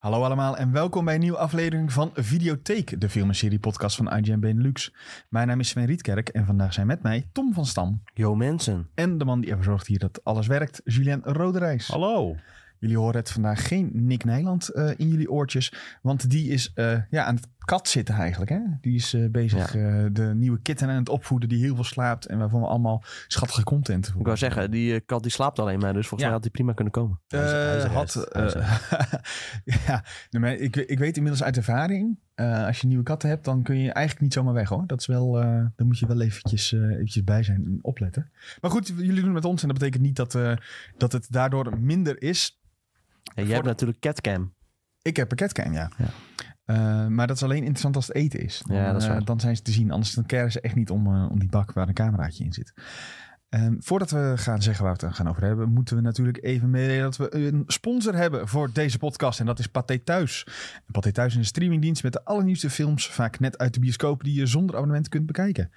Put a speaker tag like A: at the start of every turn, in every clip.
A: Hallo allemaal en welkom bij een nieuwe aflevering van Videotheek, de film en serie podcast van IGN Benelux. Mijn naam is Sven Rietkerk en vandaag zijn met mij Tom van Stam
B: Yo mensen.
A: en de man die ervoor zorgt hier dat alles werkt, Julien Roderijs.
C: Hallo.
A: Jullie horen het vandaag geen Nick Nijland eh, in jullie oortjes, want die is eh, ja, aan het kat zitten eigenlijk. Hè? Die is eh, bezig eh, de nieuwe kitten aan het opvoeden die heel veel slaapt en waarvan we allemaal schattige content
B: Ik wou zeggen, die eh, kat die slaapt alleen maar, dus volgens
A: Ja.
B: mij had die prima kunnen komen.
C: Hij is- hij is
A: Eh,
C: er
A: had.
C: eerst. Hij is er
A: eh, ja, nee, maar ik, ik weet inmiddels uit ervaring. eh, als je nieuwe katten hebt, dan kun je eigenlijk niet zomaar weg hoor. Dat is wel, eh dan moet je wel eventjes, eh, eventjes bij zijn en opletten. Maar goed, jullie doen het met ons en dat betekent niet dat, eh, dat het daardoor minder is.
B: En jij hebt natuurlijk
A: Oh,
B: catcam.
A: Ik heb een catcam, ja.
B: Ja.
A: Eh, maar dat is alleen interessant als het eten is. Dan,
B: Ja, dat is
A: eh,
B: waar.
A: dan zijn ze te zien. Anders dan keren ze echt niet om, eh, om die bak waar een cameraatje in zit. Ehm, voordat we gaan zeggen waar we het gaan over hebben, moeten we natuurlijk even meedelen dat we een sponsor hebben voor deze podcast. En dat is Pathé Thuis. En Pathé Thuis is een streamingdienst met de allernieuwste films, vaak net uit de bioscoop, die je zonder abonnement kunt bekijken.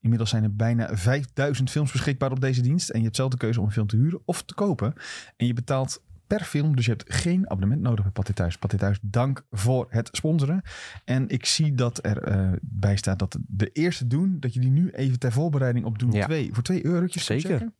A: Inmiddels zijn er bijna 5000 films beschikbaar op deze dienst. En je hebt zelf de keuze om een film te huren of te kopen. En je betaalt per film. Dus je hebt geen abonnement nodig bij Pathé Thuis. Pathé Thuis, dank voor het sponsoren. En ik zie dat er eh, bij staat dat de eerste doen... dat je die nu even ter voorbereiding op doen
B: Ja.
A: twee, voor twee eurotjes te
B: Zeker.
A: checken.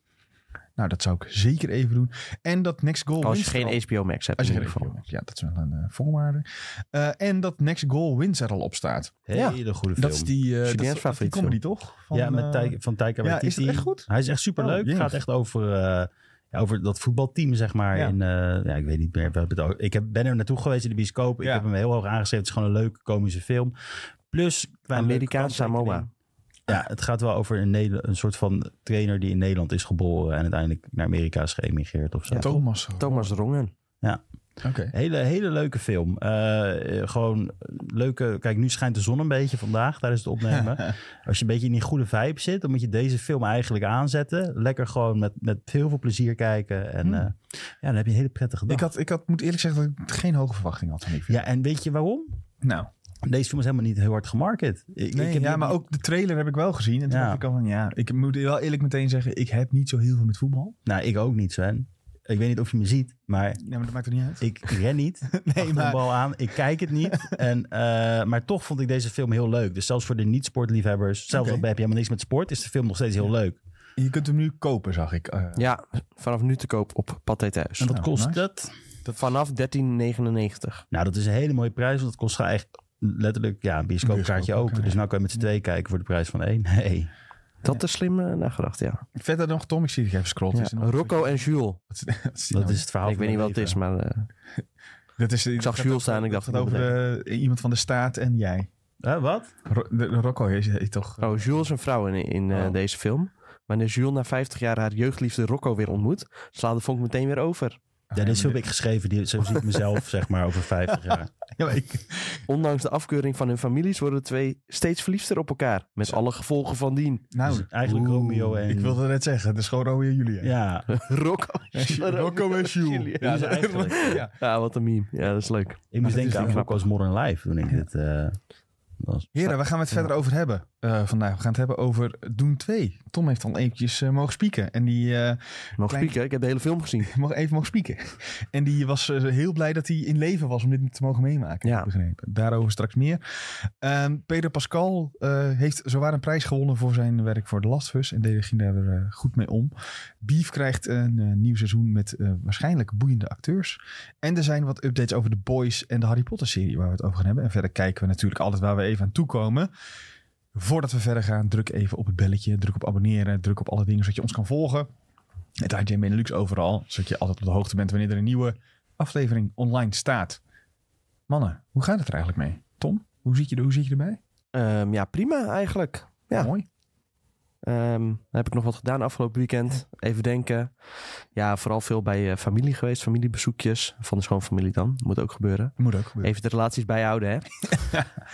A: Nou, dat zou ik zeker even doen. En dat Next Goal
B: Als je
A: wint er al-
B: geen HBO Max hebt
A: Als je
B: in
A: geen
B: ieder geval.
A: HBO hebt. Ja, dat is wel een eh, voorwaarde. Eh, en dat Next Goal wins er al op staat.
B: Ja.
C: Hele goede film.
A: Dat is die, eh, dat is- dat is die
B: favoriete
A: comedy, toch? Van,
C: ja, met
A: eh,
C: Tij- van Taika
A: ja, is
C: Waititi.
A: het echt goed?
C: Hij is echt superleuk.
A: Oh,
C: Het
A: jee.
C: gaat echt over, eh, ja, over dat voetbalteam, zeg maar.
A: Ja.
C: In, eh, ja, ik weet niet meer. wat het ook- Ik heb, ben er naartoe geweest in de bioscoop. Ik
A: Ja.
C: heb hem heel hoog aangeschreven. Het is gewoon een leuke, komische film. Plus... klein leuke
B: Amerikaans
C: kanttekening.
B: Samoa.
C: Ja, het gaat wel over een, Neder- een soort van trainer die in Nederland is geboren... en uiteindelijk naar Amerika is geëmigreerd of zo.
A: Thomas.
B: Thomas Rongen.
A: Oké.
C: Hele, hele leuke film. Eh, eh, gewoon leuke. Kijk, nu schijnt de zon een beetje vandaag tijdens het opnemen. Als je een beetje in die goede vibe zit, dan moet je deze film eigenlijk aanzetten. Lekker gewoon met, met heel veel plezier kijken. En
A: Hmm.
C: eh, ja, dan heb je een hele prettige dag.
A: Ik, had, ik had, moet eerlijk zeggen dat ik geen hoge verwachting had van die film.
C: Ja, en weet je waarom?
A: Nou.
C: Deze film is helemaal niet heel hard gemarket. Ik,
A: Nee,
C: ik heb
A: ja,
C: niet-
A: maar ook de trailer heb ik wel gezien. En toen
C: Ja.
A: dacht ik al van, ja, ik moet wel eerlijk meteen zeggen, ik heb niet zo heel veel met voetbal.
C: Nou, ik ook niet, Sven. Ik weet niet of je me ziet, maar
A: Ja, maar dat maakt er niet uit.
C: ik ren niet.
A: nee,
C: achter de bal aan. Ik kijk het niet. en, eh, maar toch vond ik deze film heel leuk. Dus zelfs voor de niet-sportliefhebbers, zelfs
A: Oké.
C: al heb je helemaal niks met sport, is de film nog steeds heel leuk.
A: je kunt hem nu kopen, zag ik. eh,
B: Ja, vanaf nu te koop op Pathé Thuis.
C: En wat
A: Nou,
C: kost
A: nice.
C: dat?
B: Vanaf 1399.
C: Nou, dat is een hele mooie prijs, want dat kost echt letterlijk ja, een bioscoopkaartje
A: Bioscoop,
C: ook.
A: ja.
C: Dus nou kan je met z'n twee kijken voor de prijs van één. Nee.
B: Dat is slim eh, nagedacht, ja.
A: Verder nog, Tom, ik zie dat je even scrollt.
B: ja.
A: Is er nog-
B: Rocco en Jules.
A: Wat is- wat is dit
C: Dat
A: nou?
C: is het verhaal
B: ik
C: van
B: weet niet
C: mijn
B: wat het is,
C: leven.
B: maar eh,
A: dat is, ik
B: zag Jules staan en ik dacht,
A: Het
B: ik
A: gaat
B: moet
A: over eh, iemand van de staat en jij.
C: Hè, Eh, wat?
A: Ro- de, de Rocco is is toch...
B: oh, Jules is een vrouw in, in eh,
A: Oh.
B: deze film. Wanneer Jules na 50 jaar haar jeugdliefde Rocco weer ontmoet, slaat de vonk meteen weer over.
C: Ja, dit heb
A: maar
C: ik geschreven. Die, zo zie ik mezelf, zeg maar, over 50 jaar.
A: dit- ja, maar ik-
B: Ondanks de afkeuring van hun families worden de twee steeds verliefder op elkaar. Met alle gevolgen van dien.
A: nou,
C: Dus eigenlijk
A: oeh,
C: Romeo en-
A: Ik wilde net zeggen, de schoon Romeo en Julia.
C: Ja,
B: Rocco.
A: Rocco en Jules.
B: Ja,
C: dus eigenlijk.
A: Ja.
B: Ja, wat een meme. Ja, dat is leuk.
C: ik
A: dat
C: moest
A: is
C: denken
A: niet
C: aan Rocco's Modern Life toen ik dit eh, was.
A: Heren, waar gaan we het verder over hebben eh, vandaag? We gaan het hebben over Doen 2. Tom heeft al eventjes eh, mogen spieken. En die eh,
B: Nog
A: Klein-
B: spieken, ik heb de hele film gezien.
A: mocht even mogen spieken. En die was eh, heel blij dat hij in leven was om dit te mogen meemaken.
B: Ja.
A: heb ik begrepen. Daarover straks meer. Ehm Peter Pascal eh, heeft zowaar een prijs gewonnen voor zijn werk voor The Last of Us. En deze ging daar eh, goed mee om. Beef krijgt een eh, nieuw seizoen met eh, waarschijnlijk boeiende acteurs. En er zijn wat updates over The Boys en de Harry Potter serie waar we het over gaan hebben. En verder kijken we natuurlijk altijd waar we even aan toekomen. Voordat we verder gaan, druk even op het belletje. Druk op abonneren. Druk op alle dingen zodat je ons kan volgen. Het IGN Benelux overal. Zodat je altijd op de hoogte bent wanneer er een nieuwe aflevering online staat. Mannen, hoe gaat het er eigenlijk mee? Tom, hoe zit je, er- hoe zit je erbij?
B: Ehm, ja, prima eigenlijk. Ja.
A: Mooi.
B: Ehm, dan heb ik nog wat gedaan afgelopen weekend. Even denken. Ja, vooral veel bij eh, familie geweest. Familiebezoekjes. Van de schoonfamilie dan. Moet ook gebeuren.
A: Moet ook gebeuren.
B: Even de relaties bijhouden, hè.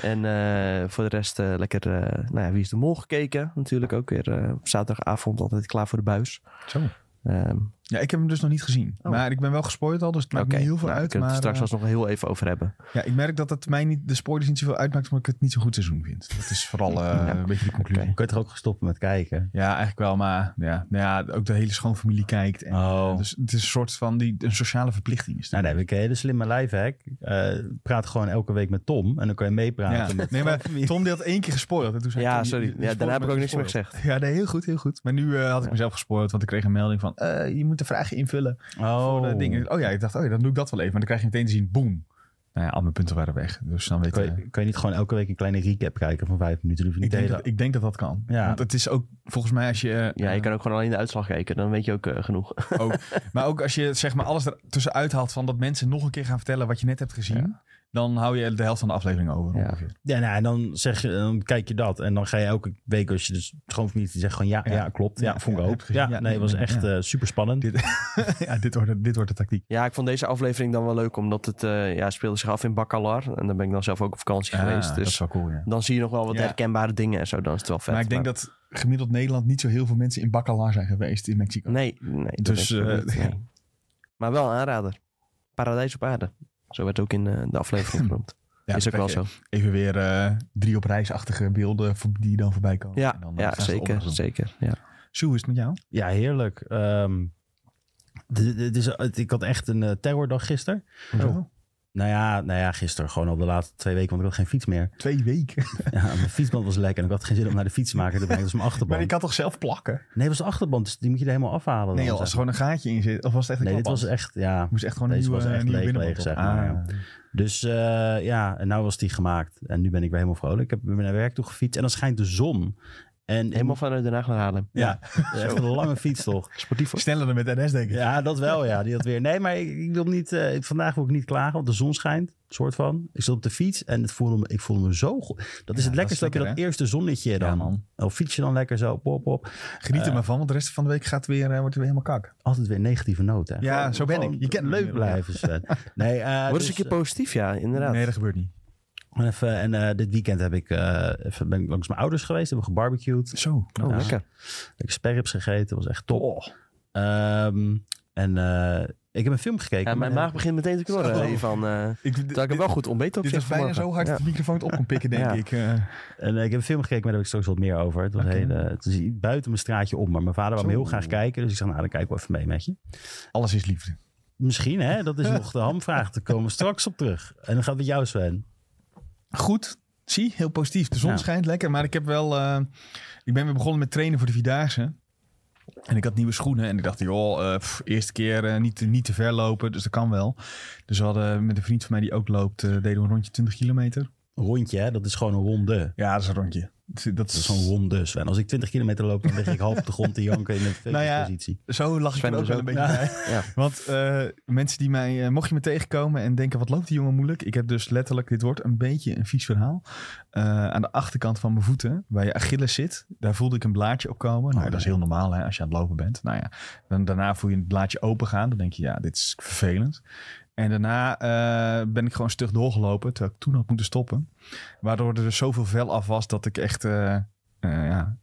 B: en eh, voor de rest eh, lekker, eh, nou ja, Wie is de Mol gekeken. Natuurlijk ook weer eh, op zaterdagavond altijd klaar voor de buis.
A: Zo.
B: Ehm,
A: Ja, ik heb hem dus nog niet gezien.
B: Oh.
A: Maar ik ben wel gespoord al, dus het maakt
B: Oké,
A: me niet heel veel
B: nou,
A: uit.
B: We kunnen
A: Maar,
B: het er straks
A: eh,
B: alsnog nog heel even over hebben.
A: ja, ik merk dat het mij niet, de spoilers niet zoveel uitmaakt, omdat ik het niet zo'n goed seizoen vind. Dat is vooral eh,
B: Ja.
A: een beetje de conclusie.
B: Oké.
C: Kun je toch ook stoppen met kijken?
A: Ja, eigenlijk wel, maar ja, nou ja, ook de hele schoonfamilie kijkt. En,
C: Oh.
A: eh, dus het is een soort van die, een sociale verplichting. Is dat.
C: Nou, dan heb ik een hele slimme lifehack. Eh praat gewoon elke week met Tom en dan kan je meepraten.
A: ja.
C: met-
A: Nee, maar Tom die had één keer gespoild. En toen zei
B: Ja,
A: Tom, je- je
B: sorry. Ja,
A: spoilt
B: daarna heb
A: me
B: ik ook niks meer
A: gespoild.
B: gezegd.
A: Ja, nee, heel goed, heel goed. Maar nu eh, had ik
B: Ja.
A: mezelf gespoord, want ik kreeg een melding van... eh, je moet de vragen invullen
C: Oh,
A: voor de dingen. Oh ja, ik dacht, oh ja, dan doe ik dat wel even. Maar dan krijg je meteen te zien, boem. Nou ja, al mijn punten waren weg. Dus dan weet
C: Kan
A: je...
C: je, kan je niet gewoon elke week een kleine recap kijken van vijf minuten? Dan hoef je
A: Ik
C: niet de
A: denk,
C: hele-
A: dat, ik denk dat dat kan.
C: Ja.
A: Want het is ook, volgens mij, als je... eh,
B: Ja, je kan ook gewoon alleen de uitslag kijken. Dan weet je ook eh, genoeg.
A: ook, maar ook als je zeg maar alles ertussen uithaalt van dat mensen nog een keer gaan vertellen wat je net hebt gezien. Dan hou je de helft van de aflevering over.
B: Ja.
A: ongeveer.
C: Ja, nou, en dan, zeg je, dan kijk je dat. En dan ga je elke week, als je dus gewoon niet zegt, gewoon ja,
A: Ja.
C: ja. klopt.
A: Ja,
C: Ja, vond ik
A: ja,
C: ook.
A: heb ik
C: Ja,
A: gezien. Ja,
C: nee, het was
A: nee,
C: echt eh,
A: ja.
C: super spannend.
A: Dit- ja, dit wordt, dit wordt de tactiek.
B: Ja, ik vond deze aflevering dan wel leuk, omdat het eh, ja, speelde zich af in Bacalar. En daar ben ik dan zelf ook op vakantie
A: Ah,
B: geweest.
A: Dat is
B: Dus
A: wel cool, ja.
B: dan zie je nog wel wat
A: Ja.
B: herkenbare dingen en zo. Dan is het wel vet.
A: maar ik denk dat gemiddeld Nederland niet zo heel veel mensen in Bacalar zijn geweest in Mexico.
B: Nee, nee. dat
A: Dus,
B: denk ik ook
A: eh,
B: niet, nee. Maar wel een aanrader. Paradijs op aarde. Zo werd ook in eh, de aflevering genoemd.
A: Ja,
B: is ook
A: dan
B: wel
A: krijg
B: zo.
A: je Even weer eh, drie op reisachtige beelden voor- die dan voorbij komen.
B: Ja,
A: En dan, eh,
B: ja
A: staan ze
B: zeker.
A: opgezoomd.
B: zeker ja.
A: Sjoe, is het met jou?
C: Ja, heerlijk. Ehm, dit- dit is- het- ik had echt een eh, terrordag gisteren.
A: Hoezo?
C: Nou ja, nou ja, gisteren gewoon al de laatste twee weken, want ik had geen fiets meer.
A: Twee weken.
C: Ja, mijn fietsband was lek en ik had geen zin om naar de fietsmaker te brengen. Dat is mijn
A: Maar ik
C: achterband.
A: kan toch zelf plakken?
C: Nee, dat was de achterband, dus die moet je er helemaal afhalen.
A: Nee,
C: dan,
A: joh, als er
C: zeg.
A: gewoon een gaatje in zit. Of was het echt een
C: nee dit was
A: klapband?
C: echt, ja.
A: Ik moest echt gewoon een
C: Deze
A: nieuwe, eh,
C: was echt
A: nieuwe
C: leeg,
A: binnenband
C: leeg,
A: op.
C: zeg maar,
A: Ah.
C: Dus eh, ja, en nou was die gemaakt. En nu ben ik weer helemaal vrolijk. Ik heb weer naar werk toe gefietst en dan schijnt de zon. En
B: Helemaal vanuit Den Haag naar Haarlem.
C: Ja, echt een lange fiets toch?
B: Sportief. hoor.
A: Sneller dan met NS, denk ik.
C: Ja, dat wel, ja. Die had weer. Nee, maar ik, ik wil niet. eh, vandaag wil ik niet klagen, want de zon schijnt. Soort van. Ik zat op de fiets en het voelde me, ik voelde me zo goed. Dat is
A: Ja, dat
C: het lekkerste dat
A: is
C: je
A: lekker,
C: dat eerste zonnetje dan.
A: Ja, man.
C: Of fiets je dan lekker zo, pop, pop.
A: Geniet er maar van, want de rest van de week gaat weer, eh, wordt het weer helemaal kak.
C: Altijd weer negatieve noten. hè.
A: Ja,
C: Gewoon-
A: zo ben
C: gewoon
A: ik. Je kent me
C: leuk
A: weer.
C: blijven, Sven. Nee, eh,
B: Word
C: dus,
B: eens een keer positief, ja, inderdaad.
A: Nee, dat gebeurt niet.
C: eh, even, en eh, dit weekend heb ik, eh, even, ben ik langs mijn ouders geweest. Hebben we gebarbecued.
A: Zo.
B: Oh,
C: Ja.
B: lekker.
C: Ik sperrips gegeten. was echt top.
A: Oh.
C: Ehm, en eh, ik heb een film gekeken.
B: Ja, mijn maag begint meteen te knorren
A: Zo.
B: eh, hiervan. eh
A: Ik,
B: terwijl eh, ik heb wel goed ontbeten op
A: dit
B: zich
A: was bijna
B: vanmorgen.
A: zo hard
B: Ja.
A: dat de microfoon het op kon pikken, denk
B: Ja.
A: ik. eh.
C: En eh, ik heb een film gekeken, maar daar heb ik straks wat meer over. Het, was
A: Oké.
C: heel, eh, het is buiten mijn straatje om, maar mijn vader wou me
A: Zo.
C: heel graag kijken. Dus ik zei, nou, dan kijken we even mee met je.
A: alles is liefde.
C: Misschien, hè? Dat is nog de hamvraag. Daar komen we straks op terug. En dan gaat het met jou, Sven.
A: Goed. Zie, heel positief. De zon
C: Ja.
A: schijnt lekker, maar ik heb wel... eh, ik ben weer begonnen met trainen voor de Vierdaagse. En ik had nieuwe schoenen en ik dacht, joh, eh, pff, eerste keer eh, niet, te- niet te ver lopen, dus dat kan wel. Dus we hadden met een vriend van mij die ook loopt, eh, deden we een rondje 20 kilometer.
C: Rondje, hè? Dat is gewoon een ronde.
A: Ja, dat is een rondje. Dat
C: Dat is
A: is
C: zo'n ronde, Sven. Als ik 20 kilometer loop, dan lig ik half op de grond te janken in een
A: Nou ja.
C: positie.
A: Zo lag
B: Sven
A: ik er ook wel
B: dus
A: een
B: ook.
A: beetje bij.
B: Ja.
A: Want eh, mensen die mij, eh, mocht je me tegenkomen en denken, wat loopt die jongen moeilijk? Ik heb dus letterlijk, dit wordt een beetje een vies verhaal. Eh, aan de achterkant van mijn voeten, waar je Achilles zit, daar voelde ik een blaadje op komen. nou,
C: Oh,
A: dat is heel normaal hè, als je aan het lopen bent. Nou ja, dan, daarna voel je het blaadje open gaan. Dan denk je, ja, dit is vervelend. En daarna eh, ben ik gewoon stug doorgelopen, terwijl ik toen had moeten stoppen. Waardoor er dus zoveel vel af was dat ik echt, eh, eh, ja,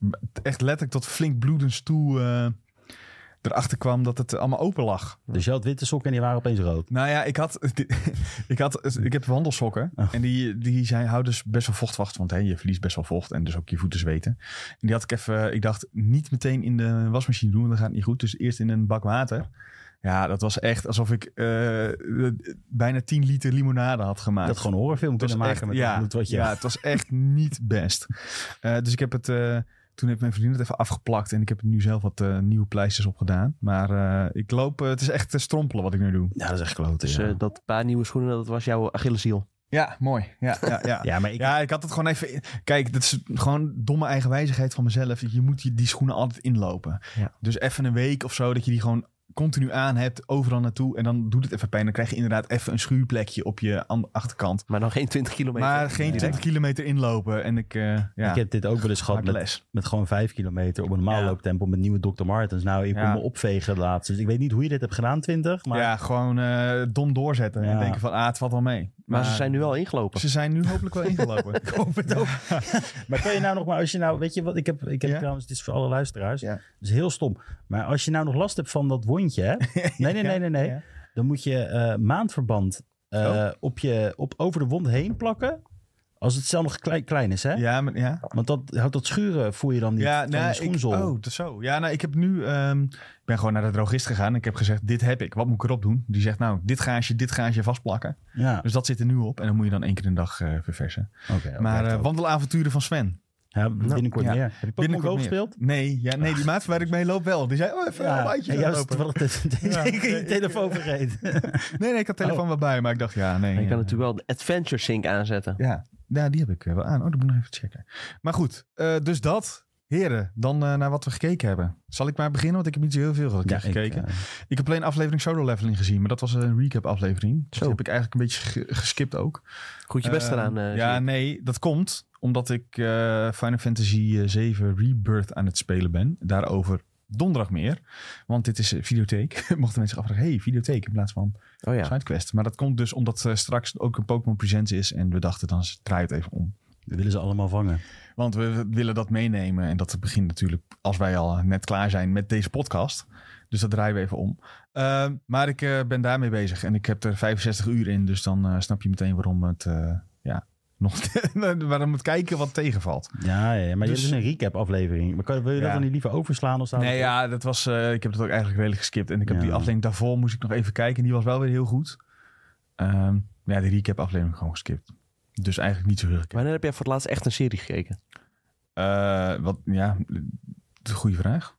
A: echt letterlijk tot flink bloedens toe eh, erachter kwam dat het allemaal open lag.
C: Dus je had witte sokken en die waren opeens rood.
A: Nou ja, ik had, ik had, dus, ik heb wandelsokken.
C: Oh.
A: En die, die zijn, houden dus best wel vochtwacht. Want hè, je verliest best wel vocht en dus ook je voeten zweten. En die had ik even, ik dacht, niet meteen in de wasmachine doen. want Dan gaat het niet goed. Dus eerst in een bak water. Ja, dat was echt alsof ik eh, bijna 10 liter limonade had
C: Je
A: gemaakt.
C: had gewoon een horrorfilm
A: Het
C: kunnen
A: was
C: maken
A: echt-
C: met
A: ja,
C: met wat je...
A: ja, het was echt niet best. Eh, dus ik heb het... eh, toen heeft mijn vriendin het even afgeplakt en ik heb er nu zelf wat eh, nieuwe pleisters op gedaan. Maar eh, ik loop, eh, het is echt eh, strompelen wat ik nu doe.
C: Ja, dat is echt kloten,
B: Dus
C: ja.
B: eh, dat paar nieuwe schoenen, dat was jouw Achilleshiel.
A: Ja, mooi. Ja, ja, ja.
C: ja, maar ik,
A: Ja, ik had het gewoon even. Kijk, dat is gewoon domme eigenwijzigheid van mezelf. Je moet je- die schoenen altijd inlopen.
B: Ja.
A: Dus even een week of zo dat je die gewoon continu aan hebt, overal naartoe. En dan doet het even pijn. Dan krijg je inderdaad even een schuurplekje op je an- achterkant.
B: Maar dan geen 20 kilometer.
A: Maar geen
B: direct.
A: 20 kilometer inlopen. En ik, eh, ja,
C: ik heb dit ook wel eens gehad
A: maak
C: met,
A: les.
C: met gewoon vijf kilometer op een normaal
A: Ja.
C: looptempo met nieuwe Dr. Martens. Nou, ik kon
A: Ja.
C: me opvegen laatst. Dus ik weet niet hoe je dit hebt gedaan, 20. Maar
A: Ja, gewoon eh, dom doorzetten. En
C: Ja.
A: denken van, ah, het valt wel mee.
B: Maar ze zijn nu wel ingelopen.
A: Ze zijn nu hopelijk wel ingelopen.
C: Ik hoop het ook. maar kan je nou nog maar, als je nou, weet je wat, ik heb, ik heb
A: Ja?
C: trouwens, dit is voor alle luisteraars,
A: Ja.
C: het is heel stom. Maar als je nou nog last hebt van dat wondje, hè, nee, nee, nee, nee, nee,
A: Ja.
C: dan moet je eh, maandverband eh,
A: Oh.
C: op je, op, over de wond heen plakken. Als het zelf nog klein, klein is, hè?
A: Ja, maar, ja.
C: Want dat houdt dat schuren voel je dan niet
A: Ja,
C: van de
A: nou, ik,
C: schoenzool.
A: oh, dat zo. Ja, nou, ik heb nu, ehm, ik ben gewoon naar de drogist gegaan. En ik heb gezegd, dit heb ik. Wat moet ik erop doen? Die zegt, nou, dit gaasje, dit gaasje vastplakken.
C: Ja,
A: Dus dat zit er nu op. En dan moet je dan één keer een dag eh, verversen.
C: oké. oké,
A: maar eh,
C: top.
A: wandelavonturen van Sven.
C: Ja, binnenkort
A: ja.
C: meer. Heb je Pokémon
A: Binnenkort
C: Go
A: meer.
C: gespeeld?
A: Nee, ja, nee die maat waar ik mee loop wel. Die zei, oh, even een
C: en
A: wijntje
C: Ah. juist
A: lopen.
C: terwijl het
A: Ja.
C: ik je telefoon vergeet.
A: Nee, nee, ik had
C: Oh.
A: telefoon wel bij. Maar ik dacht, ja, nee.
B: En je kan
A: ja.
B: natuurlijk wel de Adventure Sync aanzetten.
A: Ja, ja, die heb ik eh, wel aan. Oh, dat moet ik nog even checken. Maar goed, eh, dus dat. Heren, dan eh, naar wat we gekeken hebben. Zal ik maar beginnen? Want ik heb niet zo heel veel
C: Ja, ik,
A: gekeken.
C: eh,
A: Ik heb alleen aflevering Solo Leveling gezien, maar dat was een recap aflevering. Dus
B: Zo.
A: die heb ik eigenlijk een beetje ge- geskipt ook.
B: Goed je best
A: Ehm,
B: eraan. eh,
A: ja,
B: zie ik.
A: nee, dat komt omdat ik eh, Final Fantasy eh, 7 Rebirth aan het spelen ben. Daarover donderdag meer, want dit is eh, videotheek. Mochten mensen zich afvragen, hey, videotheek in plaats van
B: Oh ja.
A: sidequest. Maar dat komt dus omdat eh, straks ook een Pokémon Presents is en we dachten dan draai het even om.
C: we willen ze allemaal vangen.
A: Want we willen dat meenemen. En dat begint natuurlijk als wij al net klaar zijn met deze podcast. Dus dat draaien we even om. Ehm, maar ik eh, ben daarmee bezig. En ik heb er 65 uur in. Dus dan eh, snap je meteen waarom het... eh, ja, nog, waarom het kijken wat tegenvalt.
C: Ja, ja, ja, maar
A: Dus-
C: dit is een recap-aflevering. Maar kan, wil je dat
A: Ja.
C: dan niet liever overslaan? Of staan
A: Nee, ja, dat was, eh, ik heb het ook eigenlijk redelijk geskipt. En ik heb
C: Ja.
A: die aflevering daarvoor moest ik nog even kijken. En die was wel weer heel goed. Ehm, maar ja, die recap aflevering gewoon geskipt. Dus eigenlijk niet zo heel gekeken.
B: Wanneer heb jij voor het laatst echt een serie gekeken?
A: Eh, wat, ja, goede vraag.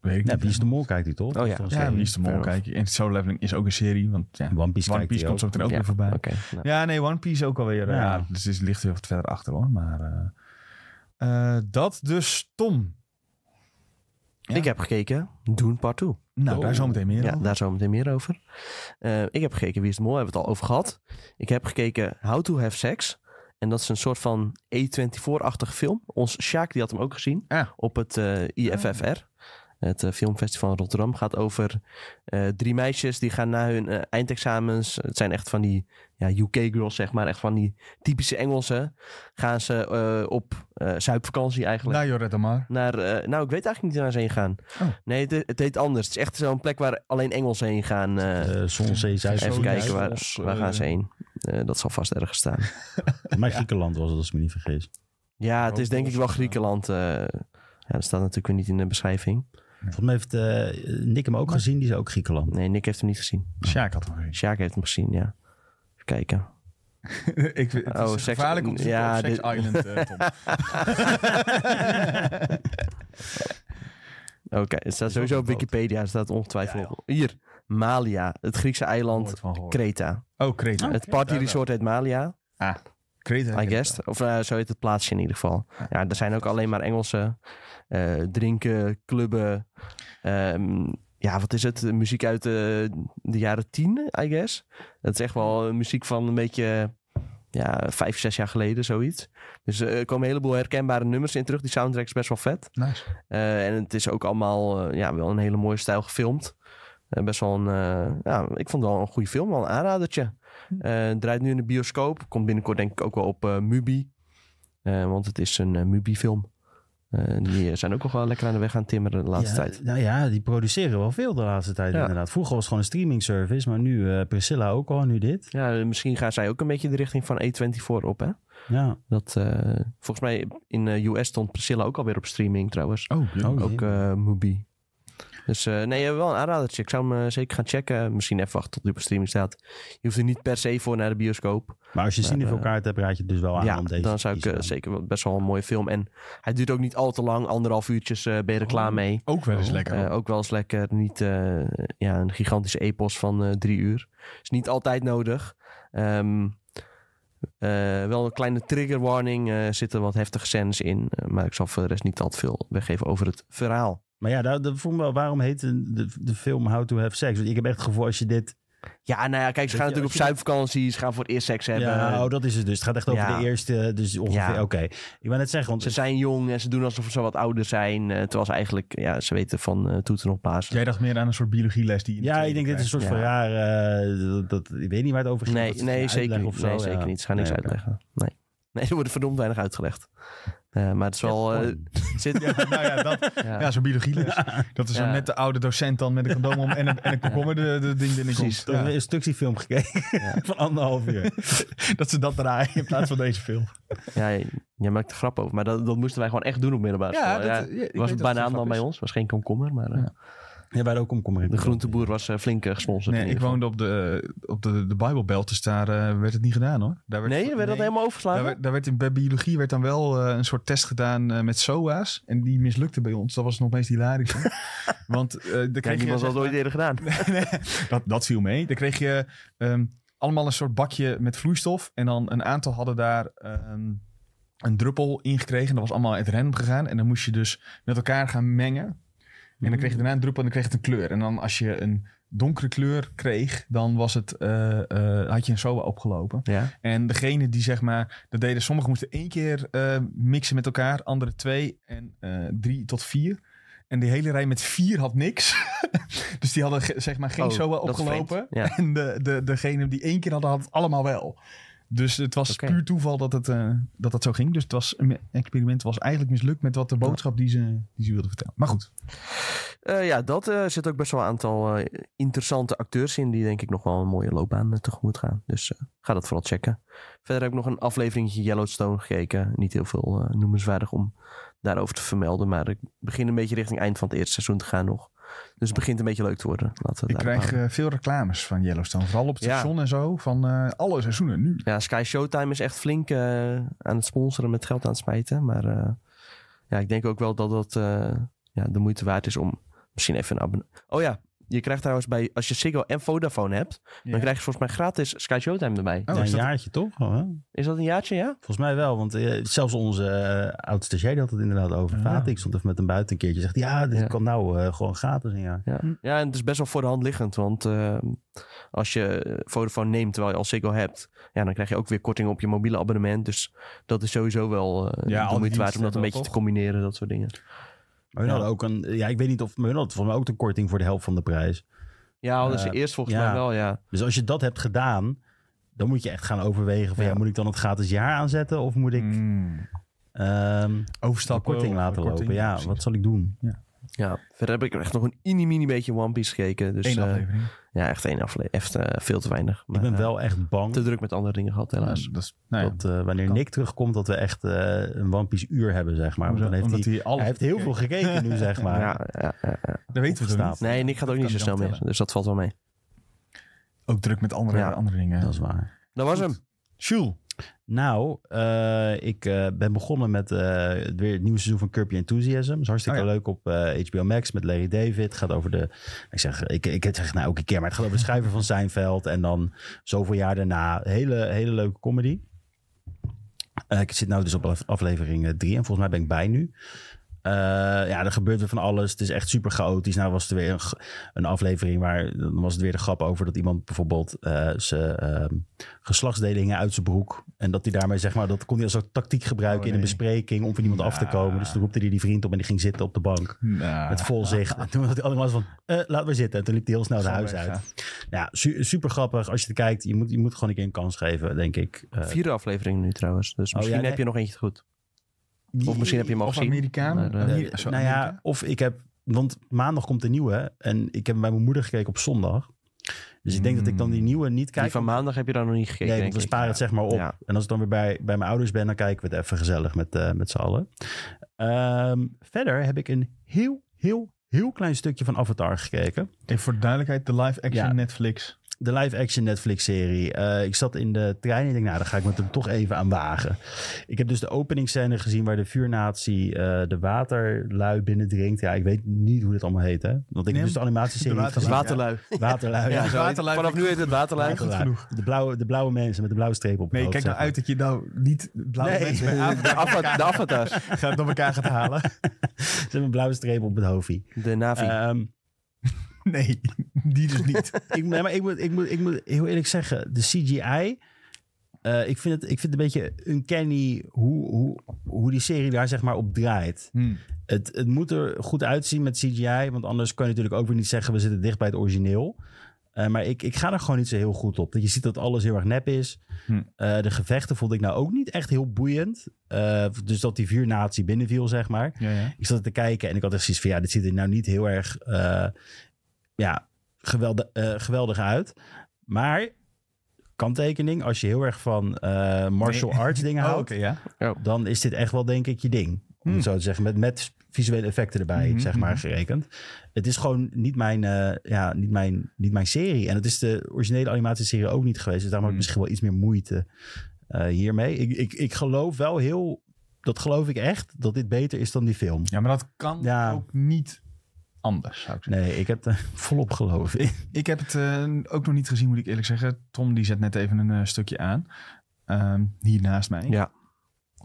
A: Weet ik
C: Ja,
A: niet.
C: Wie Nou, is de Mol kijkt u toch?
B: Oh ja.
C: Dat is
A: Ja,
C: een
A: Wie is de Mol
B: Fair
A: kijken. En Solo Leveling is ook een serie, want ja,
C: One Piece,
A: One
C: kijkt
A: Piece
C: hij
A: komt zo
C: ook.
A: meteen ook
B: Ja.
A: weer voorbij.
B: Oké. nou.
A: Ja, nee, One Piece ook alweer. Ja.
C: Ja.
A: dus het ligt heel wat verder achter hoor. Maar eh, eh, dat dus Tom. Ja.
B: Ik heb gekeken Doen Part 2.
A: Nou,
C: Oh.
A: daar zometeen meer
B: Ja,
A: over.
B: daar zo meteen meer over. Eh, ik heb gekeken Wie is de Mol, hebben we het al over gehad. Ik heb gekeken How to Have Sex. En dat is een soort van E24-achtig film. Ons Sjaak die had hem ook gezien
A: Ah.
B: op het eh, IFFR. Het eh, filmfestival in Rotterdam gaat over eh, drie meisjes die gaan na hun eh, eindexamens. Het zijn echt van die ja, UK-girls, zeg maar. Echt van die typische Engelsen. Gaan ze eh, op eh zuipvakantie eigenlijk.
A: Nou, Jorette maar.
B: Naar, eh, nou, ik weet eigenlijk niet waar ze heen gaan.
A: Oh.
B: Nee, het, het heet anders. Het is echt zo'n plek waar alleen Engelsen heen gaan. eh.
C: Eh, Zon, Zee, Zuid,
B: even
C: Zee,
B: kijken,
C: Zuid.
B: waar,
A: Duivels,
B: waar
A: eh,
B: gaan ze heen? Eh, dat zal vast ergens staan.
C: Maar Griekenland was het, als ik me niet vergis.
B: Ja, het is denk ik wel
A: Roodbos, eh.
B: Griekenland. eh. ja, dat staat natuurlijk weer niet in de beschrijving.
C: Volgens mij heeft eh, Nick hem ook gezien, die is ook Griekenland.
B: Nee, Nick heeft hem niet gezien.
A: Sjaak had hem gezien.
B: Sjaak heeft hem gezien, ja. Even kijken.
A: ik, vind- het is
B: Oh, seks-
A: gevaarlijk om te zoeken
B: ja,
A: op Sex
B: dit-
A: Island, eh, Tom.
B: Oké, Oh, het staat sowieso op Wikipedia. Het staat ongetwijfeld. op. Hier, Malia. Het Griekse eiland
A: Nooit van gehoord.
B: Kreta.
A: Oh, Creta.
C: Oh.
B: Het partyresort heet Malia.
A: Creta.
B: I guess. Of eh, zo heet het plaatsje in ieder geval.
A: Ja.
B: Ja, er zijn ook alleen maar Engelse eh, drinken, clubben. ehm, ja, wat is het? Muziek uit eh, de jaren tien, I guess. Dat is echt wel muziek van een beetje ja, vijf, zes jaar geleden, zoiets. Dus eh, er komen een heleboel herkenbare nummers in terug. Die soundtrack is best wel vet.
A: Nice.
B: Eh, en het is ook allemaal eh, ja, wel een hele mooie stijl gefilmd. Eh, best wel een, eh, ja, ik vond het wel een goede film, wel een aanradertje. Eh, draait nu in de bioscoop. Komt binnenkort denk ik ook wel op eh, Mubi. Eh, want het is een eh, Mubi-film. Eh, die eh, zijn ook nog wel lekker aan de weg aan timmeren de laatste
C: ja,
B: tijd.
C: Nou ja, die produceren wel veel de laatste tijd
B: Ja.
C: inderdaad. Vroeger was het gewoon een streaming service, maar nu eh, Priscilla ook al, nu dit.
B: Ja, misschien gaan zij ook een beetje de richting van E24 op, hè?
C: Ja.
B: Dat, eh, volgens mij in de US stond Priscilla ook alweer op streaming trouwens.
A: Oh, ja.
C: Oh,
B: Ook eh Mubi. Dus eh, nee, eh, wel een aanradertje. Ik zou hem eh, zeker gaan checken. Misschien even wachten tot hij op streaming staat. Je hoeft er niet per se voor naar de bioscoop.
C: Maar als je
B: Maar,
C: zin
B: eh,
C: voor kaart hebt, raad je het dus wel aan
B: ja,
C: om deze
B: dan
C: te
B: zou ik
C: kiezen.
B: eh, zeker wel- best wel een mooie film. En hij duurt ook niet al te lang. Anderhalf uurtjes eh, ben je er
A: Oh,
B: klaar mee.
A: ook wel eens lekker.
B: Eh, ook wel eens lekker. Niet eh, ja, een gigantische epos van eh, drie uur. Is niet altijd nodig. Ehm, eh, wel een kleine trigger warning. eh zitten wat heftige scènes in. Eh, maar ik zal voor de rest niet al te veel weggeven over het verhaal.
C: Maar ja, daar, daar vroeg me wel, waarom heet de, de film How to Have Sex? Want ik heb echt het gevoel, als je dit
B: Ja, nou ja, kijk, ze
C: Weet
B: gaan
C: je,
B: natuurlijk
C: als
B: op
C: je-
B: zuipvakantie, ze gaan voor het eerst seks hebben.
C: Ja, oh, dat is het dus. Het gaat echt over
B: Ja.
C: de eerste, dus ongeveer,
B: Ja.
C: oké. Ik wou net zeggen, want
B: Ze zijn jong en ze doen alsof ze wat ouder zijn. eh, terwijl ze eigenlijk, ja, ze weten van eh toeten op paas.
A: Jij dacht meer aan een soort biologieles die je in de
C: Ja, ik
A: tweede
C: denk dit is een soort
B: Ja.
C: van raar. eh, dat, dat- ik weet niet waar het over ging.
B: Nee,
C: Dat ze
B: nee,
C: gaan
B: zeker,
C: uitleggen
B: niet. nee zeker
C: ja.
B: niet. Ze gaan niks
C: Nee, oké.
B: uitleggen. Nee. nee, er wordt verdomd weinig uitgelegd. Eh, maar het is wel... eh,
C: Gewoon.
B: zit, ja,
A: krijgt. Nou ja, dat, ja zo'n biologieles. Dat is zo
B: Ja.
A: net de oude docent dan met een condoom om en een, en een komkommer de, de ding binnenkomt.
B: Precies.
C: Ik heb een
A: Ja,
C: instructiefilm gekeken
B: Ja.
C: van anderhalf uur.
A: dat ze dat draaien in plaats van deze film.
B: ja, jij maakt er grap over. Maar dat, dat moesten wij gewoon echt doen op middelbare school.
A: eh,
B: Ja, was een banaan dan bij ons. Was geen komkommer, maar eh,
A: Ja.
C: Ja, waar ook omkommer in.
B: de groenteboer was eh, flink eh, gesponsord.
A: Nee,
B: in
A: ik
B: ieder geval.
A: woonde op de, eh, op de, de Bijbelbelt, dus daar eh, werd het niet gedaan hoor. Daar werd,
B: Nee, werd dat helemaal overgeslagen?
A: Daar werd, daar werd in, bij biologie werd dan wel eh, een soort test gedaan eh, met SOA's. En die mislukte bij ons. Dat was nog meest hilarisch. hè. Want eh dan
B: Ja,
A: kreeg je,
B: niemand
A: zeg
B: had dat ooit eerder gedaan.
A: dat, dat viel mee. Dan kreeg je ehm, allemaal een soort bakje met vloeistof. En dan een aantal hadden daar ehm, een druppel ingekregen. Dat was allemaal uit random gegaan. En dan moest je dus met elkaar gaan mengen. En dan kreeg je daarna een druppel en dan kreeg het een kleur. En dan als je een donkere kleur kreeg, dan was het, eh, eh, had je een soa opgelopen.
B: Ja.
A: En degene die zeg maar, dat deden sommigen moesten één keer eh, mixen met elkaar, andere twee en eh, drie tot vier. En die hele rij met vier had niks. dus die hadden ge- zeg maar geen
B: Oh,
A: SOA
B: dat is
A: opgelopen.
B: vreemd.
A: En de, de, degene die één keer hadden, had het allemaal wel. Dus het was
B: Oké.
A: puur toeval dat het, eh, dat het zo ging. Dus het was, een experiment was eigenlijk mislukt met wat de boodschap die ze, die ze wilden vertellen. Maar goed,
B: Eh, ja, dat eh, zit ook best wel een aantal eh, interessante acteurs in. Die denk ik nog wel een mooie loopbaan eh, tegemoet gaan. Dus eh, ga dat vooral checken. Verder heb ik nog een afleveringetje Yellowstone gekeken. Niet heel veel eh, noemenswaardig om daarover te vermelden. Maar ik begin een beetje richting eind van het eerste seizoen te gaan nog. Dus het begint een beetje leuk te worden. Laten we
A: ik
B: het daarop
A: krijg
B: houden.
A: eh, veel reclames van Yellowstone. Vooral op het
B: Ja.
A: station en zo. Van eh, alle seizoenen nu.
B: Ja, Sky Showtime is echt flink eh, aan het sponsoren met geld aan het smijten. Maar eh, ja, ik denk ook wel dat dat eh, ja, de moeite waard is om misschien even een abonnement... Oh ja, je krijgt trouwens bij... Als je Ziggo en Vodafone hebt,
A: Ja.
B: dan krijg je volgens mij gratis Sky Showtime erbij.
A: Oh,
C: Ja,
A: is
C: een
A: dat-
C: jaartje toch? gewoon, hè?
B: Is dat een jaartje, ja?
C: Volgens mij wel, want eh, zelfs onze eh oud stagiair die had het inderdaad over.
A: Ja.
C: Vaten, ik stond even met hem buiten een keertje. Zegt, ja, dit
B: Ja.
C: kan nou eh, gewoon gratis een jaar.
B: Ja,
A: Hm.
B: ja en het is best wel voor de hand liggend. Want eh, als je Vodafone neemt terwijl je al Ziggo hebt... Ja, dan krijg je ook weer korting op je mobiele abonnement. Dus dat is sowieso wel eh,
A: Ja, al
B: de
A: die
B: moeite waard om
A: diensten
B: dat
A: wel,
B: een beetje te
A: toch?
B: combineren. Dat soort dingen.
C: Maar hun
B: Ja.
C: hadden ook een, eh, ja, ik weet niet of, maar hun hadden volgens mij ook de korting voor de helft van de prijs.
B: Ja, hadden ze
C: Eh,
B: eerst volgens
C: ja.
B: mij wel, ja.
C: Dus als je dat hebt gedaan, dan moet je echt gaan overwegen van, ja,
B: Ja.
C: moet ik dan het gratis jaar aanzetten of moet ik
A: Mm.
C: ehm, de
A: Overstappen.
C: korting
A: of-
C: laten
A: korting,
C: lopen? Ja,
A: precies.
C: wat zal ik doen?
B: Ja, verder heb ik echt nog een mini-mini beetje One Piece gekeken. Dus
A: Eén
B: eh,
A: aflevering.
B: ja, echt één aflevering. Echt eh, veel te weinig. Maar,
C: ik ben
B: eh,
C: wel echt bang
B: te druk met andere dingen gehad, helaas.
A: Ja, dat is, nou ja,
C: dat eh, wanneer
A: kan.
C: Nick terugkomt, dat we echt eh, een One Piece uur hebben, zeg maar. Want
A: Hoezo?
C: dan heeft
A: Omdat
C: hij,
A: hij alles
C: hij heeft heel veel gekeken nu, zeg maar.
B: Ja, ja, ja, ja.
A: Dat weten we toch
C: opgestapeld.
A: niet.
B: Nee, Nick gaat ook
A: Dat
B: niet zo
A: kan
B: snel
A: ik dan
B: meer. Dus dat valt wel mee.
A: Ook druk met andere,
B: Ja.
A: andere dingen.
C: Dat is waar.
B: Dat was
A: Goed.
B: hem.
A: Jules.
C: Nou, eh, ik eh, ben begonnen met eh, weer het nieuwe seizoen van Curb Your Enthusiasm. Dat is hartstikke
A: Oh ja.
C: leuk op eh, HBO Max met Larry David. gaat over de, ik zeg, ik, ik zeg het nou elke keer, maar het gaat over de schrijver van Seinfeld. En dan zoveel jaar daarna, hele, hele leuke comedy. Eh, ik zit nou dus op af- aflevering 3 en volgens mij ben ik bij nu. Eh, ja, er gebeurt weer van alles. Het is echt super chaotisch. Nou was er weer een, g- een aflevering waar... dan was het weer de grap over dat iemand bijvoorbeeld... eh, zijn ehm, geslachtsdelen hingen uit zijn broek. En dat hij daarmee, zeg maar... dat kon hij als een tactiek gebruiken
A: Oh,
C: in een
A: nee.
C: bespreking... om van iemand af te
A: Ja.
C: komen. Dus toen roepte hij die vriend op en die ging zitten op de bank.
A: Nou,
C: Met vol zicht. En toen had hij allemaal van, eh, laat maar zitten. En toen liep hij heel snel naar
A: Gewoon
C: huis
A: weg,
C: uit. Ja, su- super grappig. Als je het kijkt, je moet, je moet gewoon een keer een kans geven, denk ik. Eh,
B: Vierde aflevering nu trouwens. Dus
C: Oh,
B: misschien
C: ja, nee.
B: heb je nog eentje goed. Of misschien heb je hem al
A: Of
B: gezien.
A: Amerikaan.
B: Maar, eh,
A: Ameri- zo,
C: nou ja,
A: Amerika.
C: of ik heb... Want maandag komt de nieuwe. En ik heb hem bij mijn moeder gekeken op zondag. Dus ik denk dat ik dan die nieuwe niet kijk.
B: Die van maandag heb je daar nog niet gekeken,
C: nee, want
B: denk
C: we
B: ik.
C: sparen het zeg maar op.
B: Ja.
C: En als ik dan weer bij, bij mijn ouders ben, dan kijken we het even gezellig met, eh, met z'n allen. Ehm, verder heb ik een heel, heel, heel klein stukje van Avatar gekeken.
A: Even voor de duidelijkheid, de live action
C: Ja.
A: Netflix.
C: de live-action Netflix-serie. Eh, ik zat in de trein en ik denk, nou, daar ga ik me hem toch even aan wagen. Ik heb dus de openingsscène gezien waar de vuurnatie eh, de waterlui binnendringt. Ja, ik weet niet hoe dit allemaal heet, hè? Want ik
A: Nee,
C: heb dus de animatieserie
A: de
C: niet
A: water-
C: gezien.
B: Waterlui.
C: Waterlui, ja.
B: Ja, zo-
A: Waterlui
B: Vanaf nu heet het Waterlui.
A: goed
C: Waterlui.
A: genoeg.
C: De blauwe, de blauwe mensen met de blauwe streep op hun
A: Nee,
C: hoofd,
A: kijk nou
C: zeg
A: uit dat je nou niet blauwe
C: Nee.
A: mensen bij Afrika
B: De, afva- de avatars.
A: gaat door elkaar gaat halen.
C: Eh, maar. Ze hebben een blauwe streep op het hoofdje.
B: De Navi.
C: Ehm,
A: Nee, die dus niet.
C: ik, nee, maar ik moet, ik, moet, ik moet heel eerlijk zeggen, de CGI. eh, ik, vind het, ik vind het een beetje uncanny hoe, hoe, hoe die serie daar zeg maar op draait.
A: Hmm.
C: Het, het moet er goed uitzien met CGI, want anders kan je natuurlijk ook weer niet zeggen we zitten dicht bij het origineel. Eh, maar ik, ik ga er gewoon niet zo heel goed op. Dat je ziet dat alles heel erg nep is.
A: Hm.
C: Eh, de gevechten vond ik nou ook niet echt heel boeiend. Eh, dus dat die vier natie binnenviel, zeg maar.
A: Ja, ja.
C: Ik zat te kijken en ik had echt zoiets van... ja, dit ziet er nou niet heel erg eh, ja, geweldig, eh, geweldig uit. Maar, kanttekening, als je heel erg van eh, martial
A: Nee.
C: arts dingen
A: Oh,
C: houdt...
A: oké, ja.
C: dan is dit echt wel denk ik je ding. Om
A: Hmm.
C: het zo te zeggen, met, met visuele effecten erbij,
A: Mhm,
C: zeg maar,
A: mhm.
C: gerekend. Het is gewoon niet mijn, eh, ja, niet, mijn, niet mijn serie. En het is de originele animatieserie ook niet geweest. Dus daarom
A: Hmm.
C: heb ik misschien wel iets meer moeite eh, hiermee. Ik, ik, ik geloof wel heel... Dat geloof ik echt, dat dit beter is dan die film.
A: Ja, maar dat kan
C: Ja.
A: ook niet anders, zou ik zeggen.
C: Nee, ik heb er volop geloof in.
A: Ik heb het eh, ook nog niet gezien, moet ik eerlijk zeggen. Tom die zet net even een eh, stukje aan. Ehm, hier naast mij.
B: Ja.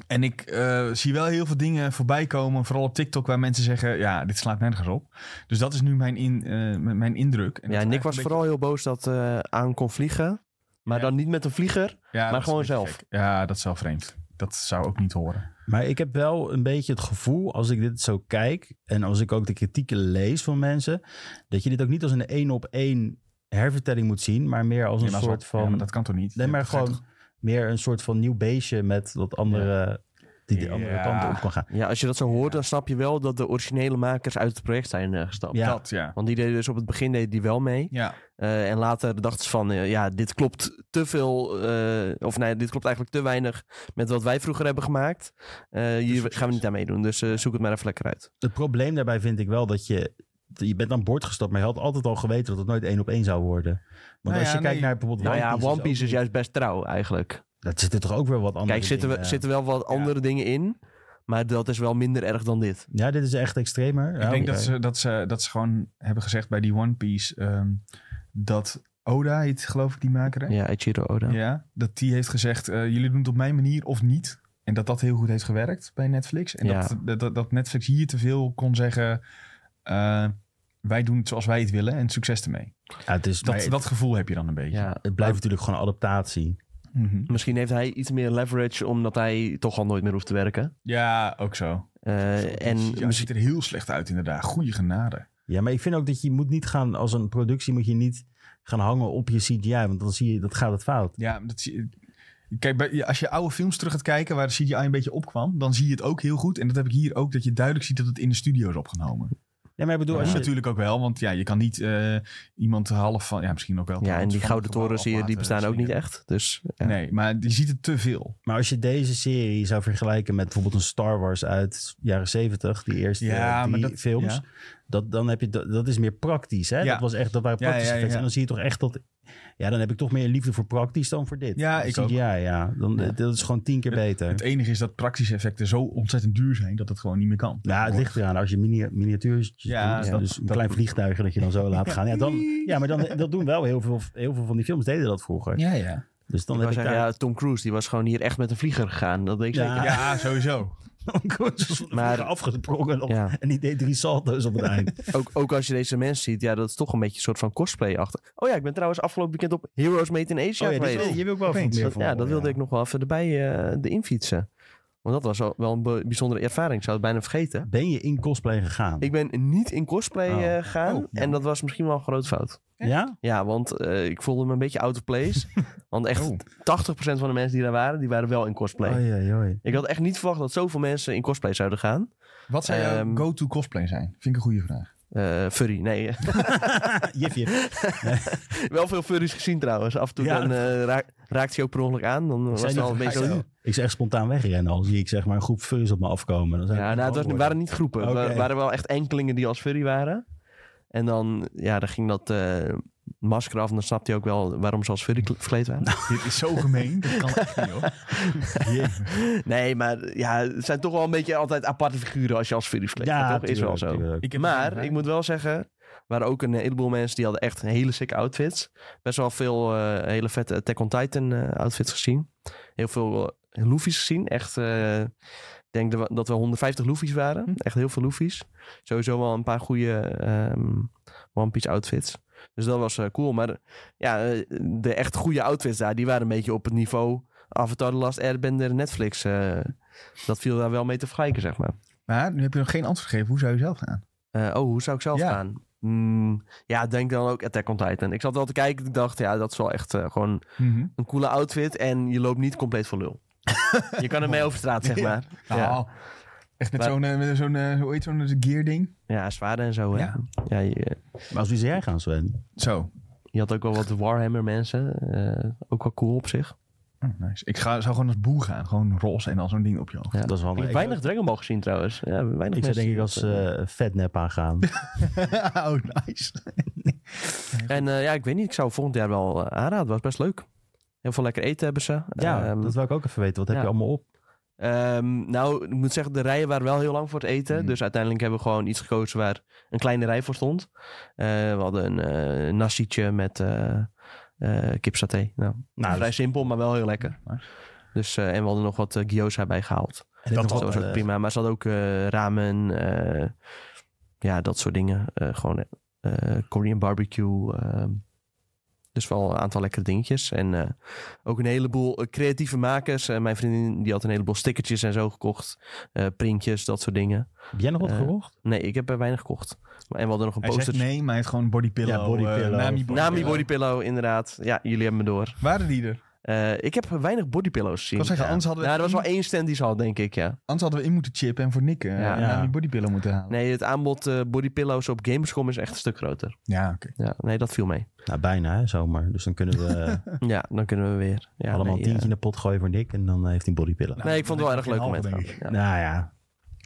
A: En ik eh, zie wel heel veel dingen voorbij komen, vooral op TikTok, waar mensen zeggen: Ja, dit slaat nergens op. Dus dat is nu mijn, in, eh, m- mijn indruk. En dat
B: Ja,
A: is eigenlijk
B: Nick was
A: een
B: vooral heel boos dat eh, aan kon vliegen. Maar
A: Ja.
B: dan niet met een vlieger.
A: beetje- ja,
B: maar
A: dat is
B: gewoon
A: een beetje
B: zelf.
A: gek. Ja, dat is wel vreemd. Dat zou ook niet horen.
C: Maar ik heb wel een beetje het gevoel, als ik dit zo kijk... en als ik ook de kritieken lees van mensen... dat je dit ook niet als een één-op-één hervertelling moet zien... maar meer als een
A: Ja, maar
C: soort
A: zo-
C: van...
A: ja, maar dat kan toch niet?
C: Nee,
A: Je
C: maar
A: begrijpt
C: gewoon meer een soort van nieuw beestje met wat andere... die de andere
A: Ja.
C: kanten op kan gaan.
B: Ja, als je dat zo hoort, dan snap je wel dat de originele makers uit het project zijn eh, gestapt.
C: Ja.
A: toch- Dat, ja.
B: Want die deden dus op het begin deden die wel mee.
A: Ja,
B: Eh, en later dachten ze van, eh, ja, dit klopt te veel. eh, of nee, dit klopt eigenlijk te weinig met wat wij vroeger hebben gemaakt. Eh, hier gaan we niet aan meedoen. Dus eh, zoek het maar even lekker uit.
C: Het probleem daarbij vind ik wel dat je... Je bent aan boord gestapt, maar je had altijd al geweten... dat het nooit één op één zou worden. Want
A: Nou
C: als
A: ja,
C: je kijkt
A: nee.
C: naar bijvoorbeeld
B: Nou ja,
C: One Piece...
B: One Piece is
C: dus ook-
B: juist best trouw eigenlijk.
C: Dat zit er toch ook weer wat anders
B: Kijk, zitten, we, zitten wel wat andere dingen in. Maar dat is wel minder erg dan dit.
C: Ja, dit is echt extremer.
A: ik denk dat ze, dat, ze, dat ze gewoon hebben gezegd bij die One Piece ehm, dat Oda, heet, geloof ik, die maker. hè?
B: Ja, Ichiro Oda.
A: Ja, dat die heeft gezegd, eh, jullie doen het op mijn manier of niet. En dat dat heel goed heeft gewerkt bij Netflix. En
B: Ja.
A: dat- dat, dat, dat Netflix hier te veel kon zeggen, eh, wij doen het zoals wij het willen en succes ermee.
C: Ja, het, is,
A: Dat,
C: maar
A: dat gevoel heb je dan een beetje.
B: Ja.
C: het blijft natuurlijk gewoon adaptatie.
A: Mhm.
B: Misschien heeft hij iets meer leverage omdat hij toch al nooit meer hoeft te werken.
A: ja ook zo.
B: Eh, en
A: en ja, het ziet er heel slecht uit inderdaad. Goeie genade.
C: Ja, maar ik vind ook dat je moet niet gaan... als een productie moet je niet gaan hangen op je CGI... want dan zie je, dat gaat het fout.
A: Ja, dat zie- Kijk, bij- ja, als je oude films terug gaat kijken waar de CGI een beetje opkwam, dan zie je het ook heel goed. En dat heb ik hier ook, dat je duidelijk ziet dat het in de studio is opgenomen.
C: Ja, maar ik bedoel,
A: Dat is
C: als je,
A: natuurlijk ook wel, want ja, je kan niet eh, iemand half van... Ja, misschien ook wel.
B: ja, en
A: trouwens,
B: die
A: van
B: gouden
A: het gebouw
B: torens
A: af
B: hier, die
A: laten
B: bestaan ook
A: zingen.
B: niet echt. Dus ja.
A: Nee, maar je ziet het te veel.
C: Maar als je deze serie zou vergelijken met bijvoorbeeld een Star Wars uit jaren 70, die eerste
A: Ja,
C: eh,
A: maar
C: die
A: dat-
C: films,
A: ja.
C: dat, dan heb je, dat, dat is meer praktisch. Hè?
A: Ja.
C: Dat, was echt, dat waren
A: Ja,
C: praktische
A: ja, ja.
C: effecten. En dan zie je toch echt dat, ja, dan heb ik toch meer liefde voor praktisch dan voor dit.
A: Ja,
C: Dat
A: ik
C: zie-
A: ook.
C: Ja, ja. Dan,
B: Ja.
C: Dat is gewoon tien keer beter.
A: Het enige is dat praktische effecten zo ontzettend duur zijn dat het gewoon niet meer kan.
C: ja, het ligt eraan. Als je mini, miniatuurtjes
A: Ja,
C: doet,
A: dat-
C: dus een
A: dat-
C: klein vliegtuig dat je dan zo laat gaan. Ja, dan, ja maar dan, dat doen wel heel veel, heel veel van die films deden dat vroeger.
A: Ja, ja.
C: Dus dan
B: Ik
C: heb
B: wou
C: ik
B: zeggen,
C: daar...
B: ja, Tom Cruise die was gewoon hier echt met een vlieger gegaan. Dat weet ik
C: Ja.
B: zeker.
A: Ja, sowieso.
B: Maar-
C: maar afgesprongen op-
B: Ja.
C: en die deed drie salto's op het eind. Oh
B: Ook, ook als je deze mensen ziet, ja, dat is toch een beetje een soort van cosplay achter. Oh ja, ik ben trouwens afgelopen weekend op Heroes Made in Asia
C: Oh ja, die
B: geweest.
C: wil- je wil ook wel
A: Opeens.
C: wat meer
B: Dat-
C: van.
B: ja,
C: horen,
B: dat wilde ik nog wel even erbij eh, de infietsen. Want dat was wel, wel een be- bijzondere ervaring. Ik zou het bijna vergeten.
C: Ben je in cosplay gegaan?
B: Ik ben niet in cosplay
C: Oh.
B: eh, gegaan.
A: Oh, ja.
B: En dat was misschien wel een grote fout.
C: ja?
B: Ja, want eh, ik voelde me een beetje out of place. want echt
A: Oh.
B: 80% van de mensen die daar waren, die waren wel in cosplay.
C: Oei, oei, oei.
B: Ik had echt niet verwacht dat zoveel mensen in cosplay zouden gaan.
A: Wat zou jouw
B: Ehm,
A: go-to cosplay zijn? Vind ik een goede vraag.
B: Eh, furry, nee. eh,
C: Jif, jif.
B: wel veel furries gezien trouwens. Af en toe
C: Ja.
B: dan, eh, raak- raakt je ook per ongeluk aan. Dan was
C: zei
B: het al een
C: niet,
B: beetje...
C: ga je
B: zo-
C: zo. Ik zeg spontaan wegrennen al zie ik zeg maar een groep furries op me afkomen. Dan zijn
B: Ja,
C: ik
B: nou, het was,
C: antwoorden.
B: waren niet groepen. Het wa-
C: Oké.
B: waren wel echt enkelingen die als furry waren. En dan, ja, dan ging dat eh, masker af en dan snapte je ook wel waarom ze als furry kle- verkleed waren.
A: Dit is zo gemeen. Dat kan echt niet, hoor.
B: Nee, maar ja, het zijn toch wel een beetje altijd aparte figuren als je als furry verkleed
C: Ja,
B: gaat, toch? Is wel zo.
A: Ik heb
B: maar
A: geen
B: ik moet wel zeggen, er waren ook een heleboel mensen die hadden echt hele sick outfits. Best wel veel eh, hele vette Attack on Titan eh, outfits gezien. Heel veel eh, Luffy's gezien. Echt eh, denk dat we, dat we 150 loefies waren.
A: Hm.
B: Echt heel veel loefies. Sowieso wel een paar goede ehm One Piece outfits. Dus dat was eh, cool. Maar eh, ja, eh, de echt goede outfits daar, die waren een beetje op het niveau Avatar The Last Airbender Netflix. eh, dat viel daar wel mee te vergelijken, zeg maar.
A: Maar nu heb je nog geen antwoord gegeven. Hoe zou je zelf gaan?
B: Eh, oh, hoe zou ik zelf
A: Ja.
B: gaan? Mm, ja, denk dan ook Attack on Titan. Ik zat wel te kijken. Ik dacht, ja, dat is wel echt eh, gewoon
A: Mhm.
B: een coole outfit. En je loopt niet compleet voor lul. je kan ermee over straat, zeg
A: Ja.
B: maar. Ja, ja.
A: Nou, Echt met
B: Maar-
A: zo'n, eh, met zo'n, eh, hoe heet zo'n gear ding?
B: zwaarden en zo. hè.
A: Ja.
B: Ja, je,
C: Maar als wie zou jij gaan, Sven?
A: Zo.
B: je had ook wel wat Warhammer mensen. eh, ook wel cool op zich.
A: Oh, nice. Ik ga, zou gewoon als boe gaan. Gewoon roze en dan zo'n ding op je hoofd.
B: Ja.
C: Dat is wel
B: Ik heb weinig Dragon Ball gezien trouwens. Ja, weinig
C: Ik
B: mensen
C: zou denk ik
B: die
C: als
B: dat, eh,
C: eh vetnep aangaan.
A: oh, nice.
B: En eh, ja, ik weet niet. Ik zou volgend jaar wel eh, aanraden. Het was best leuk. Heel veel lekker eten hebben ze.
C: Ja,
B: Ehm,
C: dat wil ik ook even weten. Wat heb
B: ja.
C: je allemaal op?
B: Ehm, nou, ik moet zeggen, de rijen waren wel heel lang voor het eten.
A: Mm.
B: Dus uiteindelijk hebben we gewoon iets gekozen waar een kleine rij voor stond. Eh, we hadden een eh nassietje met eh eh, kipsaté. Nou,
C: Nou,
B: vrij
C: dat
B: simpel, maar wel heel lekker. Dus, eh, en we hadden nog wat eh, gyoza bijgehaald.
C: dat
B: Dat
C: nog
B: was
C: wat,
B: ook
C: eh,
B: prima. Maar ze hadden ook eh, ramen, eh, ja, dat soort dingen. Eh, gewoon eh, Korean barbecue. ehm. dus wel een aantal lekkere dingetjes. En eh, ook een heleboel eh, creatieve makers. Eh, mijn vriendin die had een heleboel stickertjes en zo gekocht. eh, printjes, dat soort dingen.
C: Heb jij nog wat
B: eh,
C: gekocht?
B: Nee, ik heb er weinig gekocht. En we hadden nog een
A: Hij
B: poster.
A: zegt nee, maar hij heeft gewoon bodypillow.
C: Ja, bodypillow.
A: eh, Nami
C: Nami
A: bodypillow.
B: Nami bodypillow, inderdaad. Ja, jullie hebben me door.
A: Waren die er?
B: Eh, ik heb weinig bodypillows gezien.
A: wou zeggen,
B: Ja.
A: anders hadden we-
B: Nou, er was wel één stand die ze had, denk ik, ja.
A: Anders hadden we in moeten chippen en voor Nick eh,
B: Ja.
A: Nami bodypillow moeten halen.
B: Nee, het aanbod eh bodypillows op Gamescom is echt een stuk groter.
A: Ja, oké.
B: Ja, nee, dat viel mee.
C: Nou, bijna hè, zomaar. Dus dan kunnen we eh,
B: Ja, dan kunnen we weer. Ja,
C: allemaal
B: nee,
C: een tientje
B: eh,
C: in de pot gooien voor Nick. En dan eh, heeft hij bodypillen.
A: Nou,
B: nee, ik vond het wel erg leuk om mee te
A: Halve,
B: gaan.
A: denk
B: Ja,
C: Nou ja.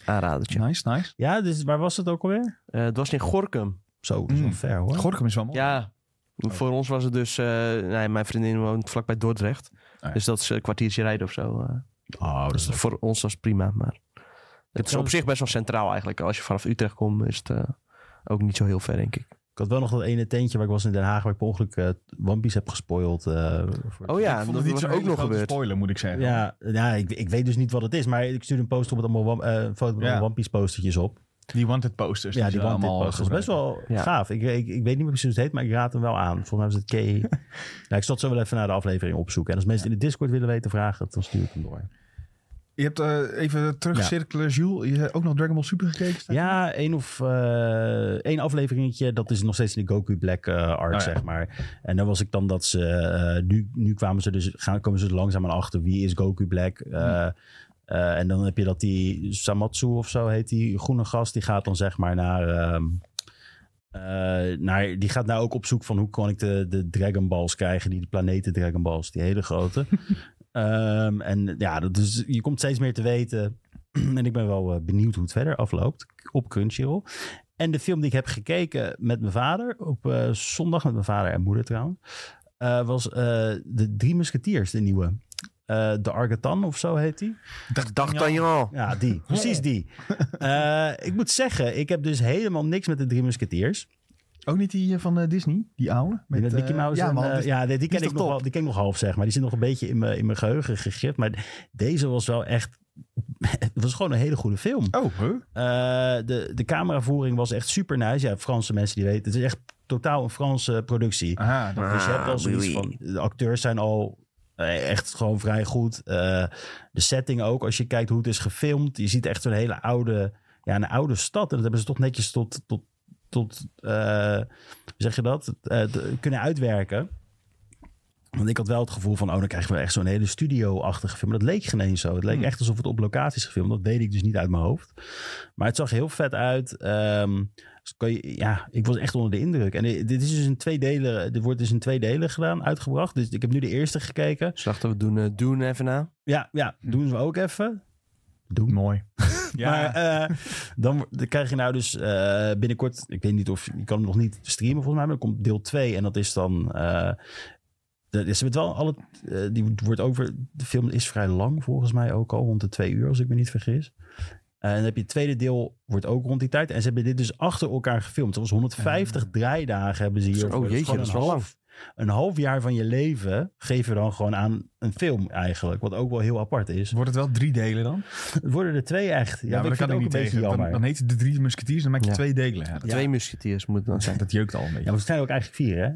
B: aanradertje.
A: Nice, nice.
C: Ja, dus waar was het ook alweer?
B: Eh, het was in Gorkum.
C: Zo, dat is wel
A: Mm.
C: ver hoor.
A: Gorkum is wel mooi.
B: Ja,
A: Oh.
B: voor ons was het dus... eh, nee, mijn vriendin woont vlakbij Dordrecht.
A: Oh, ja.
B: Dus dat is een kwartiertje rijden of zo. eh.
C: Oh, dat is
B: dus voor ons was het prima, maar... Het is op
C: trouwens-
B: zich best wel centraal eigenlijk. Als je vanaf Utrecht komt, is het eh, ook niet zo heel ver, denk ik.
C: Ik had wel nog dat ene tentje waar ik was in Den Haag, waar ik per ongeluk eh One Piece heb gespoild. eh, voor-
B: Oh ja,
A: ik
B: dat
A: vond het niet
B: was
A: zo'n
B: ook
A: hele
B: nog
A: grote
B: gebeurd.
A: spoiler, moet ik zeggen.
C: ja, ja ik, ik weet dus niet wat het is, maar ik stuurde een poster op met allemaal One- eh, een foto met
A: Ja.
C: allemaal One Piece postertjes op.
A: Die wanted posters.
C: ja, die
A: ze
C: One Piece
A: allemaal
C: posters. Best wel
B: Ja.
C: gaaf. Ik, ik, ik weet niet meer precies hoe het heet, maar ik raad hem wel aan. Volgens mij was het K. ja, ik zal het zo wel even naar de aflevering opzoeken. En als mensen in de Discord willen weten, vragen, het, dan stuur ik hem door.
A: Je hebt eh, even terugcirkelen, Jules. Je hebt ook nog Dragon Ball Super gekeken? staat hier?
C: Ja, één of eh, één afleveringetje. Dat is nog steeds in de Goku Black eh, art,
A: Oh ja.
C: zeg maar. En dan was ik dan dat ze. eh, nu, nu kwamen ze dus gaan, komen ze er langzaam aan achter wie is Goku Black. eh,
A: Hmm.
C: eh, en dan heb je dat die Samatsu of zo heet, die groene gast, die gaat dan zeg maar naar. ehm, eh, naar die gaat nou ook op zoek van hoe kan ik de, de Dragon Balls krijgen, die de planeten Dragon Balls, die hele grote. Ehm, en ja, dat is, je komt steeds meer te weten. en ik ben wel eh, benieuwd hoe het verder afloopt op Crunchyroll. En de film die ik heb gekeken met mijn vader, op eh, zondag met mijn vader en moeder trouwens, eh, was eh, De Drie Musketeers, de nieuwe. Eh, de Argatan of zo heet die.
B: D'Artagnan.
C: Ja, die. Precies die. Eh, ik moet zeggen, ik heb dus helemaal niks met de Drie Musketeers.
A: Ook niet die eh, van eh, Disney, die oude?
C: Met,
A: eh,
C: Mickey Mouse.
A: ja,
C: en,
A: man,
C: eh,
A: dus-
C: ja, nee, die,
A: die is
C: ken ik
A: toch
C: nog
A: top?
C: wel, die ken ik nog half, zeg maar. Die zit nog een beetje in mijn, in mijn geheugen gegrift. Maar deze was wel echt... Het was gewoon een hele goede film.
A: Oh, huh?
C: Eh, de, de cameravoering was echt super nice. Ja, Franse mensen die weten. Het is echt totaal een Franse productie.
A: Aha, dat-
C: Dus je hebt al
B: Ah,
C: zoiets
B: oui,
C: van...
B: oui.
C: De acteurs zijn al eh, echt gewoon vrij goed. Eh, de setting ook, als je kijkt hoe het is gefilmd. Je ziet echt zo'n hele oude... Ja, een oude stad. En dat hebben ze toch netjes tot... tot, tot eh, hoe zeg je dat? Eh, te- kunnen uitwerken. Want ik had wel het gevoel van... Oh, dan krijgen we echt zo'n hele studio-achtige film. Maar dat leek geen eens zo. Het leek
A: Hmm.
C: echt alsof het op locaties gefilmd. Dat weet ik dus niet uit mijn hoofd. Maar het zag heel vet uit. Ehm, dus kan je, ja, ik was echt onder de indruk. En dit dit is dus in twee delen. Dit wordt dus in twee delen gedaan, uitgebracht. Dus ik heb nu de eerste gekeken.
B: Dus dachten we doen eh Doen even na.
C: Ja, ja, doen ze ook even. Doen.
A: mooi. ja,
C: Maar eh, dan, wo- dan krijg je nou dus eh, binnenkort... Ik weet niet of... Je kan hem nog niet streamen volgens mij. Maar dan komt deel 2. En dat is dan... eh, dat is met wel alle, eh, die wordt over, de film is vrij lang volgens mij ook al. Rond de twee uur als ik me niet vergis. Eh, en dan heb je het tweede deel, wordt ook rond die tijd. En ze hebben dit dus achter elkaar gefilmd. Dat was 150 draaidagen hebben ze hier.
B: Oh jeetje, dat is wel lang.
C: een half jaar van je leven geef je dan gewoon aan een film eigenlijk. Wat ook wel heel apart is.
A: Wordt het wel drie delen dan?
C: Het worden er twee echt. Ja,
A: maar
C: dat
A: dat kan
C: vind
A: ik
C: ik ook
A: niet
C: een beetje
A: tegen. Dan,
C: jammer.
A: dan heet het de drie musketiers, dan maak je
B: Ja.
A: twee delen. Ja, dat,
B: Twee musketiers moeten dan zijn.
A: dat jeukt al een beetje.
C: Ja, maar het zijn er ook eigenlijk vier, hè?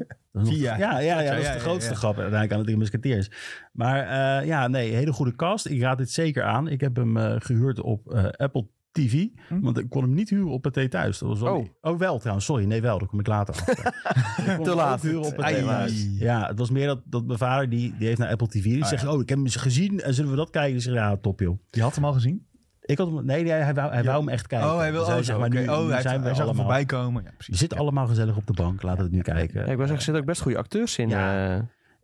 A: Vier jaar.
C: Ja, ja, ja,
A: Ja,
C: dat is
A: ja,
C: de
A: ja,
C: grootste
A: ja.
C: grap uiteindelijk aan de Drie Musketeers. Maar eh, ja, nee, hele goede cast. Ik raad dit zeker aan. Ik heb hem eh, gehuurd op eh, Apple TV.
A: Hm.
C: Want ik kon hem niet huren op Pathé Thuis. Dat was wel
B: Oh.
C: oh, wel trouwens. Sorry, nee wel. Daar kom ik later achter. Ik kon hem ook
B: laat.
C: huren op Pathé
B: Ai.
C: Thuis. Ja, het was meer dat, dat mijn vader, die, die heeft naar Apple TV. Die
A: Ah,
C: zegt,
A: ja.
C: oh, ik heb hem eens gezien. En zullen we dat kijken? Dus ik zeg, ja, top joh.
A: Je had hem al gezien?
C: Ik had hem, nee, nee, hij wou, hij
A: Ja.
C: wou hem echt kijken.
A: Oh, hij wil
C: Dus hij
A: ook
C: zegt,
A: zo.
C: maar nu,
A: oké.
C: nu
A: oh, hij,
C: zijn
A: hij
C: we
A: zag hem
C: allemaal.
A: voorbij komen. Ja, precies.
C: We zitten
A: Ja.
C: allemaal gezellig op de bank. Laten we het nu kijken.
B: Ja, ik was zeggen, er zitten ook best goede acteurs in.
C: Ja.
B: eh.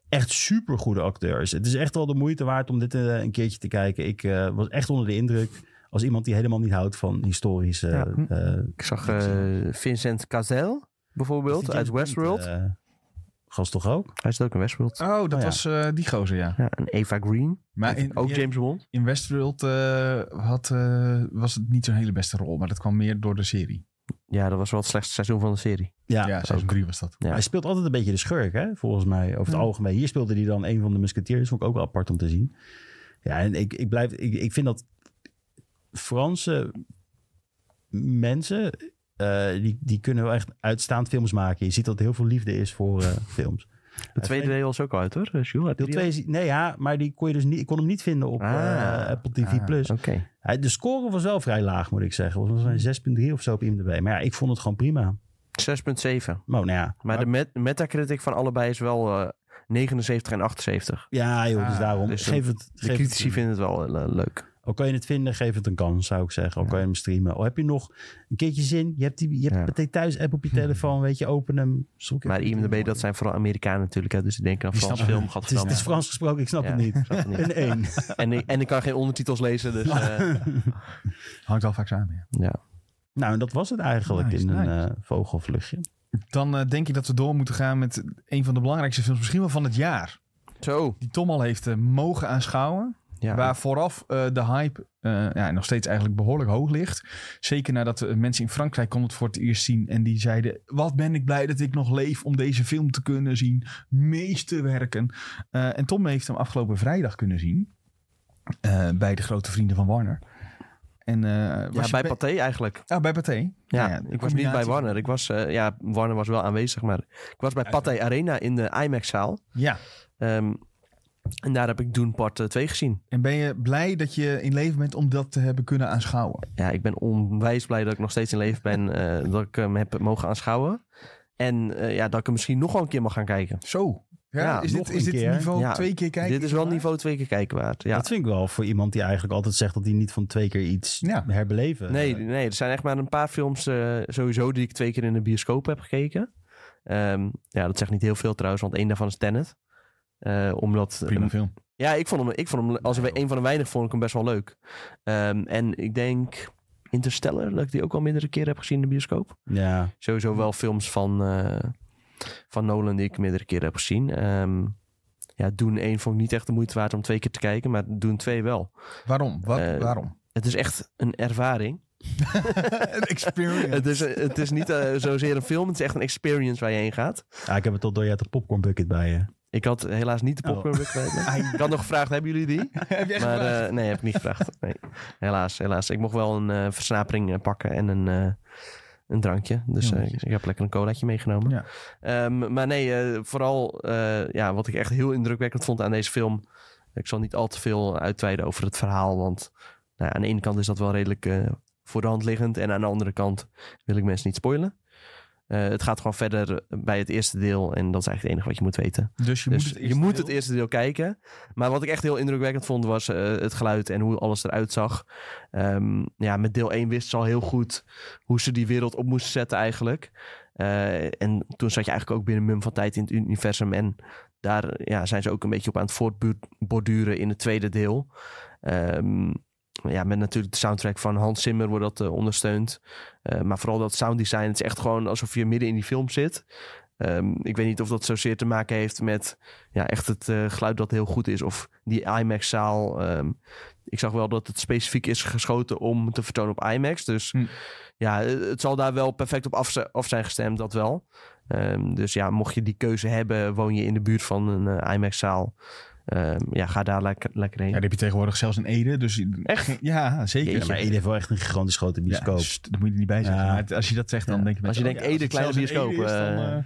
C: echt super goede acteurs. Het is echt wel de moeite waard om dit eh, een keertje te kijken. Ik eh, was echt onder de indruk als iemand die helemaal niet houdt van historische.
B: Ja.
C: eh,
B: ik zag eh, Vincent Cazel
C: is
B: bijvoorbeeld
C: die
B: uit
C: James
B: Westworld.
C: Bond, eh, gast toch ook?
B: Hij zit ook in Westworld.
A: Oh, dat
C: Oh, ja.
A: was eh, die gozer, ja.
B: Ja, en Eva Green,
A: Maar in,
B: ook
A: in-
B: James Bond.
A: in Westworld eh, had, eh, was het niet zo'n hele beste rol, maar dat kwam meer door de serie.
B: Ja, dat was wel het slechtste seizoen van de serie.
C: Ja.
A: Ja, seizoen 3 was dat.
B: Ja.
C: Hij speelt altijd een beetje de schurk, hè? volgens mij, over het
A: Ja.
C: algemeen. Hier speelde hij dan een van de musketeers, vond ik ook wel apart om te zien. Ja, en ik, ik, blijf, ik, ik vind dat Franse mensen, eh, die, die kunnen wel echt uitstaand films maken. Je ziet dat er heel veel liefde is voor eh, films.
B: Het tweede deel was ook al uit hoor, Jules. Had
C: Deel
B: die al?
C: 2 is... Nee, ja, maar die kon je dus niet... Ik kon hem niet vinden op
B: Ah.
C: eh, Apple TV+.
A: Ah,
C: Plus.
B: Oké.
C: Hij- De score was wel vrij laag, moet ik zeggen. Het was een 6,3 of zo op IMDb. Maar ja, ik vond het gewoon prima.
B: 6,7.
C: Maar nou ja.
B: Maar de met- metacritic van allebei is wel eh, 79 en 78.
C: Ja, joh, dus
A: Ah,
C: daarom.
B: dus
C: geef het,
B: De
C: geef
B: critici
C: het,
B: vinden het wel eh, leuk.
C: Al kan je het vinden, geef het een kans, zou ik zeggen. Al kan je hem streamen. Al heb je nog een keertje zin. Je hebt, die, je hebt
B: Ja.
C: meteen thuis app op je telefoon. Weet je, open hem. Zoek
B: Maar
C: even.
B: IMDb, dat zijn vooral Amerikanen natuurlijk. Hè, dus die denken aan
A: Die
B: Frans
A: snappen
B: film gaat
C: Het is, het is
B: Frans.
C: Frans gesproken, ik snap
B: Ja,
C: het niet.
B: ik snap het niet.
C: Een één.
B: En, ik- en ik kan geen ondertitels lezen. Dus, eh,
A: Hangt wel vaak samen, ja.
B: ja.
C: nou, en dat was het eigenlijk
A: Nice,
C: in een
A: nice.
C: eh, vogelvluchtje.
A: Dan eh, denk ik dat we door moeten gaan met een van de belangrijkste films, misschien wel van het jaar.
B: Zo.
A: Die Tom al heeft eh, mogen aanschouwen.
B: Ja.
A: Waar vooraf eh, de hype eh, ja, nog steeds eigenlijk behoorlijk hoog ligt. Zeker nadat eh, mensen in Frankrijk konden het voor het eerst zien. En die zeiden, wat ben ik blij dat ik nog leef om deze film te kunnen zien. Meesterwerken. Eh en Tom heeft hem afgelopen vrijdag kunnen zien. eh, bij de grote vrienden van Warner. En, eh, was
B: ja,
A: je
B: bij Pathé eigenlijk.
A: Ah, bij Pathé.
B: Ja,
A: Nou ja, de
B: ik was niet bij
A: combinatie-
B: Warner. Ik was, eh, ja, Warner was wel aanwezig, maar ik was bij Pathé Arena in de IMAX-zaal.
A: Ja,
B: Ehm, en daar heb ik Doen Part eh, 2 gezien.
A: en ben je blij dat je in leven bent om dat te hebben kunnen aanschouwen?
B: Ja, ik ben onwijs blij dat ik nog steeds in leven ben. eh, dat ik hem heb mogen aanschouwen. En eh, ja, dat ik hem misschien nog wel een keer mag gaan kijken.
A: Zo. Ja,
B: Ja,
A: is dit,
C: nog
A: is
C: een
A: dit
C: keer.
A: niveau
B: Ja,
A: twee keer kijken?
B: Dit is wel niveau twee keer kijken waard. Ja.
C: Dat vind ik wel voor iemand die eigenlijk altijd zegt dat hij niet van twee keer iets
A: Ja.
C: herbeleven.
B: Nee,
C: Eh,
B: nee, er zijn echt maar een paar films eh, sowieso die ik twee keer in de bioscoop heb gekeken. Ehm, ja, dat zegt niet heel veel trouwens, want één daarvan is Tenet. Eh, omdat,
A: Prima film.
B: ja, ik vond hem, ik vond hem als een, een van de weinig vond ik hem best wel leuk. Ehm, en ik denk Interstellar, dat ik die ook al meerdere keren heb gezien in de bioscoop.
C: Ja,
B: Sowieso wel films van, eh, van Nolan die ik meerdere keren heb gezien. Ehm, ja, Doen 1 vond ik niet echt de moeite waard om twee keer te kijken, maar Doen 2 wel.
A: Waarom? Wat,
B: Eh,
A: waarom?
B: Het is echt een ervaring.
A: Een experience.
B: Het is, het is niet eh, zozeer een film, het is echt een experience waar je heen gaat.
C: ah, ik heb het al door. Je had de popcorn bucket bij je.
B: Ik had helaas niet de
C: Oh.
B: popcorn bucket bij me. Ik had nog gevraagd, hebben jullie die?
A: Heb je echt
B: Maar
A: gevraagd?
B: eh, nee, heb ik niet gevraagd. Nee. Helaas, helaas. Ik mocht wel een eh, versnapering eh, pakken en een, eh, een drankje. Dus
A: Ja,
B: eh,
A: netjes.
B: ik heb lekker een colaatje meegenomen.
A: Ja.
B: Ehm, maar nee, eh, vooral eh, ja, wat ik echt heel indrukwekkend vond aan deze film. Ik zal niet al te veel uitweiden over het verhaal. Want nou, ja, aan de ene kant is dat wel redelijk eh, voor de hand liggend. En aan de andere kant wil ik mensen niet spoilen. Eh, het gaat gewoon verder bij het eerste deel. En dat is eigenlijk het enige wat je moet weten.
A: dus je
B: Dus
A: moet het
B: je
A: eerste
B: moet
A: deel-
B: het eerste deel kijken. Maar wat ik echt heel indrukwekkend vond was eh, het geluid en hoe alles eruit zag. Ehm, ja, met deel 1 wist ze al heel goed hoe ze die wereld op moesten zetten eigenlijk. Eh, en toen zat je eigenlijk ook binnen mum van tijd in het universum. En daar ja, zijn ze ook een beetje op aan het voortborduren in het tweede deel. Ehm, ja, met natuurlijk de soundtrack van Hans Zimmer wordt dat eh, ondersteund. Eh, maar vooral dat sounddesign, het is echt gewoon alsof je midden in die film zit. Ehm, ik weet niet of dat zozeer te maken heeft met ja, echt het eh, geluid dat heel goed is. Of die IMAX-zaal. ehm, ik zag wel dat het specifiek is geschoten om te vertonen op IMAX. Dus
A: Hm.
B: ja, eh, het zal daar wel perfect op af, zi- af zijn gestemd, dat wel. Ehm, dus ja, mocht je die keuze hebben, woon je in de buurt van een eh, IMAX-zaal. Ehm, ja, ga daar lekker, lekker heen.
A: Ja, die heb je tegenwoordig zelfs in Ede. Dus
B: Echt?
A: Ja, zeker.
B: Jeetje.
C: Ja, maar Ede heeft wel echt een gigantisch grote
A: Ja,
C: bioscoop.
A: dus daar moet je niet bij zeggen.
C: Ja.
A: Maar als je dat zegt, dan
B: Ja.
A: denk je... oh
B: Als je denkt,
C: oh
A: Ede,
B: Ede, kleine bioscoop, eh.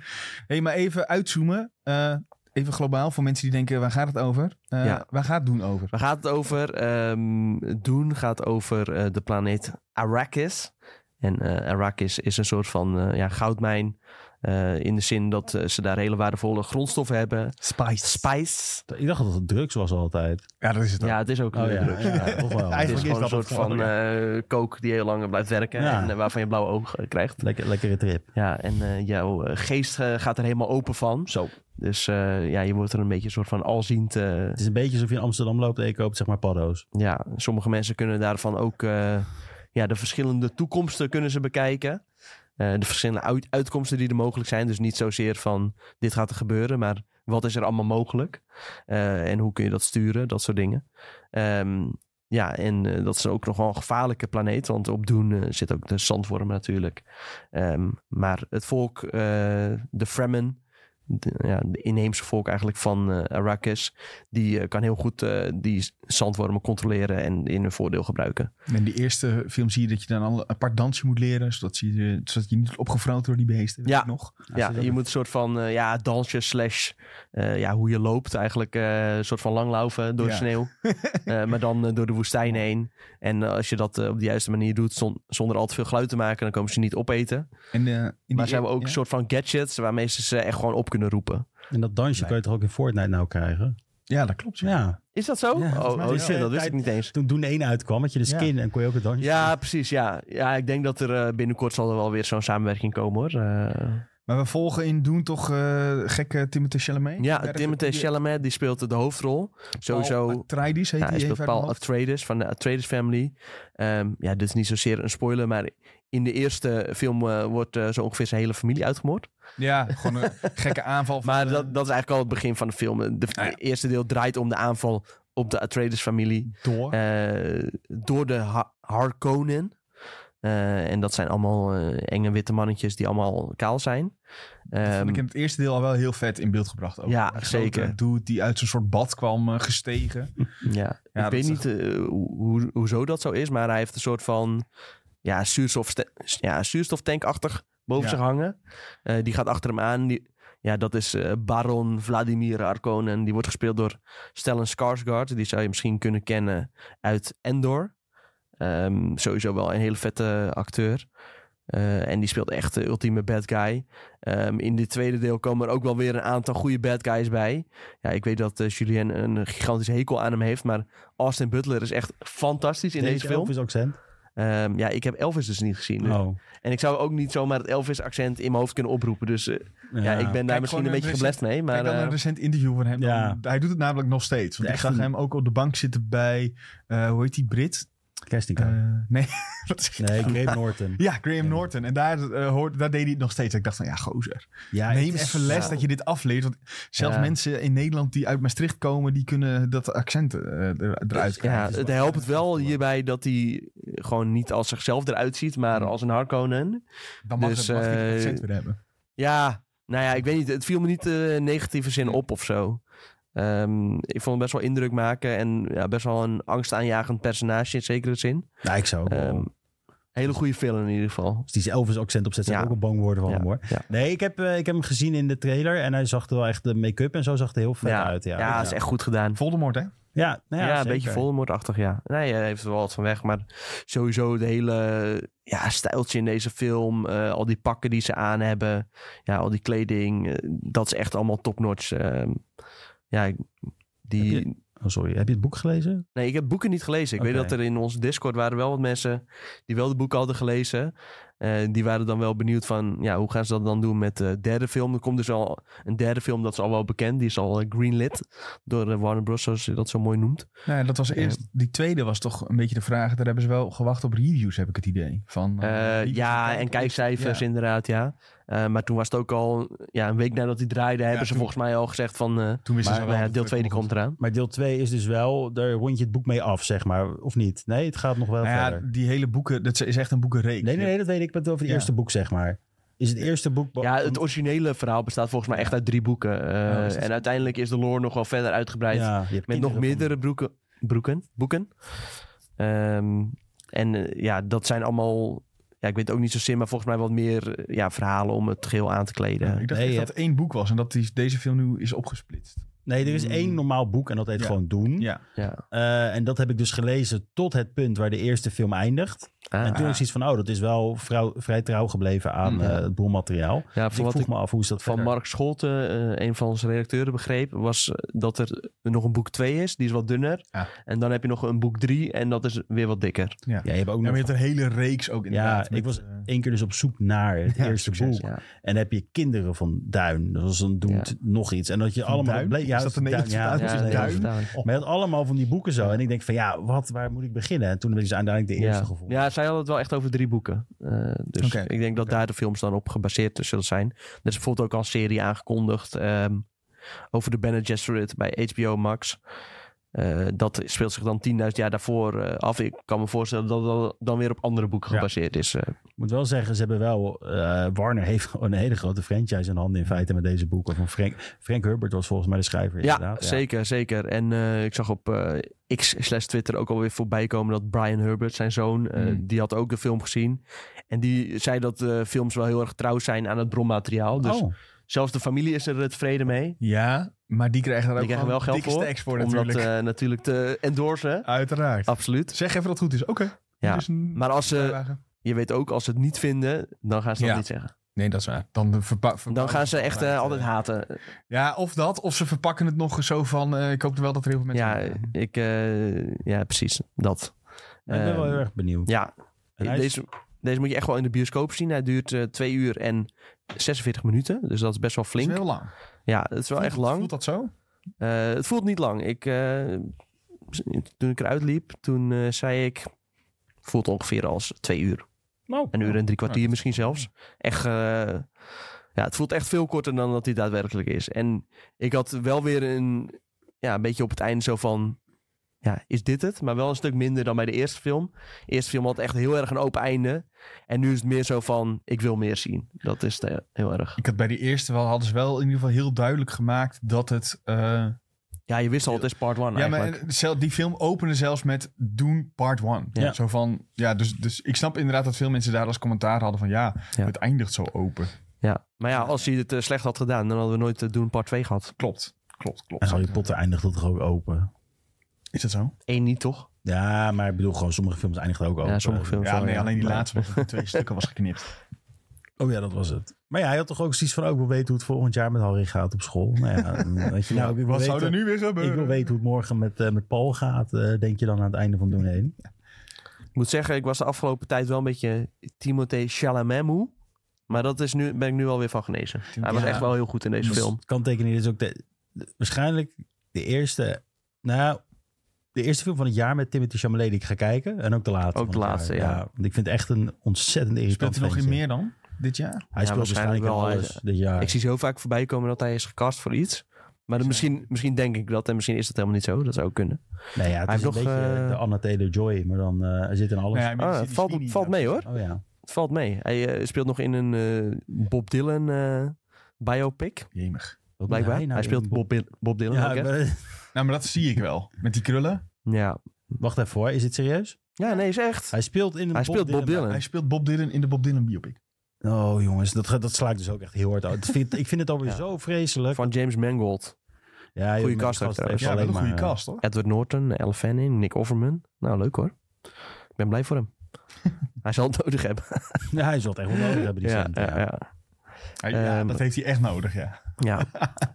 A: hey, maar even uitzoomen. eh, even globaal voor mensen die denken, waar gaat het over? Eh,
B: Ja.
A: Waar gaat het doen over?
B: Waar gaat het over? Ehm, Doen gaat over eh, de planeet Arrakis. En eh, Arrakis is een soort van eh, ja, goudmijn. eh, in de zin dat eh, ze daar hele waardevolle grondstoffen hebben.
A: Spice.
B: Spice.
C: Ik dacht dat het drugs was altijd.
A: Ja, dat is het ook.
B: Ja, het is ook
C: Oh
B: een
C: ja,
B: drugs.
C: ja,
B: Ja.
C: toch
B: Het
C: wel.
B: is
A: Eigenlijk is
B: gewoon een
A: dat
B: soort
A: het
B: van eh kook die heel lang blijft werken.
C: Ja.
B: En eh, waarvan je blauwe ogen krijgt.
C: Lekker, lekkere trip.
B: Ja, en eh, jouw eh, geest eh, gaat er helemaal open van.
C: Zo.
B: Dus eh, ja, je wordt er een beetje een soort van alziend. eh,
C: Het is een beetje alsof je in Amsterdam loopt en je koopt zeg maar paddo's.
B: Dus ja, sommige mensen kunnen daarvan ook eh, ja, de verschillende toekomsten kunnen ze bekijken. Eh, de verschillende uit- uitkomsten die er mogelijk zijn. Dus niet zozeer van dit gaat er gebeuren, maar wat is er allemaal mogelijk? Eh, en hoe kun je dat sturen? Dat soort dingen. Ehm, ja, en eh, dat is ook nog wel een gevaarlijke planeet, want op Doen eh, zit ook de zandworm natuurlijk. Ehm, maar het volk, eh, de Fremen, de, ja, de inheemse volk eigenlijk van eh, Arrakis, die eh, kan heel goed eh, die zandwormen controleren en in hun voordeel gebruiken.
A: In die eerste film zie je dat je dan al een apart dansje moet leren. Zodat je, zodat je niet wordt opgevroten door die beesten. weet
B: Ja.
A: ik nog.
B: Ja, je moet een soort van eh, ja, dansje slash eh, ja, hoe je loopt eigenlijk. eh, een soort van langlaufen door de
A: Ja.
B: sneeuw. Eh, maar dan eh, door de woestijn heen. En eh, als je dat eh, op de juiste manier doet zon- zonder al te veel geluid te maken, dan komen ze niet opeten.
A: En, eh, in die
B: Maar ze hebben ook
A: ja?
B: een soort van gadgets waarmee ze ze echt gewoon op kunnen roepen.
C: En dat dansje
A: Nee.
C: kan je toch ook in Fortnite nou krijgen?
A: Ja, dat klopt. Ja.
C: Ja.
B: Is dat zo?
C: Ja, volgens mij
B: oh, oh
C: wel.
B: shit, dat wist ik niet eens.
C: Toen Doen 1 uitkwam, had je de
A: Ja.
C: skin en kon je ook het dansje.
B: Ja, precies. Ja. ja, ik denk dat er eh, binnenkort zal er wel weer zo'n samenwerking komen hoor. Eh,
A: Maar we volgen in Doen toch eh, gekke Timothée Chalamet?
B: ja,
A: Werk-
B: Timothée Chalamet die speelt de hoofdrol.
A: Paul
B: Sowieso
A: Atreides heet
B: Ja, hij
A: Oh, die even uit
B: speelt
A: mijn
B: Paul
A: hoofd.
B: Atreides van de Atreides family. Ehm, ja, dit is niet zozeer een spoiler, maar in de eerste film eh, wordt eh, zo ongeveer zijn hele familie uitgemoord.
A: Ja, gewoon een gekke aanval. van eh,
B: Maar
A: de-
B: dat, dat is eigenlijk al het begin van de film. De
A: Ah, ja.
B: eerste deel draait om de aanval op de Atreides familie
A: door.
B: eh, door de Ha- Harkonnen. Eh, en dat zijn allemaal eh, enge witte mannetjes die allemaal kaal zijn.
A: Dat vond
B: Ehm,
A: ik in het eerste deel al wel heel vet in beeld gebracht. Ook.
B: Ja,
A: Een grote
B: zeker.
A: dude die uit zo'n soort bad kwam eh, gestegen.
B: Ja,
A: Ja,
B: ik
A: dat
B: weet
A: is
B: niet eh, hoe, hoe- hoezo dat zo is, maar hij heeft een soort van ja, zuurstofsta- ja, zuurstoftankachtig boven
A: Ja.
B: zich hangen. Eh, die gaat achter hem aan. Die, ja, dat is eh, Baron Vladimir Arkonen. Die wordt gespeeld door Stellan Skarsgård. Die zou je misschien kunnen kennen uit Endor. Ehm, sowieso wel een hele vette acteur. Eh, en die speelt echt de ultieme bad guy. Ehm, in dit tweede deel komen er ook wel weer een aantal goede bad guys bij. Ja, ik weet dat eh, Julien een gigantische hekel aan hem heeft. Maar Austin Butler is echt fantastisch in deze, film.
C: Elvis accent.
B: Ehm, ja, ik heb Elvis dus niet gezien.
C: Oh.
B: En ik zou ook niet zomaar het Elvis-accent in mijn hoofd kunnen oproepen. Dus eh, ja. ik ben daar
A: Kijk,
B: misschien
A: gewoon
B: een
A: een
B: beetje geblest mee.
A: Maar,
B: Maar,
A: ik had
B: eh,
A: een recent interview van hem.
C: Ja.
A: Dan- hij doet het namelijk nog steeds. Want
C: De
A: ik zag
C: echte-
A: hem ook op de bank zitten bij, eh, hoe heet die Brit?
C: Kerstinka.
A: Eh, nee, dat is-
B: Eh,
C: nee, Grape Norton.
A: Ja, Graham
C: Ja.
A: Norton. En daar, eh, hoort, daar deed hij het nog steeds. Ik dacht van, ja, gozer.
C: Ja,
A: Neem
C: het is-
A: even les
B: ja.
A: dat je dit afleert. Want zelfs
B: Ja.
A: mensen in Nederland die uit Maastricht komen... die kunnen dat accent eh, er- eruit krijgen.
B: ja, het helpt het wel hierbij dat hij gewoon niet als zichzelf eruit ziet, maar als een Harkonnen.
A: Dan mag,
B: dus,
A: het, mag je het
B: eh,
A: accent weer hebben.
B: Ja, nou ja, ik weet niet. Het viel me niet eh, in negatieve zin op of zo. Ehm, ik vond het best wel indruk maken en ja, best wel een angstaanjagend personage in zekere zin.
C: Nou, ik zou ook wel-
B: Ehm, hele goede film in ieder geval.
C: Als die zijn Elvis accent opzet, zou ik
B: Ja.
C: ook wel bang worden van
B: Ja,
C: hem hoor.
B: ja.
C: Nee, ik heb, eh, ik heb hem gezien in de trailer en hij zag er wel echt de make-up en zo zag er heel vet
B: ja,
C: uit. Ja,
B: ja, is echt goed gedaan.
A: Voldemort, hè?
C: Ja,
B: Ja,
C: nou ja,
B: een
C: zeker.
B: beetje Voldemort-achtig, ja. Nee, hij heeft er wel wat van weg. Maar sowieso de hele ja, stijltje in deze film. eh, al die pakken die ze aan hebben. Ja, al die kleding. eh, dat is echt allemaal topnotch. ehm ja, ik-
C: Heb
B: die...
C: Oh, sorry, heb je het boek gelezen?
B: Nee, ik heb boeken niet gelezen. Ik
C: Oké.
B: weet dat er in onze Discord waren wel wat mensen die wel de boeken hadden gelezen. Eh, die waren dan wel benieuwd van, ja, hoe gaan ze dat dan doen met de derde film? Er komt dus al een derde film, dat is al wel bekend. Die is al eh, greenlit door eh, Warner Bros, zoals je dat zo mooi noemt.
A: Nou, ja, dat was eerst. Die tweede was toch een beetje de vraag. Daar hebben ze wel gewacht op reviews, heb ik het idee. Van, eh,
B: Eh,
A: reviews
B: ja,
A: van
B: en kijkcijfers
A: Ja.
B: inderdaad, ja. Eh, maar toen was het ook al, ja, een week nadat hij draaide, hebben ze
A: toen-
B: volgens mij al gezegd van, eh,
A: Toen wisten
B: maar,
A: ze
B: nou ja,
A: dat
B: deel
A: het
B: 2 die komt eraan.
C: Maar deel 2 is dus wel, daar rond je het boek mee af, zeg maar. Of niet? Nee, het gaat nog wel
A: Nou ja,
C: verder.
A: die hele boeken, dat is echt een boekenreeks.
C: Nee, nee, nee, dat weet ik. Ik ben het over het
A: Ja.
C: eerste boek, zeg maar. is het eerste boek...
B: Ja, het originele verhaal bestaat volgens mij echt uit drie boeken. eh,
C: Ja, is dat-
B: en uiteindelijk is de lore nog wel verder uitgebreid.
C: Ja, je hebt
B: met
C: kinderen
B: nog
C: van-
B: meerdere broeken, broeken, boeken. Ehm, en eh, ja, dat zijn allemaal... Ja, ik weet het ook niet zozeer, maar volgens mij wat meer eh, ja, verhalen om het geheel aan te kleden.
A: ik dacht
C: Nee,
A: echt
C: je
A: dat het één boek was en dat die, deze film nu is opgesplitst.
C: Nee, er is
B: Mm.
C: één normaal boek en dat heet
A: Ja.
C: gewoon Doen.
A: Ja.
B: Ja.
C: Eh, en dat heb ik dus gelezen tot het punt waar de eerste film eindigt.
B: Ah,
C: En toen is iets van, oh, dat is wel vrouw- vrij trouw gebleven
A: Mm.
C: aan
B: Ja.
C: eh, het boelmateriaal.
B: ja,
C: Dus
B: voor
C: ik
B: wat
C: vroeg
B: ik
C: me af, hoe is dat
B: van
C: verder?
B: Mark Scholte, eh, een van onze redacteuren, begreep... was eh, dat er nog een boek 2 is, die is wat dunner.
A: Ja.
B: En dan heb je nog een boek 3 en dat is weer wat dikker.
C: Ja, je hebt ook
A: Ja,
C: nog
A: maar je hebt een hele reeks ook inderdaad.
C: ik
A: met,
C: was-
A: eh,
C: één keer dus op zoek naar het
A: Ja,
C: eerste
A: succes,
C: boek.
B: Ja.
C: En heb je kinderen van Duin. Dat was een doet
B: Ja.
C: nog iets. En dat je allemaal...
A: Duin?
C: bleek- ja,
A: Is dat de
C: Duin,
A: Nederlandse
C: Ah, dat
A: vertaling?
C: is
A: Ja,
C: Duin.
A: Duin.
C: Maar je had allemaal van die boeken zo. En ik denk van, ja, wat, waar moet ik beginnen? En toen heb ik dus uiteindelijk de eerste
B: ja.
C: gevonden.
B: Ja, zij hadden het wel echt over drie boeken. Eh, dus
A: Oké.
B: ik denk dat daar de films dan op gebaseerd dus zullen zijn. Er is bijvoorbeeld ook al een serie aangekondigd ehm, over de Bene Gesserit bij HBO Max. Eh, dat speelt zich dan 10.000 jaar daarvoor eh, af. Ik kan me voorstellen dat dat dan weer op andere boeken
C: Ja.
B: gebaseerd is. eh.
C: Ik moet wel zeggen, ze hebben wel... eh, Warner heeft gewoon een hele grote franchise in handen in feite met deze boeken. Van Frank, Frank Herbert was volgens mij de schrijver.
B: ja,
C: inderdaad.
B: zeker, zeker. En eh, ik zag op eh, X slash Twitter ook alweer voorbij komen dat Brian Herbert, zijn zoon, eh,
C: Hmm.
A: Mm.
B: die had ook de film gezien. En die zei dat eh, films wel heel erg trouw zijn aan het bronmateriaal. Dus
C: Oh.
B: Zelfs de familie is er tevreden mee.
A: Ja, maar die krijgen daar
B: Die
A: ook
B: krijgen
A: gewoon
B: wel geld
A: dikke
B: voor,
A: stacks voor
B: Om dat
A: natuurlijk.
B: eh, natuurlijk te endorsen.
A: Uiteraard.
B: Absoluut.
A: Zeg even dat het goed is. Oké.
B: Ja,
A: Dit is een
B: Maar als ze,
A: bijwagen.
B: je weet ook, als ze het niet vinden, dan gaan ze dat
A: Ja.
B: niet zeggen.
A: Nee, dat is waar. Dan, de verpa-
B: Dan
A: verpa-
B: gaan ze echt eh,
A: eh,
B: altijd haten.
A: Ja, of dat. Of ze verpakken het nog zo van... eh, ik hoop wel dat er heel veel mensen...
B: ja, eh, ik, eh, ja, precies. Dat.
C: Nou, ik ben wel
B: Ehm,
C: heel erg benieuwd.
B: Ja,
C: En hij is-
B: deze, deze moet je echt wel in de bioscoop zien. Hij duurt eh, 2 uur en 46 minuten. Dus dat is best wel
A: Het is
B: flink.
A: heel lang.
B: Ja, het is wel
A: Voelt-
B: echt lang.
A: Voelt dat zo?
B: Eh, het voelt niet lang. Ik, eh, toen ik eruit liep, toen eh, zei ik... voelt ongeveer als twee uur.
C: Nou,
B: Een uur en drie kwartier
A: Oh, dat is
B: misschien zelfs. Echt, eh, ja, het voelt echt veel korter dan dat hij daadwerkelijk is. En ik had wel weer een, ja, een beetje op het einde zo van... Ja, is dit het? Maar wel een stuk minder dan bij de eerste film. De eerste film had echt heel erg een open einde. En nu is het meer zo van, ik wil meer zien. Dat is de- heel erg.
A: Ik had bij die eerste wel... Hadden ze wel in ieder geval heel duidelijk gemaakt dat het... eh,
B: Ja, je wist al, het is part one
A: Ja,
B: eigenlijk.
A: maar eh, zelf- die film opende zelfs met Doen Part 1.
C: Ja.
A: Zo van, ja, dus, dus ik snap inderdaad dat veel mensen daar als commentaar hadden van ja,
B: Ja.
A: het eindigt zo open.
B: Ja, maar ja, als hij het eh, slecht had gedaan, dan hadden we nooit eh, Doen Part 2 gehad.
A: Klopt, klopt, klopt.
C: En Harry Potter eindigt dat toch ook open?
A: Is dat zo?
B: Eén niet, toch?
C: Ja, maar ik bedoel gewoon, sommige films eindigen ook open.
B: ja, sommige films
A: Oh, eh, Ja,
B: wel,
A: nee, alleen die
B: Maar-
A: laatste was in twee stukken was geknipt.
C: Oh ja, dat was het. Maar ja, hij had toch ook zoiets van, ook wil weten hoe het volgend jaar met Harry gaat op school. Nou ja, weet je, nou, ik wil
A: Wat
C: weten,
A: zou er nu weer gebeuren?
C: Ik wil weten hoe het morgen met, eh, met Paul gaat, eh, denk je dan aan het einde van Doen heen.
B: Ik moet zeggen, ik was de afgelopen tijd wel een beetje Timothée Chalamet moe. Maar dat is nu, ben ik nu alweer van genezen. Hij was
A: Ja.
B: echt wel heel goed in deze film.
C: Dus Kan tekenen, dit is ook de, de- waarschijnlijk de eerste, nou ja, de eerste film van het jaar met Timothy Chalamet die ik ga kijken. En ook de laatste.
B: Ook de
C: van het
B: laatste,
C: jaar.
B: ja.
C: Want ik vind het echt een ontzettend
A: Speelt
C: irritant
A: hij nog in
C: ventje.
A: meer dan dit jaar?
C: Hij
B: Ja,
C: speelt waarschijnlijk
B: waarschijnlijk
C: wel
B: wel, eh,
C: alles dit jaar.
B: Ik zie zo vaak voorbij komen dat hij is gecast voor iets. Maar dan
A: Ja.
B: misschien, misschien denk ik dat en misschien is dat helemaal niet zo. Dat zou ook kunnen.
C: Nee, ja, het
B: Hij
C: is
B: heeft
C: een
B: nog,
C: beetje
B: eh,
C: de Anna Taylor-Joy, maar dan eh, hij zit in alles.
A: Nee, hij
B: Ah,
A: zit in
B: het valt,
A: Sweeney,
B: valt
A: ja.
B: mee hoor.
C: Oh ja.
B: Het valt mee. Hij eh, speelt nog in een eh, Bob Dylan eh, biopic,
A: Jemig.
C: Wat moet
B: blijkbaar. Hij,
C: nou in
B: speelt
C: Bob-
B: Bob, Bil- Bob Dylan
C: Ja,
B: ook, hè?
C: maar- eh,
A: Nou, maar dat zie ik wel. Met die krullen.
B: Ja.
C: wacht even hoor, is dit serieus?
B: ja, nee, is echt.
C: Hij speelt in een
B: Hij speelt Bob Dylan.
A: Hij speelt Bob Dylan in de Bob Dylan biopic.
C: Oh jongens, dat, gaat- dat sla ik dus ook echt heel hard uit. Dat vind- ik vind het alweer
B: Ja.
C: zo vreselijk.
B: Van James Mangold.
C: Ja,
B: Goeie
C: joh, maar
B: cast
C: die
B: ook trouwens.
C: heeft
A: Ja, wel
C: alleen
A: een goede
C: maar, eh,
A: cast, hoor.
B: Edward Norton, Elle Fanning, Nick Offerman. Nou, leuk hoor. Ik ben blij voor hem. Hij zal het nodig hebben.
C: Ja, hij zal het echt wel nodig hebben, die
B: ja,
C: cent,
B: ja,
C: ja.
B: ja.
A: Ja,
B: Ehm,
A: dat heeft hij echt nodig, ja.
B: Ja.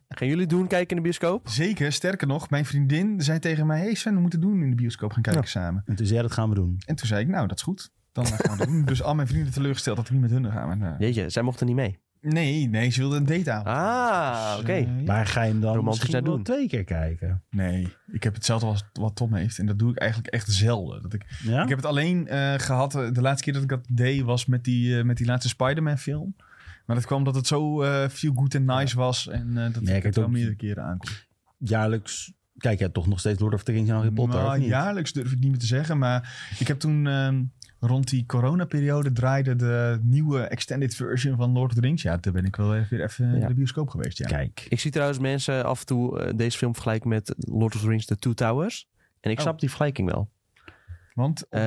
B: Gaan jullie doen kijken in de bioscoop?
A: Zeker, sterker nog, mijn vriendin zei tegen mij... hey Sven, we moeten doen in de bioscoop gaan kijken samen.
C: En toen zei hij, dat gaan we doen.
A: En toen zei ik, nou, dat is goed. Dan gaan we dat doen. Dus al mijn vrienden teleurgesteld dat ik niet met hun gaan. Maar, eh,
B: Jeetje, zij mochten niet mee.
A: nee, nee, ze wilde een date aan. Dus, eh,
B: Ah, oké.
C: Maar ga je hem dan
B: Romantisch
C: misschien
B: naar
C: wel
B: doen.
C: twee keer kijken?
A: nee, ik heb hetzelfde als wat Tom heeft. En dat doe ik eigenlijk echt zelden. Dat ik,
C: Ja?
A: ik heb het alleen eh, gehad, eh, de laatste keer dat ik dat deed... was met die, eh, met die laatste Spider-Man film. Maar dat kwam dat het zo eh feel good en nice was. En eh, dat ik
C: ik heb
A: het wel
C: ook-
A: meerdere keren aankom.
C: Jaarlijks kijk jij toch nog steeds Lord of the Rings en Harry Potter,
A: Nou,
C: of niet?
A: jaarlijks durf ik niet meer te zeggen. Maar ik heb toen ehm, rond die coronaperiode draaide de nieuwe extended version van Lord of the Rings. Ja, toen ben ik wel even, weer even
B: Ja.
A: in de bioscoop geweest. Ja.
C: Kijk.
B: Ik zie trouwens mensen af en toe eh, deze film vergelijken met Lord of the Rings The Two Towers. En ik
A: Oh.
B: snap die vergelijking wel.
A: Want,
B: Eh,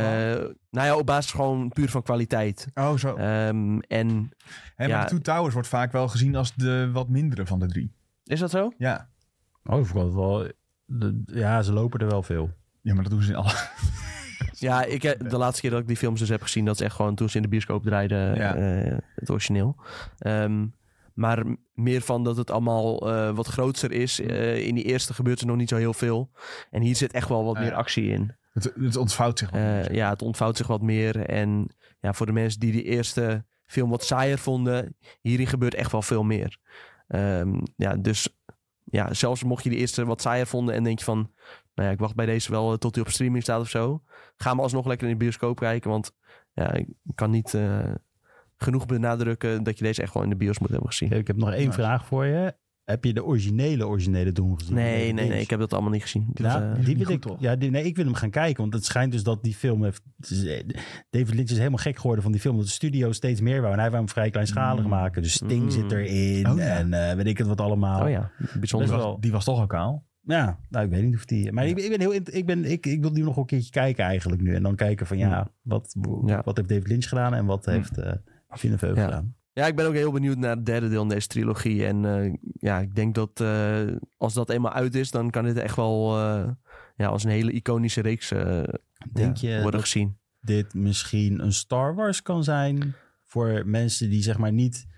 B: nou ja, op basis gewoon puur van kwaliteit.
A: oh zo.
B: Ehm, en
A: Hè, maar
B: ja.
A: de Two Towers wordt vaak wel gezien als de wat mindere van de drie.
B: is dat zo?
A: Ja,
C: Oh, ik vond het wel... de- ja, ze lopen er wel veel.
A: ja maar dat doen ze in alle...
B: Ja, ik, heb- de laatste keer dat ik die films dus heb gezien, dat is echt gewoon toen ze in de bioscoop draaiden,
A: Ja.
B: eh, het origineel. Ehm, maar m- meer van dat het allemaal eh, wat groter is.
A: Mm.
B: Eh, in die eerste gebeurt er nog niet zo heel veel. En hier zit echt wel wat
A: Ah,
B: meer
A: ja.
B: actie in.
A: Het, het ontvouwt zich wel.
B: Eh, ja, het ontvouwt zich wat meer. En ja, voor de mensen die die eerste film wat saaier vonden, hierin gebeurt echt wel veel meer. Ehm, ja, dus ja, zelfs mocht je die eerste wat saaier vonden en denk je van, nou ja, ik wacht bij deze wel eh, tot die op streaming staat of zo. Ga maar alsnog lekker in de bioscoop kijken, want ja, ik kan niet eh, genoeg benadrukken dat je deze echt wel in de bios moet hebben gezien.
C: Ik heb nog één
A: Nice.
C: vraag voor je. Heb je de originele, originele Doom gezien?
B: Nee, nee, nee, ik heb dat allemaal niet gezien. Dat,
C: Ja,
B: eh,
A: is
C: Nou,
A: niet
C: die wil
A: goed,
C: ik,
A: toch?
C: ja, die- nee, ik wil hem gaan kijken, want het schijnt dus dat die film heeft... het is, eh, David Lynch is helemaal gek geworden van die film, dat de studio steeds meer wou. En hij wou hem vrij kleinschalig
A: Mm.
C: maken. Dus Sting
B: Mm.
C: zit erin
A: Oh, ja.
C: en eh, weet ik het wat allemaal.
B: oh ja,
A: Die
B: bijzonder.
C: best
A: was,
C: wel.
A: die was toch al kaal?
C: Ja, nou, ik weet niet of die... Maar
A: Ja.
C: ik, ben- ik ben heel... int- Ik, ben, ik, ik wil die nog wel een keertje kijken eigenlijk nu. En dan kijken van ja, wat, wo-
B: Mm. Ja. Mm.
C: wat heeft David Lynch gedaan en wat heeft eh Villeneuve
B: Ja.
C: gedaan.
B: Ja, ik ben ook heel benieuwd naar het derde deel in deze trilogie. En eh, ja, ik denk dat eh, als dat eenmaal uit is, dan kan dit echt wel eh, ja, als een hele iconische reeks eh,
C: Denk
B: ja,
C: je
B: worden
C: dat
B: gezien.
C: dit misschien een Star Wars kan zijn voor mensen die zeg maar niet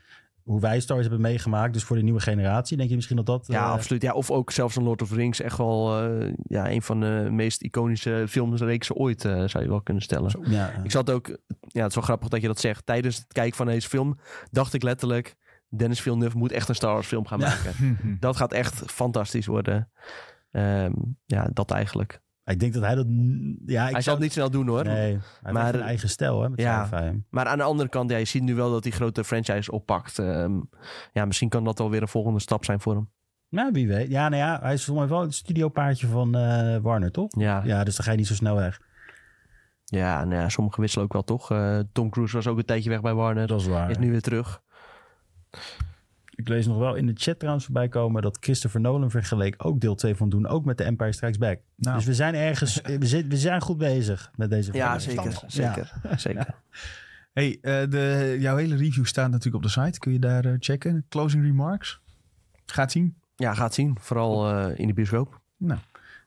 C: hoe wij Star Wars hebben meegemaakt, dus voor de nieuwe generatie. Denk je misschien dat dat...
B: Ja,
C: eh,
B: absoluut. Ja, of ook zelfs een Lord of the Rings echt wel eh, ja, een van de meest iconische filmreeksen ooit, eh, zou je wel kunnen stellen.
C: Ja,
B: Ik zat ook, ja, het is wel grappig dat je dat zegt. Tijdens het kijken van deze film dacht ik letterlijk, Dennis Villeneuve moet echt een Star Wars film gaan
C: Ja.
B: maken. Dat gaat echt fantastisch worden. Ehm, ja, dat eigenlijk.
C: ik denk dat hij dat... Ja,
B: Hij
C: ik
B: zal
C: zou
B: het niet snel doen hoor.
C: Nee, hij heeft
B: Maar-
C: echt een eigen stijl hè, met
B: Ja.
C: sci-fi.
B: Maar aan de andere kant, ja, je ziet nu wel dat die grote franchise oppakt. Ehm, ja, misschien kan dat wel weer een volgende stap zijn voor hem.
C: Nou, wie weet. Ja, nou ja, hij is volgens mij wel het studiopaardje van eh, Warner, toch?
B: Ja, ja.
C: Ja, dus dan ga je niet zo snel weg.
B: nou ja sommigen wisselen ook wel toch. Eh, Tom Cruise was ook een tijdje weg bij Warner.
C: is waar.
B: Is nu weer terug.
C: Ik lees nog wel in de chat trouwens voorbij komen dat Christopher Nolan vergeleek ook deel 2 van Doen, ook met The Empire Strikes Back.
A: Nou.
C: Dus we zijn ergens, we, zit- we zijn goed bezig met deze
B: Ja,
C: vergelijking.
B: zeker. Zeker. zeker.
A: Hey, eh, de, jouw hele review staat natuurlijk op de site. Kun je daar eh, checken? Closing remarks? Gaat zien.
B: Ja, gaat zien. Vooral eh, in de bioscoop.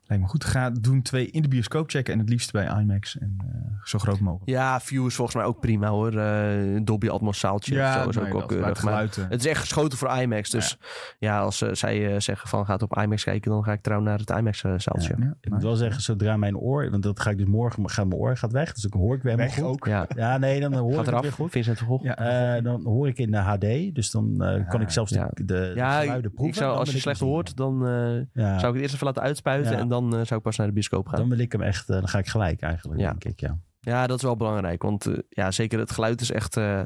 A: Lijkt me goed. Ga doen twee in de bioscoop checken en het liefst bij IMAX en eh, zo groot mogelijk.
B: Ja, view is volgens mij ook prima hoor. Eh, Dolby Atmos zaaltje of zo is
A: nou
B: ook wel
A: dat, maar het
B: keurig. Maar
A: geluid, eh,
B: het is echt geschoten voor IMAX. Dus ja, als eh, zij eh, zeggen van gaat op IMAX kijken, dan ga ik trouw naar het IMAX eh, zaaltje.
A: ja,
C: Ik moet
A: maar-
C: wel zeggen, zodra mijn oor, want dat ga ik dus morgen, gaat mijn oor gaat weg, dus ik hoor ik weer helemaal
A: Weg
C: goed.
A: ook.
B: Ja,
C: Ja, nee, dan hoor
B: gaat
C: ik het weer
B: eraf.
C: goed.
B: Vincent van Gogh.
A: Ja.
C: Eh, dan hoor ik in de HD, dus dan eh, kan ik zelfs
B: ja.
C: de, de,
B: Ja,
C: de
B: ik-
C: geluiden proeven.
B: ik zou,
C: Dan
B: als
C: wil
B: je
C: ik
B: slecht
C: hem zien.
B: hoort, dan eh,
C: Ja,
B: zou ik het eerst even laten uitspuiten
C: Ja.
B: en dan eh, zou ik pas naar de bioscoop gaan.
C: dan wil ik hem echt, eh, dan ga ik gelijk eigenlijk,
B: Ja.
C: denk ik, ja.
B: Ja, dat is wel belangrijk, want eh, ja, zeker het geluid is echt... eh,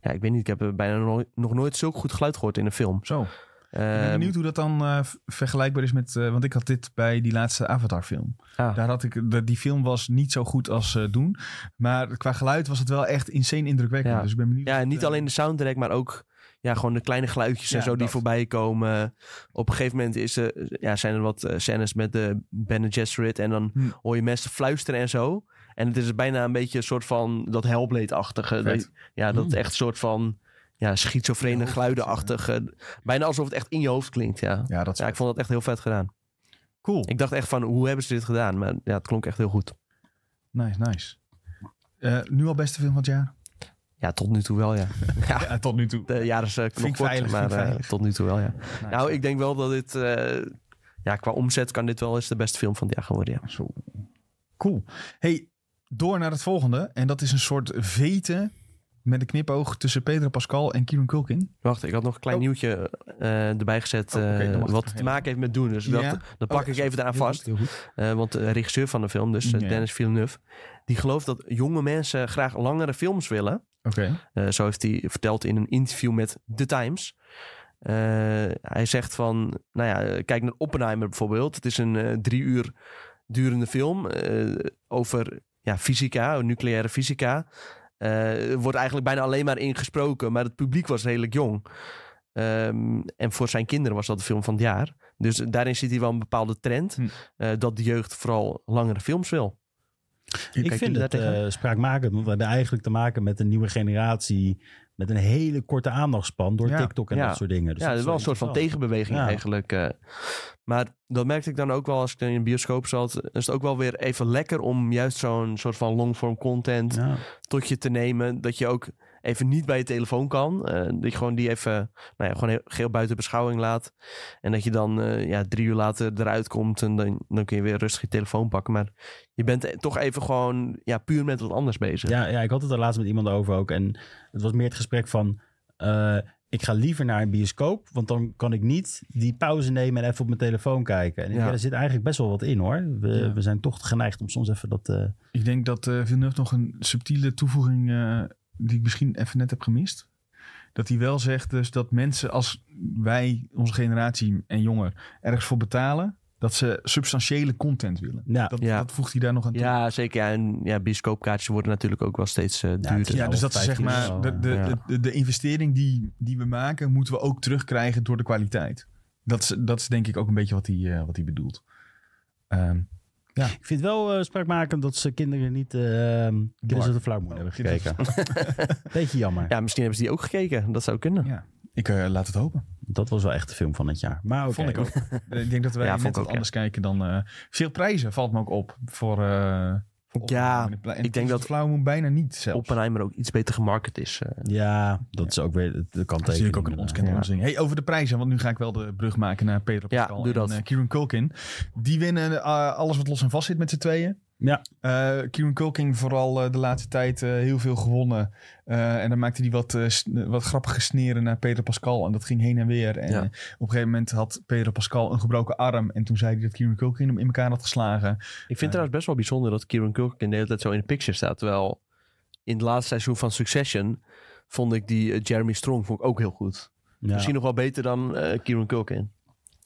B: ja, ik weet niet, ik heb eh, bijna nooit- nog nooit zulk goed geluid gehoord in een film.
A: Zo. ik ben
B: Ehm,
A: benieuwd hoe dat dan eh, v- vergelijkbaar is met... eh, want ik had dit bij die laatste Avatar-film.
B: ah,
A: Daar had ik, de, die film was niet zo goed als eh, doen. Maar qua geluid was het wel echt insane indrukwekkend.
B: Ja.
A: Dus ik ben benieuwd.
B: ja, en niet
A: eh,
B: alleen de soundtrack, maar ook ja, gewoon de kleine geluidjes en
A: Ja,
B: zo die
A: dat.
B: voorbij komen. Op een gegeven moment is, eh, ja, zijn er wat eh, scènes met de Bene Gesserit en dan
A: Hm.
B: hoor je mensen fluisteren en zo. En het is bijna een beetje een soort van dat Hellblade-achtige.
A: Vet.
B: Dat- Ja, dat
C: Hm.
B: echt soort van Hmm. ja, schizofrene geluidenachtige. Bijna alsof het echt in je hoofd klinkt, ja.
A: Ja, dat is
B: Ja, ik vond dat echt heel vet gedaan.
A: cool.
B: Ik dacht echt van, hoe hebben ze dit gedaan? Maar ja, het klonk echt heel goed.
A: Nice, nice. Eh, nu al beste film van het jaar?
B: Ja, tot nu toe wel, ja.
A: Ja, tot nu toe.
B: De jaren is eh, nog
A: Vind ik
B: kort,
A: veilig,
B: maar
A: vind ik
B: eh,
A: veilig.
B: tot nu toe wel, ja.
A: Nice.
B: Nou, ik denk wel dat dit... eh, ja, qua omzet kan dit wel eens de beste film van het jaar gaan worden, ja.
A: Zo. Cool. Hey, door naar het volgende. En dat is een soort veten met een knipoog tussen Pedro Pascal en Kieran Culkin.
B: Wacht, ik had nog een klein
A: Oh.
B: nieuwtje eh, erbij gezet...
A: Oh, oké, dan
B: eh,
A: mag ik nog
B: wat te
A: even.
B: maken heeft met doen. Dus
A: Ja.
B: dat, dat pak ik even daaraan
A: Heel
B: vast.
A: goed, Oh, heel goed.
B: Eh, want de regisseur van de film, dus eh,
A: Ja.
B: Dennis Villeneuve... die gelooft dat jonge mensen graag langere films willen...
A: Oké.
B: Eh, zo heeft hij verteld in een interview met The Times. Eh, hij zegt van, nou ja, eh, kijk naar Oppenheimer bijvoorbeeld. Het is een eh, drie uur durende film eh, over ja, fysica, nucleaire fysica. eh, wordt eigenlijk bijna alleen maar ingesproken, maar het publiek was redelijk jong. Ehm, en voor zijn kinderen was dat de film van het jaar. Dus daarin zit hier wel een bepaalde trend.
A: Hm.
B: eh, dat de jeugd vooral langere films wil.
C: Ik
B: Kijken
C: vind
B: jullie
C: het
B: daar tegenaan?
C: eh, spraakmakend, want we hebben eigenlijk te maken met een nieuwe generatie met een hele korte aandachtspan door
A: Ja.
C: TikTok en
B: Ja.
C: dat soort dingen. Dus
B: ja, dat is wel een
C: iets
B: soort van
C: interessants.
B: tegenbeweging
C: Ja.
B: eigenlijk. eh. maar dat merkte ik dan ook wel als ik dan in een bioscoop zat. Is het ook wel weer even lekker om juist zo'n soort van longform content
C: Ja.
B: tot je te nemen. Dat je ook even niet bij je telefoon kan. Eh, dat je gewoon die even nou ja, gewoon heel- geheel buiten beschouwing laat. En dat je dan eh, ja, drie uur later eruit komt. En dan, dan kun je weer rustig je telefoon pakken. Maar je bent eh, toch even gewoon ja, puur met wat anders bezig.
C: Ja, ja, ik had het er laatst met iemand over ook. En het was meer het gesprek van... eh, ik ga liever naar een bioscoop, want dan kan ik niet die pauze nemen en even op mijn telefoon kijken. En
B: Ja.
C: ja. er zit eigenlijk best wel wat in hoor. We,
A: Ja.
C: we zijn toch geneigd om soms even dat... eh,
A: Ik denk dat eh Villeneuve nog een subtiele toevoeging... eh, die ik misschien even net heb gemist. Dat hij wel zegt dus dat mensen als wij, onze generatie en jonger... ergens voor betalen, dat ze substantiële content willen.
C: nou,
A: Dat,
B: Ja.
A: dat voegt hij daar nog aan toe.
B: Ja, zeker. Ja, en ja, bioscoopkaartjes worden natuurlijk ook wel steeds eh,
C: het is
B: duurder.
A: Ja,
C: nou
A: dus dat is
C: 15
A: zeg maar
C: euro,
A: de, de,
B: ja.
A: de, de investering die, die we maken, moeten we ook terugkrijgen door de kwaliteit. Dat is, dat is denk ik ook een beetje wat hij, eh, wat hij bedoelt. Ehm,
C: ik vind het wel eh, spraakmakend dat ze kinderen niet... Uh, kinderen
A: Mark.
C: de flauwmoeder
A: Oh,
C: hebben gekeken. Beetje jammer.
B: Ja, misschien hebben ze die ook gekeken. Dat zou kunnen.
A: ja, ik eh, laat het hopen.
C: Dat was wel echt de film van het jaar. Maar oké.
A: Vond ik ook. Nou, ik denk dat wij
B: Ja,
A: net
B: vond ik
A: wat
B: ook, ja.
A: anders kijken dan... eh, veel prijzen valt me ook op voor... eh, voor
B: Ja,
A: Oppenheimer. En
B: ik denk dat-
A: Flauw moet bijna niet zelfs.
B: Oppenheimer ook iets beter gemarket is. eh.
C: Ja, dat is ook weer de kant
A: Dat zie ik ook een ontkende
B: Ja.
A: onzin. Hey, over de prijzen, want nu ga ik wel de brug maken naar Pedro
B: eh, Ja,
A: Pascal
B: doe dat.
A: en eh, Kieran Culkin. Die winnen eh, alles wat los en vast zit met z'n tweeën.
C: Ja.
A: Eh, Kieran Culkin vooral eh, de laatste tijd eh, heel veel gewonnen. Eh, en dan maakte hij wat, eh, sn- wat grappige sneren naar Pedro Pascal. En dat ging heen en weer. En
B: Ja.
A: eh, op een gegeven moment had Pedro Pascal een gebroken arm. En toen zei hij dat Kieran Culkin hem in elkaar had geslagen.
B: Ik vind het trouwens best wel bijzonder dat Kieran Culkin de hele tijd zo in de picture staat. Terwijl in het laatste seizoen van Succession vond ik die eh, Jeremy Strong vond ik ook heel goed. Misschien nog wel beter dan eh Kieran Culkin.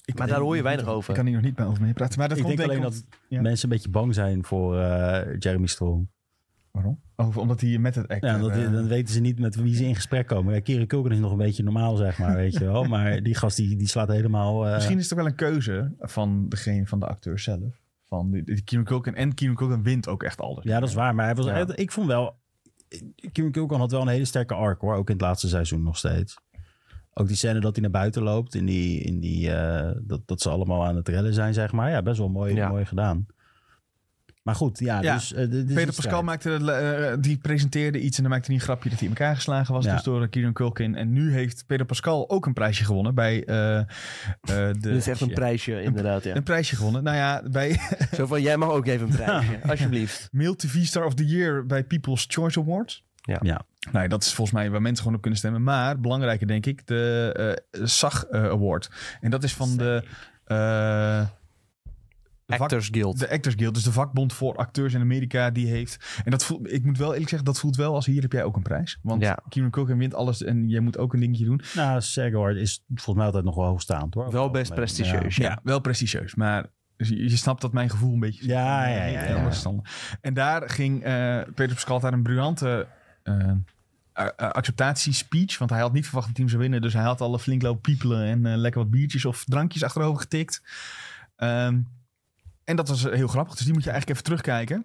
A: Ik
B: Maar daar hoor je weinig over.
A: Ik kan hier nog niet meer over mee praten. Maar dat
C: Ik
A: komt
C: denk alleen
A: ik
C: dat
A: ja.
C: mensen een beetje bang zijn voor eh, Jeremy Strong.
A: Waarom? Over, omdat hij met het act...
C: Ja, dat,
A: eh,
C: dan weten ze niet met wie ze in gesprek komen. Ja, Kieran Culkin is nog een beetje normaal, zeg maar, weet je wel. Maar die gast die, die slaat helemaal... eh,
A: Misschien is het ook wel een keuze van degene van de acteur zelf. Van die, die Kieran Culkin. En Kieran Culkin wint ook echt alles.
C: Ja, dat is waar. Maar hij was,
B: Ja.
C: hij- ik vond wel... Kieran Culkin had wel een hele sterke arc, hoor. Ook in het laatste seizoen nog steeds. Ook die scène dat hij naar buiten loopt. In die, in die, eh, dat, dat ze allemaal aan het rellen zijn, zeg maar. Ja, best wel mooi,
B: Ja.
C: mooi gedaan. Maar goed, ja.
A: Ja.
C: Dus, eh, dit- dit is
A: Peter
C: een
A: Pascal
C: strijd.
A: maakte, eh, die presenteerde iets en dan maakte hij een grapje dat hij in elkaar geslagen was.
C: Ja.
A: Dus door Kieran Culkin. En nu heeft Peter Pascal ook een prijsje gewonnen bij eh, eh, de...
B: Dit is echt een prijsje inderdaad. Ja.
A: Dus, Een prijsje gewonnen. Nou ja, bij
B: Zo van, jij mag ook even een prijsje. Alsjeblieft.
A: Mail TV Star of the Year bij People's Choice Awards.
B: Ja.
C: Ja.
A: Nou ja, dat is volgens mij waar mensen gewoon op kunnen stemmen. Maar belangrijker denk ik, de eh, SAG eh, Award. En dat is van de... eh, de vak-
B: Actors Guild.
A: De Actors Guild, dus de vakbond voor acteurs in Amerika, die heeft. En dat voelt, ik moet wel eerlijk zeggen, dat voelt wel als hier heb jij ook een prijs. Want
B: Ja.
A: Kieran Culkin wint alles en jij moet ook een dingetje doen.
C: Nou, Segward is volgens mij altijd nog wel hoogstaand, hoor.
B: Wel best prestigieus.
A: Ja,
B: Ja.
A: wel prestigieus, maar dus je, je snapt dat mijn gevoel een beetje.
C: Ja, ja, ja, ja,
A: Heel
C: ja.
A: verstandig. En daar ging eh, Peter Pascal daar een briljante eh, a- a- acceptatiespeech, want hij had niet verwacht dat hij hem zou winnen, dus hij had alle flink lopen piepelen en eh, lekker wat biertjes of drankjes achterover getikt. Ehm, en dat was eh, heel grappig, dus die moet je eigenlijk even terugkijken.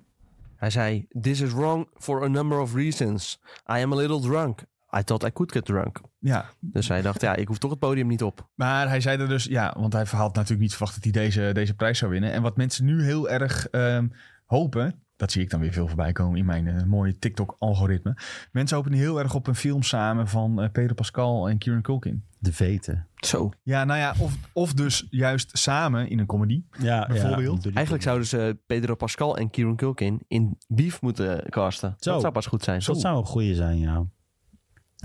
B: Hij zei, this is wrong for a number of reasons. I am a little drunk. I thought I could get drunk.
A: Ja,
B: Dus hij dacht, ja, ik hoef toch het podium niet op.
A: Maar hij zei er dus, ja, want hij had natuurlijk niet verwacht dat hij deze, deze prijs zou winnen. En wat mensen nu heel erg ehm, hopen, dat zie ik dan weer veel voorbij komen in mijn eh, mooie TikTok-algoritme. Mensen hopen nu heel erg op een film samen van eh, Pedro Pascal en Kieran Culkin.
C: De veten.
B: Zo.
A: Ja, nou ja, of, of dus juist samen in een comedy.
C: Ja,
A: Bijvoorbeeld.
C: ja.
B: Eigenlijk zouden ze Pedro Pascal en Kieran Culkin in Beef moeten casten.
C: Zo.
B: Dat zou pas goed zijn.
C: Dus Dat zou een goeie zijn, ja.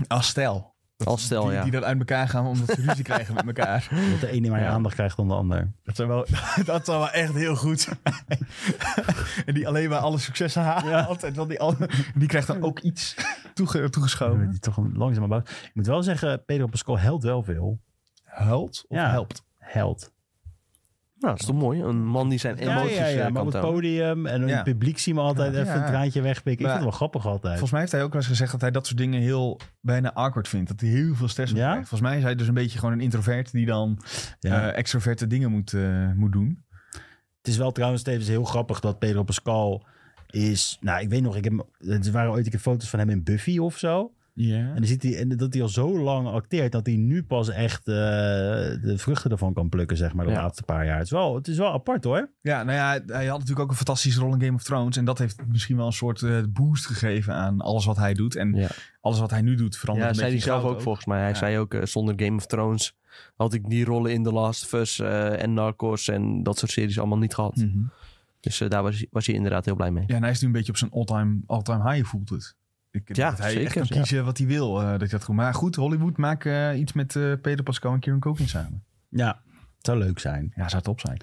A: Als stel.
B: Als stel,
A: die,
B: Oh, ja.
A: Die dan uit elkaar gaan omdat ze ruzie krijgen met elkaar.
C: Dat de ene maar
B: Ja.
C: aandacht krijgt dan de ander.
A: Dat zou wel, dat zou wel echt heel goed zijn. en die alleen maar alle succes haalt. En dan die, andere- die krijgt dan ook iets toege- toegeschoven.
C: Die toch een- langzaam maar bouwt. Ik moet wel zeggen, Pedro Pascal helpt wel veel.
A: Huilt of
C: Ja.
A: helpt?
C: Held.
B: Nou, dat is toch mooi? Een man die zijn
C: Ja,
B: emoties
C: ja, ja,
B: eh,
C: maar
B: kan
C: op het
B: tonen.
C: podium en in
A: Ja.
C: het publiek zien we altijd
A: Ja.
C: even
A: Ja.
C: een traantje wegpikken.
A: Maar-
C: ik vind het wel grappig altijd.
A: Volgens mij heeft hij ook wel eens gezegd dat hij dat soort dingen heel bijna awkward vindt. Dat hij heel veel stress op
C: Ja?
A: krijgt. Volgens mij is hij dus een beetje gewoon een introvert die dan
C: Ja.
A: eh, extroverte dingen moet, eh, moet doen.
C: Het is wel trouwens tevens heel grappig dat Pedro Pascal is... Nou, ik weet nog, ik heb, er waren ooit een keer foto's van hem in Buffy of zo.
A: Ja.
C: En dan ziet hij en dat hij al zo lang acteert dat hij nu pas echt eh, de vruchten ervan kan plukken, zeg maar, de
B: Ja.
C: laatste paar jaar. Het is wel, het is wel apart hoor.
A: Ja, nou ja, hij had natuurlijk ook een fantastische rol in Game of Thrones. En dat heeft misschien wel een soort eh, boost gegeven aan alles wat hij doet. En
B: Ja.
A: alles wat hij nu doet verandert
B: Ja,
A: een
B: zei hij
A: beetje in
B: zelf ook,
A: goud
B: volgens mij. Hij
A: Ja.
B: zei ook, eh, zonder Game of Thrones had ik die rollen in The Last of Us eh, en Narcos en dat soort series allemaal niet
C: Hm.
B: gehad.
A: Mhm.
B: Dus eh, daar was, was hij inderdaad heel blij mee.
A: Ja, en hij is nu een beetje op zijn all-time all high, voelt het. Ik,
B: Ja,
A: dat hij echt
B: zeker,
A: kan kiezen wat hij wil. eh, dat hij dat goed. Maar goed, Hollywood, maak eh, iets met eh Peter Pascal en Kieran Culkin samen.
C: Ja, het zou leuk zijn.
A: Ja, zou top zijn.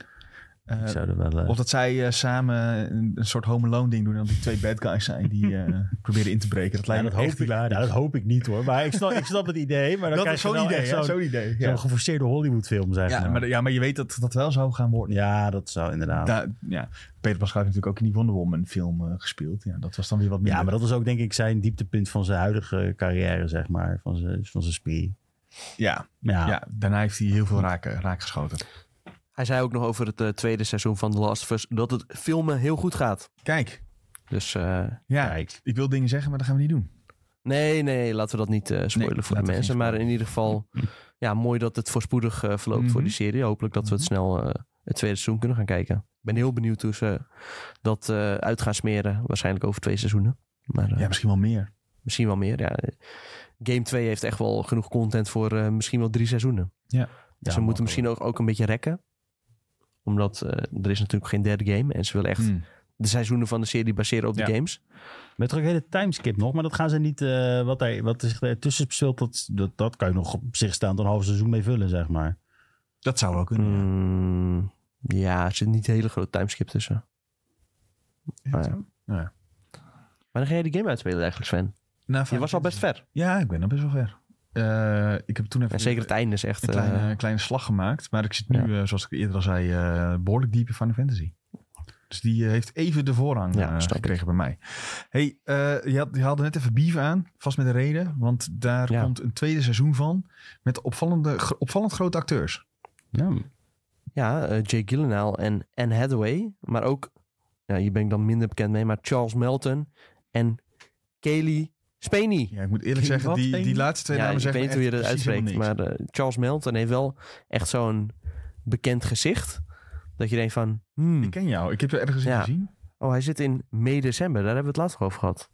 A: Eh,
C: Ik zou er wel, eh,
A: of dat zij eh, samen een, een soort home alone ding doen. En dat die twee bad guys zijn die eh, proberen in te breken. Dat
C: ja,
A: lijkt
C: dat,
A: me
C: hoop
A: echt
C: ik, ja, dat hoop ik niet hoor. Maar ik snap, ik snap het idee. Maar dan
A: Dat
C: krijg
A: is
C: je
A: zo'n
C: wel
A: idee,
C: echt
A: hè?
C: zo'n-
A: zo'n idee.
C: Zo'n
A: Ja.
C: geforceerde Hollywood-film, zeg
A: Ja, maar, ja, maar je weet dat dat wel zou gaan worden.
C: ja, dat zou inderdaad.
A: Da- ja. Peter Pascal heeft natuurlijk ook in die Wonder Woman film eh, gespeeld. Ja, dat was dan weer wat minder.
C: ja, maar dat was ook denk ik zijn dieptepunt van zijn huidige carrière, zeg maar. Van zijn, van zijn spie.
A: ja,
C: Ja,
A: ja, daarna heeft hij heel veel raken, raakgeschoten.
B: Hij zei ook nog over het eh, tweede seizoen van The Last of Us dat het filmen heel goed gaat.
A: Kijk,
B: Dus eh,
A: ja,
C: kijk.
A: ik wil dingen zeggen, maar dat gaan we niet doen.
B: nee, nee, laten we dat niet eh, spoilen
A: Nee,
B: voor de
A: laten we geen
B: mensen.
A: Mm-hmm.
B: Maar in ieder geval, ja, mooi dat het voorspoedig eh, verloopt voor
A: Mhm.
B: die serie. Hopelijk dat we het
A: Mm-hmm.
B: snel eh, het tweede seizoen kunnen gaan kijken. Ik ben heel benieuwd hoe ze dat eh, uit gaan smeren. Waarschijnlijk over twee seizoenen. Maar eh,
A: Ja, misschien wel meer.
B: misschien wel meer. Ja. Game 2 heeft echt wel genoeg content voor eh, misschien wel drie seizoenen. ze
C: Ja,
B: moeten
C: makkelijk.
B: misschien ook, ook een beetje rekken. Omdat eh, er is natuurlijk geen derde game. En ze willen echt
A: Hmm.
B: de seizoenen van de serie baseren op
A: Ja.
B: de games.
C: Met er ook een hele timeskip nog, maar dat gaan ze niet. eh, wat, hij, wat zich ertussen speelt, dat, dat, dat kan je nog op zich staand een half seizoen mee vullen, zeg maar.
A: Dat zou wel kunnen. ja.
B: Mm, ja, er zit niet een hele grote timeskip tussen.
A: Ja,
B: ja.
A: zo. Ja.
B: Maar dan ga jij die game uitspelen eigenlijk, Sven.
A: Nou,
B: Je was al best ver.
A: Ja, ik ben al best wel ver. Eh, ik heb toen even
B: En zeker het einde is echt...
A: een
B: eh,
A: kleine, kleine slag gemaakt. Maar ik zit nu, eh, zoals ik eerder al zei, eh, behoorlijk diep in Final Fantasy. Dus die eh, heeft even de voorrang
B: Ja,
A: eh,
B: snap ik.
A: gekregen bij mij. hey, eh, je, had- je haalde net even Beef aan. Vast met een reden. Want daar
B: Ja.
A: komt een tweede seizoen van. Met opvallende, gro- opvallend grote acteurs.
C: Ja,
B: ja, eh, Jake Gyllenhaal en Anne Hathaway. Maar ook, ja, hier ben ik dan minder bekend mee, maar Charles Melton en Kaylee Spaney.
A: Ja, ik moet eerlijk
C: Die
A: zeggen,
C: wat,
A: die, die
C: Amy?
A: laatste twee
B: ja,
A: namen
B: ik
A: zeggen
B: weet niet hoe je
A: me
B: dat
A: echt precies
B: uitspreekt,
A: helemaal
B: maar eh, Charles Melton heeft wel echt zo'n bekend gezicht. Dat je denkt van, hmm,
A: niks. Ik ken jou. Ik heb je ergens in
B: Ja.
A: gezien.
B: oh, hij zit in mei-december. Daar hebben we het laatst nog over gehad.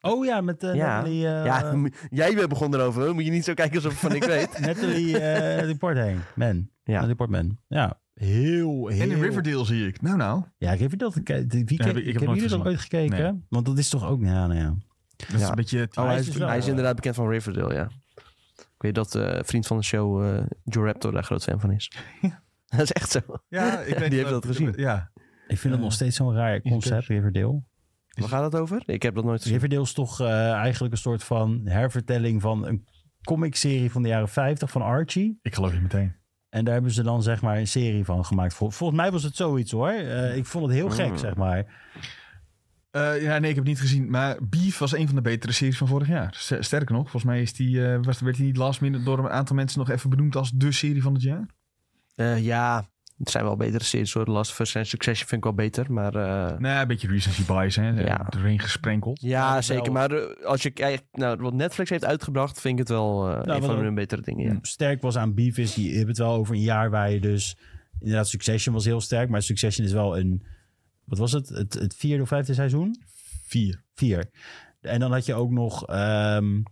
C: Oh ja, met eh,
B: Ja.
C: Natalie, eh,
B: ja, m- jij bent begonnen erover. Dan moet je niet zo kijken alsof ik van ik weet.
C: Natalie eh Portman. Man.
B: Ja.
C: Natalie Portman. Ja. Heel, heel.
A: En in Riverdale zie ik. Nou, nou.
C: Ja, ik heb je dat gekeken. Wie keek-
A: heb ik- ik heb
C: hebben
A: nooit
C: jullie dat
A: gezien.
C: ooit gekeken?
A: Nee.
C: Want dat is toch ook. Ja, nou ja.
A: Dat is
B: Ja.
A: een beetje...
B: Oh, hij,
C: is
B: is,
C: dus wel,
B: hij is
C: eh,
B: inderdaad bekend van Riverdale, ja. Ik weet dat eh, vriend van de show, eh Joe Raptor, daar groot fan van is. Dat is echt zo.
A: Ja, ik weet
B: Die heeft
A: wel-
B: dat gezien.
A: Ja.
C: Ik vind dat
A: Eh,
C: nog steeds zo'n raar concept, Riverdale.
B: Waar gaat dat over? Ik heb dat nooit gezien.
C: Riverdale is toch eh, eigenlijk een soort van hervertelling van een comicserie van de jaren 50 van Archie.
A: Ik geloof je meteen.
C: En daar hebben ze dan zeg maar een serie van gemaakt. Vol- volgens mij was het zoiets hoor. Eh, ik vond het heel
A: Hmm.
C: gek, zeg maar.
A: Eh, ja, nee, ik heb het niet gezien. Maar Beef was een van de betere series van vorig jaar. S- Sterker nog, volgens mij is die, eh, was, werd die niet last minute door een aantal mensen nog even benoemd als de serie van het jaar.
B: Eh, ja, het zijn wel betere series. Hoor. The Last of Us en Succession vind ik wel beter, maar... eh,
A: Nou, een beetje recency bias, hè.
B: Ja.
A: Erin gesprenkeld.
B: Ja,
C: wel-
B: zeker. Maar eh, als je kijkt naar wat Netflix heeft uitgebracht, vind ik het wel eh, een
C: want
B: van
C: dan-
B: hun betere dingen. Ja.
C: Mm, Sterk was aan Beef is, je hebt het wel over een jaar waar je dus... Inderdaad, Succession was heel sterk. Maar Succession is wel een... Wat was het? Het, het vierde of vijfde seizoen?
A: Vier.
C: Vier. En dan had je ook nog... ehm,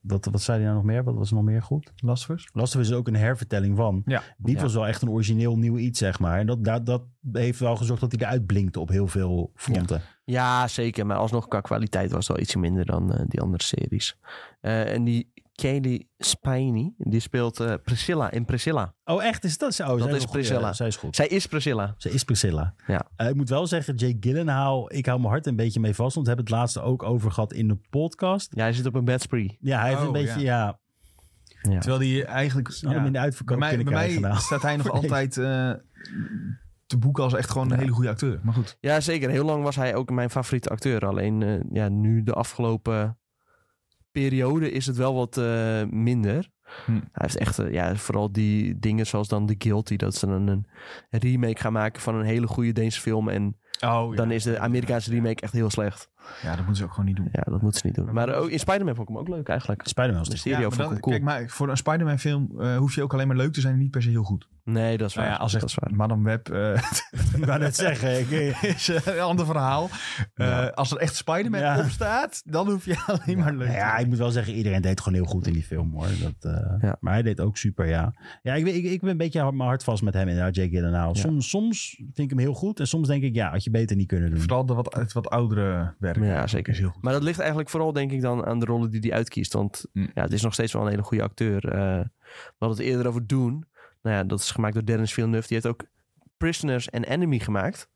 C: wat, wat zei hij nou nog meer? Wat was er nog meer goed?
A: Last of Us?
C: Last of Us is ook een hervertelling van.
A: Ja.
C: Beef
B: Ja.
C: was wel echt een origineel nieuw iets, zeg maar. En dat, dat, dat heeft wel gezorgd dat hij eruit blinkte op heel veel fronten.
B: ja, zeker. Maar alsnog qua kwaliteit was het wel ietsje minder dan eh, die andere series. Eh, en die Kaylee Spiney, die speelt eh, Priscilla in Priscilla.
C: Oh, echt? Is dat zo?
B: Dat
C: Zij
B: is
C: een goeie.
B: Priscilla.
C: Zij is goed.
B: Zij is Priscilla.
C: Ze is Priscilla.
B: Ja.
C: Eh, ik moet wel zeggen, Jake Gyllenhaal, ik hou mijn hart een beetje mee vast. Want we hebben het laatste ook over gehad in de podcast.
B: Ja, hij zit op een bad spree.
C: Ja, hij heeft
A: Oh,
C: een beetje, ja,
B: Ja.
A: Terwijl die eigenlijk...
C: ze hadden hem in de
A: bij
C: uitverkoop
A: mij,
C: kunnen
A: bij mij
C: krijgen. nou.
A: staat hij nog
C: Voor deze.
A: altijd eh, te boeken als echt gewoon een
B: Ja.
A: hele goede acteur. Maar goed.
B: Ja, zeker. Heel lang was hij ook mijn favoriete acteur. Alleen eh, ja, nu de afgelopen periode is het wel wat eh, minder.
A: Hm.
B: Hij heeft echt, eh, ja, vooral die dingen zoals dan The Guilty. Dat ze dan een remake gaan maken van een hele goede Deense film. En
A: Oh, ja.
B: dan is de Amerikaanse remake echt heel slecht.
A: Ja, dat moeten ze ook gewoon niet doen.
B: Ja, dat moeten ze niet doen. Maar ook in Spider-Man vond ik hem ook leuk eigenlijk.
C: Spider-Man was dit.
B: Mysterio
A: Ja, maar
B: vond ik
A: dat-
B: hem cool.
A: Kijk, maar voor een Spider-Man film eh, hoef je ook alleen maar leuk te zijn en niet per se heel goed.
B: nee, dat is waar.
A: Nou ja, als
B: dat
A: echt
B: is waar.
A: Madame Web eh,
C: Ik wou net zeggen. Ik,
A: is eh, een ander verhaal. Eh, Als er echt Spider-Man
C: Ja.
A: op staat, dan hoef je alleen maar leuk
C: Nou
A: te
C: ja,
A: zijn.
C: ik moet wel zeggen, iedereen deed gewoon heel goed in die film hoor. Dat, eh,
B: Ja.
C: Maar hij deed ook super, ja. Ja, ik, ben- ik, ik ben een beetje hard, mijn hart vast met hem inderdaad, Jake Gyllenhaal.
B: Ja.
C: Soms, soms vind ik hem heel goed en soms denk ik, ja, had je beter niet kunnen doen.
A: Vooral de wat, het wat oudere werk.
B: Ja, zeker.
A: Is heel goed.
B: Maar dat ligt eigenlijk vooral, denk ik, dan aan de rollen die hij uitkiest. Want
A: Mm.
B: ja, het is nog steeds wel een hele goede acteur. Eh, we hadden het eerder over Doen. Nou ja, dat is gemaakt door Dennis Villeneuve. Die heeft ook Prisoners en Enemy gemaakt.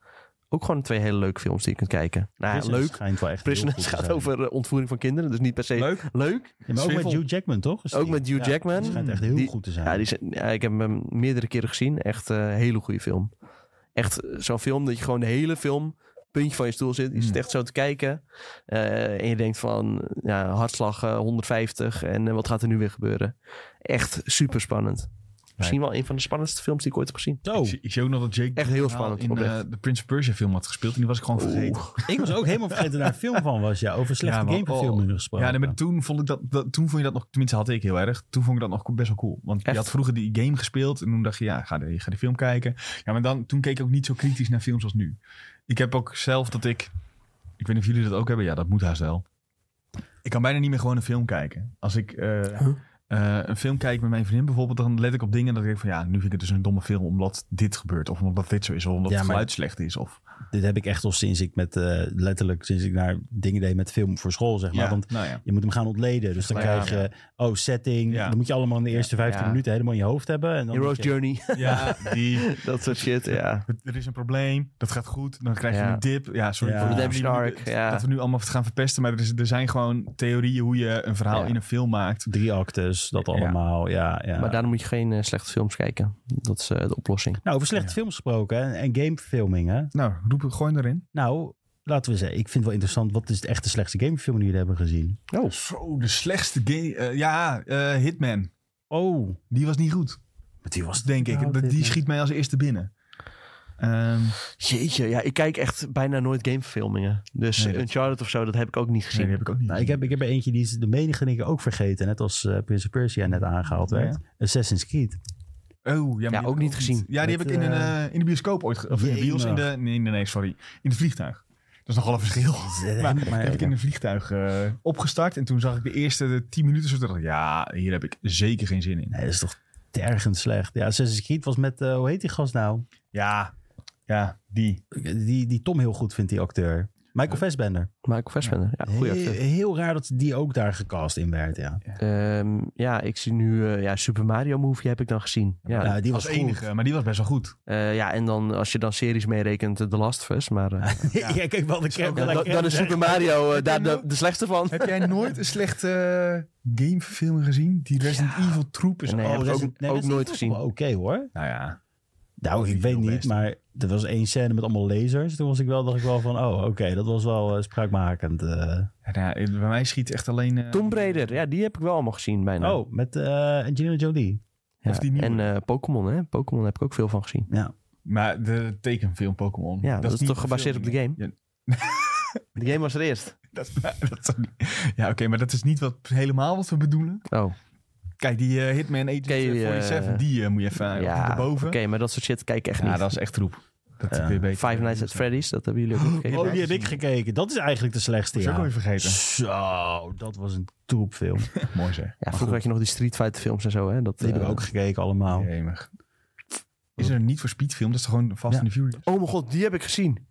B: Ook gewoon twee hele leuke films die je kunt kijken. Nou ja,
C: Prisoners
B: leuk.
C: schijnt wel echt heel goed
B: Prisoners
C: te
B: gaat
C: zijn.
B: over eh, ontvoering van kinderen. Dus niet per se leuk.
A: Leuk.
C: Ja, maar ook met
A: Swivel.
C: Hugh Jackman, toch? Is
B: Ook
C: die-
B: met Hugh
C: Ja,
B: Jackman.
C: die schijnt echt heel
B: Die-
C: goed te zijn.
B: Ja, die zijn, ja, ik heb hem meerdere keren gezien. Echt eh, een hele goede film. Echt eh, zo'n film dat je gewoon de hele film puntje van je stoel zit. Je
A: Mm.
B: zit echt zo te kijken. eh, en je denkt van, ja, hartslag eh, 150. En eh, wat gaat er nu weer gebeuren? Echt super spannend. Misschien wel een van de spannendste films die ik ooit heb gezien.
C: Zo,
A: Ik, zie, ik zie ook nog dat Jake
B: Echt heel
A: Gyllenhaal
B: spannend,
A: in eh,
B: oprecht.
A: de Prince of Persia film had gespeeld. En die was ik gewoon vergeten.
C: ik was ook helemaal vergeten daar een film van was. Ja, over slechte
A: Ja, maar-
C: gameplayfilmen
A: oh.
C: gesproken.
A: Ja, nee, maar toen vond ik dat, dat, toen vond je dat nog, tenminste had ik heel erg, toen vond ik dat nog best wel cool. Want
B: Echt?
A: je had vroeger die game gespeeld en toen dacht je, ja, ga de, ga de film kijken. Ja, maar dan, toen keek ik ook niet zo kritisch naar films als nu. Ik heb ook zelf dat ik, ik weet niet of jullie dat ook hebben, ja, dat moet haast wel. Ik kan bijna niet meer gewoon een film kijken. Als ik eh, eh, een film kijk met mijn vriendin bijvoorbeeld, dan let ik op dingen dat ik denk van, ja, nu vind ik het dus een domme film omdat dit gebeurt. Of omdat dit zo is, of omdat
C: Ja,
A: het
C: maar-
A: geluid slecht is. Of,
C: Dit heb ik echt al sinds ik met, eh, letterlijk, sinds ik naar dingen deed met film voor school, zeg maar. Want
A: nou ja.
C: Je moet hem gaan ontleden. Dus dan
A: Ja,
C: krijg je, oh, setting.
A: Ja.
C: Dan moet je allemaal in de eerste 15
B: Ja.
C: minuten helemaal in je hoofd hebben. En dan
B: Hero's
C: moet je-
B: Journey.
A: ja, die...
B: dat soort shit, ja.
A: Het- Er is een probleem, dat gaat goed, dan krijg je
B: Ja.
A: een dip. Ja, sorry
C: Ja.
A: voor de
B: Redemption
A: die-
B: arc, ja.
A: dat we nu allemaal gaan verpesten. Maar er, is, er zijn gewoon theorieën hoe je een verhaal
B: Ja.
A: in een film maakt.
C: Drie actes, dat
A: Ja.
C: allemaal. Ja, ja.
B: Maar daarom moet je geen eh, slechte films kijken. Dat is eh, de oplossing.
C: Nou, over slechte
A: Ja.
C: films gesproken hè, en gameverfilming. Hè?
A: Nou, roep het gewoon erin.
C: Nou, laten we zeggen, ik vind het wel interessant. Wat is de echte slechtste gamefilm die jullie hebben gezien?
B: Oh.
A: Zo, de slechtste game. eh, ja, eh, Hitman.
C: Oh,
A: Die was niet goed,
C: maar die was
A: denk ik.
C: Nou,
A: Dat- die
C: Hitman.
A: schiet mij als eerste binnen. Ehm,
B: Jeetje, ja, ik kijk echt bijna nooit gameverfilmingen. Dus
A: Nee, dat-
B: Uncharted of zo, dat heb ik ook niet
A: nee,
B: gezien.
A: die heb ik ook niet.
C: Nou, ik, heb, ik heb er eentje die is de menige denk ik ook vergeten. Net als eh Prince of Persia net aangehaald
A: Ja.
C: werd. Assassin's Creed.
A: Oh, ja, maar die heb
B: ook
A: ik
B: niet gezien.
A: Ja, die
C: Met,
A: heb ik in, een,
C: eh,
A: eh, in de bioscoop ooit ge- Of in de bios. In de, nee, nee, nee, sorry. In het vliegtuig. Dat is nogal een verschil. Maar,
C: maar-
A: heb ik in een vliegtuig eh, opgestart. En toen zag ik de eerste 10 minuten. Zo dacht ik, ja, hier heb ik zeker geen zin in.
C: Nee, dat is toch tergend slecht. Ja, Assassin's Creed was met, eh, hoe heet die gast nou?
A: Ja, ja, die.
C: Die, die Tom heel goed vindt, die acteur. Michael Fassbender.
B: Michael Fassbender, ja, goeie
C: Heel,
B: acteur.
C: heel raar dat die ook daar gecast in werd, ja.
B: Ehm, ja, ik zie nu eh, ja, Super Mario Movie heb ik dan gezien. Ja,
C: Ja, Nou, die
A: Als
C: was
A: enige, maar die was best wel goed.
B: Eh, ja en dan als je dan series meerekent, eh, The Last of Us. Maar eh,
C: Ja, kijk wel, de
B: ja, dan, dan is Super Mario eh, daar de, de slechtste van.
A: Heb jij nooit een slechte gameverfilming gezien? Die Resident Evil troep is...
B: Nee,
A: oh,
B: heb ik
A: dat-
B: ook- ook nooit gezien.
C: Oké hoor.
A: Nou ja.
C: Nou, ik
A: Niet
C: weet
A: heel
C: niet,
A: best.
C: maar er was één scène met allemaal lasers. Toen was ik wel, dacht ik wel van, oh, oké, dat was wel eh, spraakmakend. eh.
A: Ja, nou, bij mij schiet echt alleen... eh,
B: Tomb Raider, ja, die heb ik wel allemaal gezien bijna.
C: Oh, met eh Angelina Jolie.
B: Ja,
A: of die nieuwe.
B: En eh, Pokémon, hè. Pokémon heb ik ook veel van gezien.
C: Ja.
A: Maar de tekenfilm Pokémon.
B: Ja, dat, is,
A: niet
B: toch gebaseerd op de game?
A: Ja,
B: De game was er eerst.
A: dat, dat is ook niet- ja, oké, maar dat is niet wat, helemaal wat we bedoelen.
B: Oh,
A: Kijk, die eh, Hitman Agent
B: Ken je,
A: eh, 47,
B: eh,
A: die eh, moet je even eh,
B: ja, oké,
A: erboven.
B: maar dat soort shit kijk ik echt
A: ja,
B: niet.
A: dat is echt troep. Dat
C: Ja.
A: kun je beter-
B: Five Nights at Freddy's, dat hebben jullie ook gekeken.
C: Oh, die heb ik gekeken. Dat is eigenlijk de slechtste,
A: Dat is ook
C: ja.
A: weer vergeten.
C: Zo, dat was een troepfilm.
A: Mooi zeg.
B: Ja, vroeger had je nog die Street Fighter films en zo, hè. Dat,
C: Die heb ik
B: eh,
C: ook gekeken allemaal.
A: Jemig. Oh. Is er een niet voor Speed film? Dat is toch gewoon Fast
C: Ja.
A: and the Furious?
B: Oh mijn god, die heb ik gezien.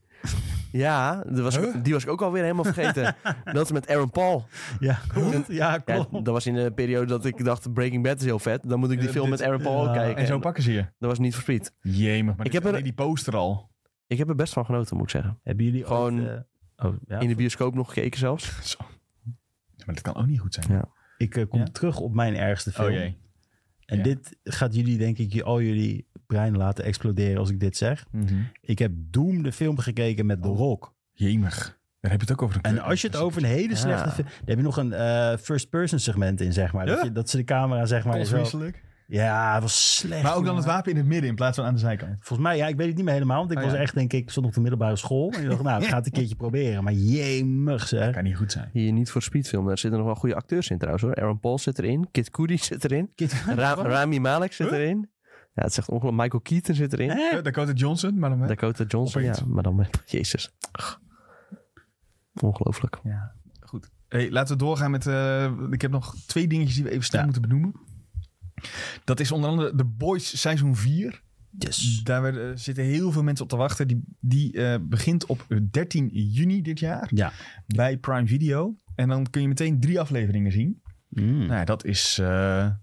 B: Ja, die was, ik- die was ik ook alweer helemaal vergeten. dat is met Aaron Paul.
C: Ja, klopt. Ja,
B: Ja,
C: klopt.
B: dat was in de periode dat ik dacht, Breaking Bad is heel vet. Dan moet ik die
A: Eh,
B: film
A: dit-
B: met Aaron Paul
C: ja,
B: ook kijken.
A: En zo
B: En
A: pakken ze je.
B: Dat was niet verspied.
A: Jemig, maar
B: Ik
A: dit-
B: heb er-
A: nee, die poster al.
B: Ik heb er best van genoten, moet ik zeggen.
C: Hebben jullie
B: Gewoon
C: ooit, eh, oh, ja.
B: In de bioscoop nog gekeken zelfs.
A: Zo. Ja, Maar dat kan ook niet goed zijn.
B: Ja.
C: Ik eh, kom
A: Ja.
C: terug op mijn ergste film.
A: Oh jee.
C: En
A: Ja.
C: dit gaat jullie, denk ik, je- al jullie brein laten exploderen als ik dit zeg. Ik heb Doom de film gekeken met The
A: Oh.
C: Rock.
A: Jemig. Daar heb je het ook over. Een
C: En als je het over een hele
B: Ja.
C: slechte film... Daar heb je nog een eh, first-person segment in, zeg maar.
A: Ja?
C: Dat, je, dat ze de camera, zeg maar... zo- Ja, het was slecht.
A: Maar ook dan het
C: jongen.
A: wapen in het midden in plaats van aan de zijkant.
C: Volgens mij, ja, ik weet het niet meer helemaal. Want ik
A: Oh,
C: was
A: ja.
C: echt, denk ik, stond op de middelbare school. En ik dacht, nou, ik ga het een keertje proberen. Maar jemig, zeg.
A: Kan niet goed zijn.
B: Hier niet voor speedfilm. Daar zitten nog wel goede acteurs in trouwens hoor. Aaron Paul zit erin. Kid Cudi zit erin. Ra- Rami Malek zit
A: Huh?
B: erin. Ja, het is echt ongelooflijk. Michael Keaton zit erin.
A: Eh, Dakota Johnson, maar dan met-
B: Dakota Johnson.
A: Opeens.
B: Ja, maar dan met... Jezus. Ach. Ongelooflijk.
A: Ja, goed. Hey, laten we doorgaan met... eh, ik heb nog twee dingetjes die we even snel
C: Ja.
A: moeten benoemen. Dat is onder andere The Boys seizoen 4.
C: Yes.
A: Daar werden- eh, zitten heel veel mensen op te wachten. Die, die eh, begint op 13 juni dit jaar
C: Ja.
A: bij Prime Video. En dan kun je meteen drie afleveringen zien.
C: Mm.
A: Nou ja, dat is... eh,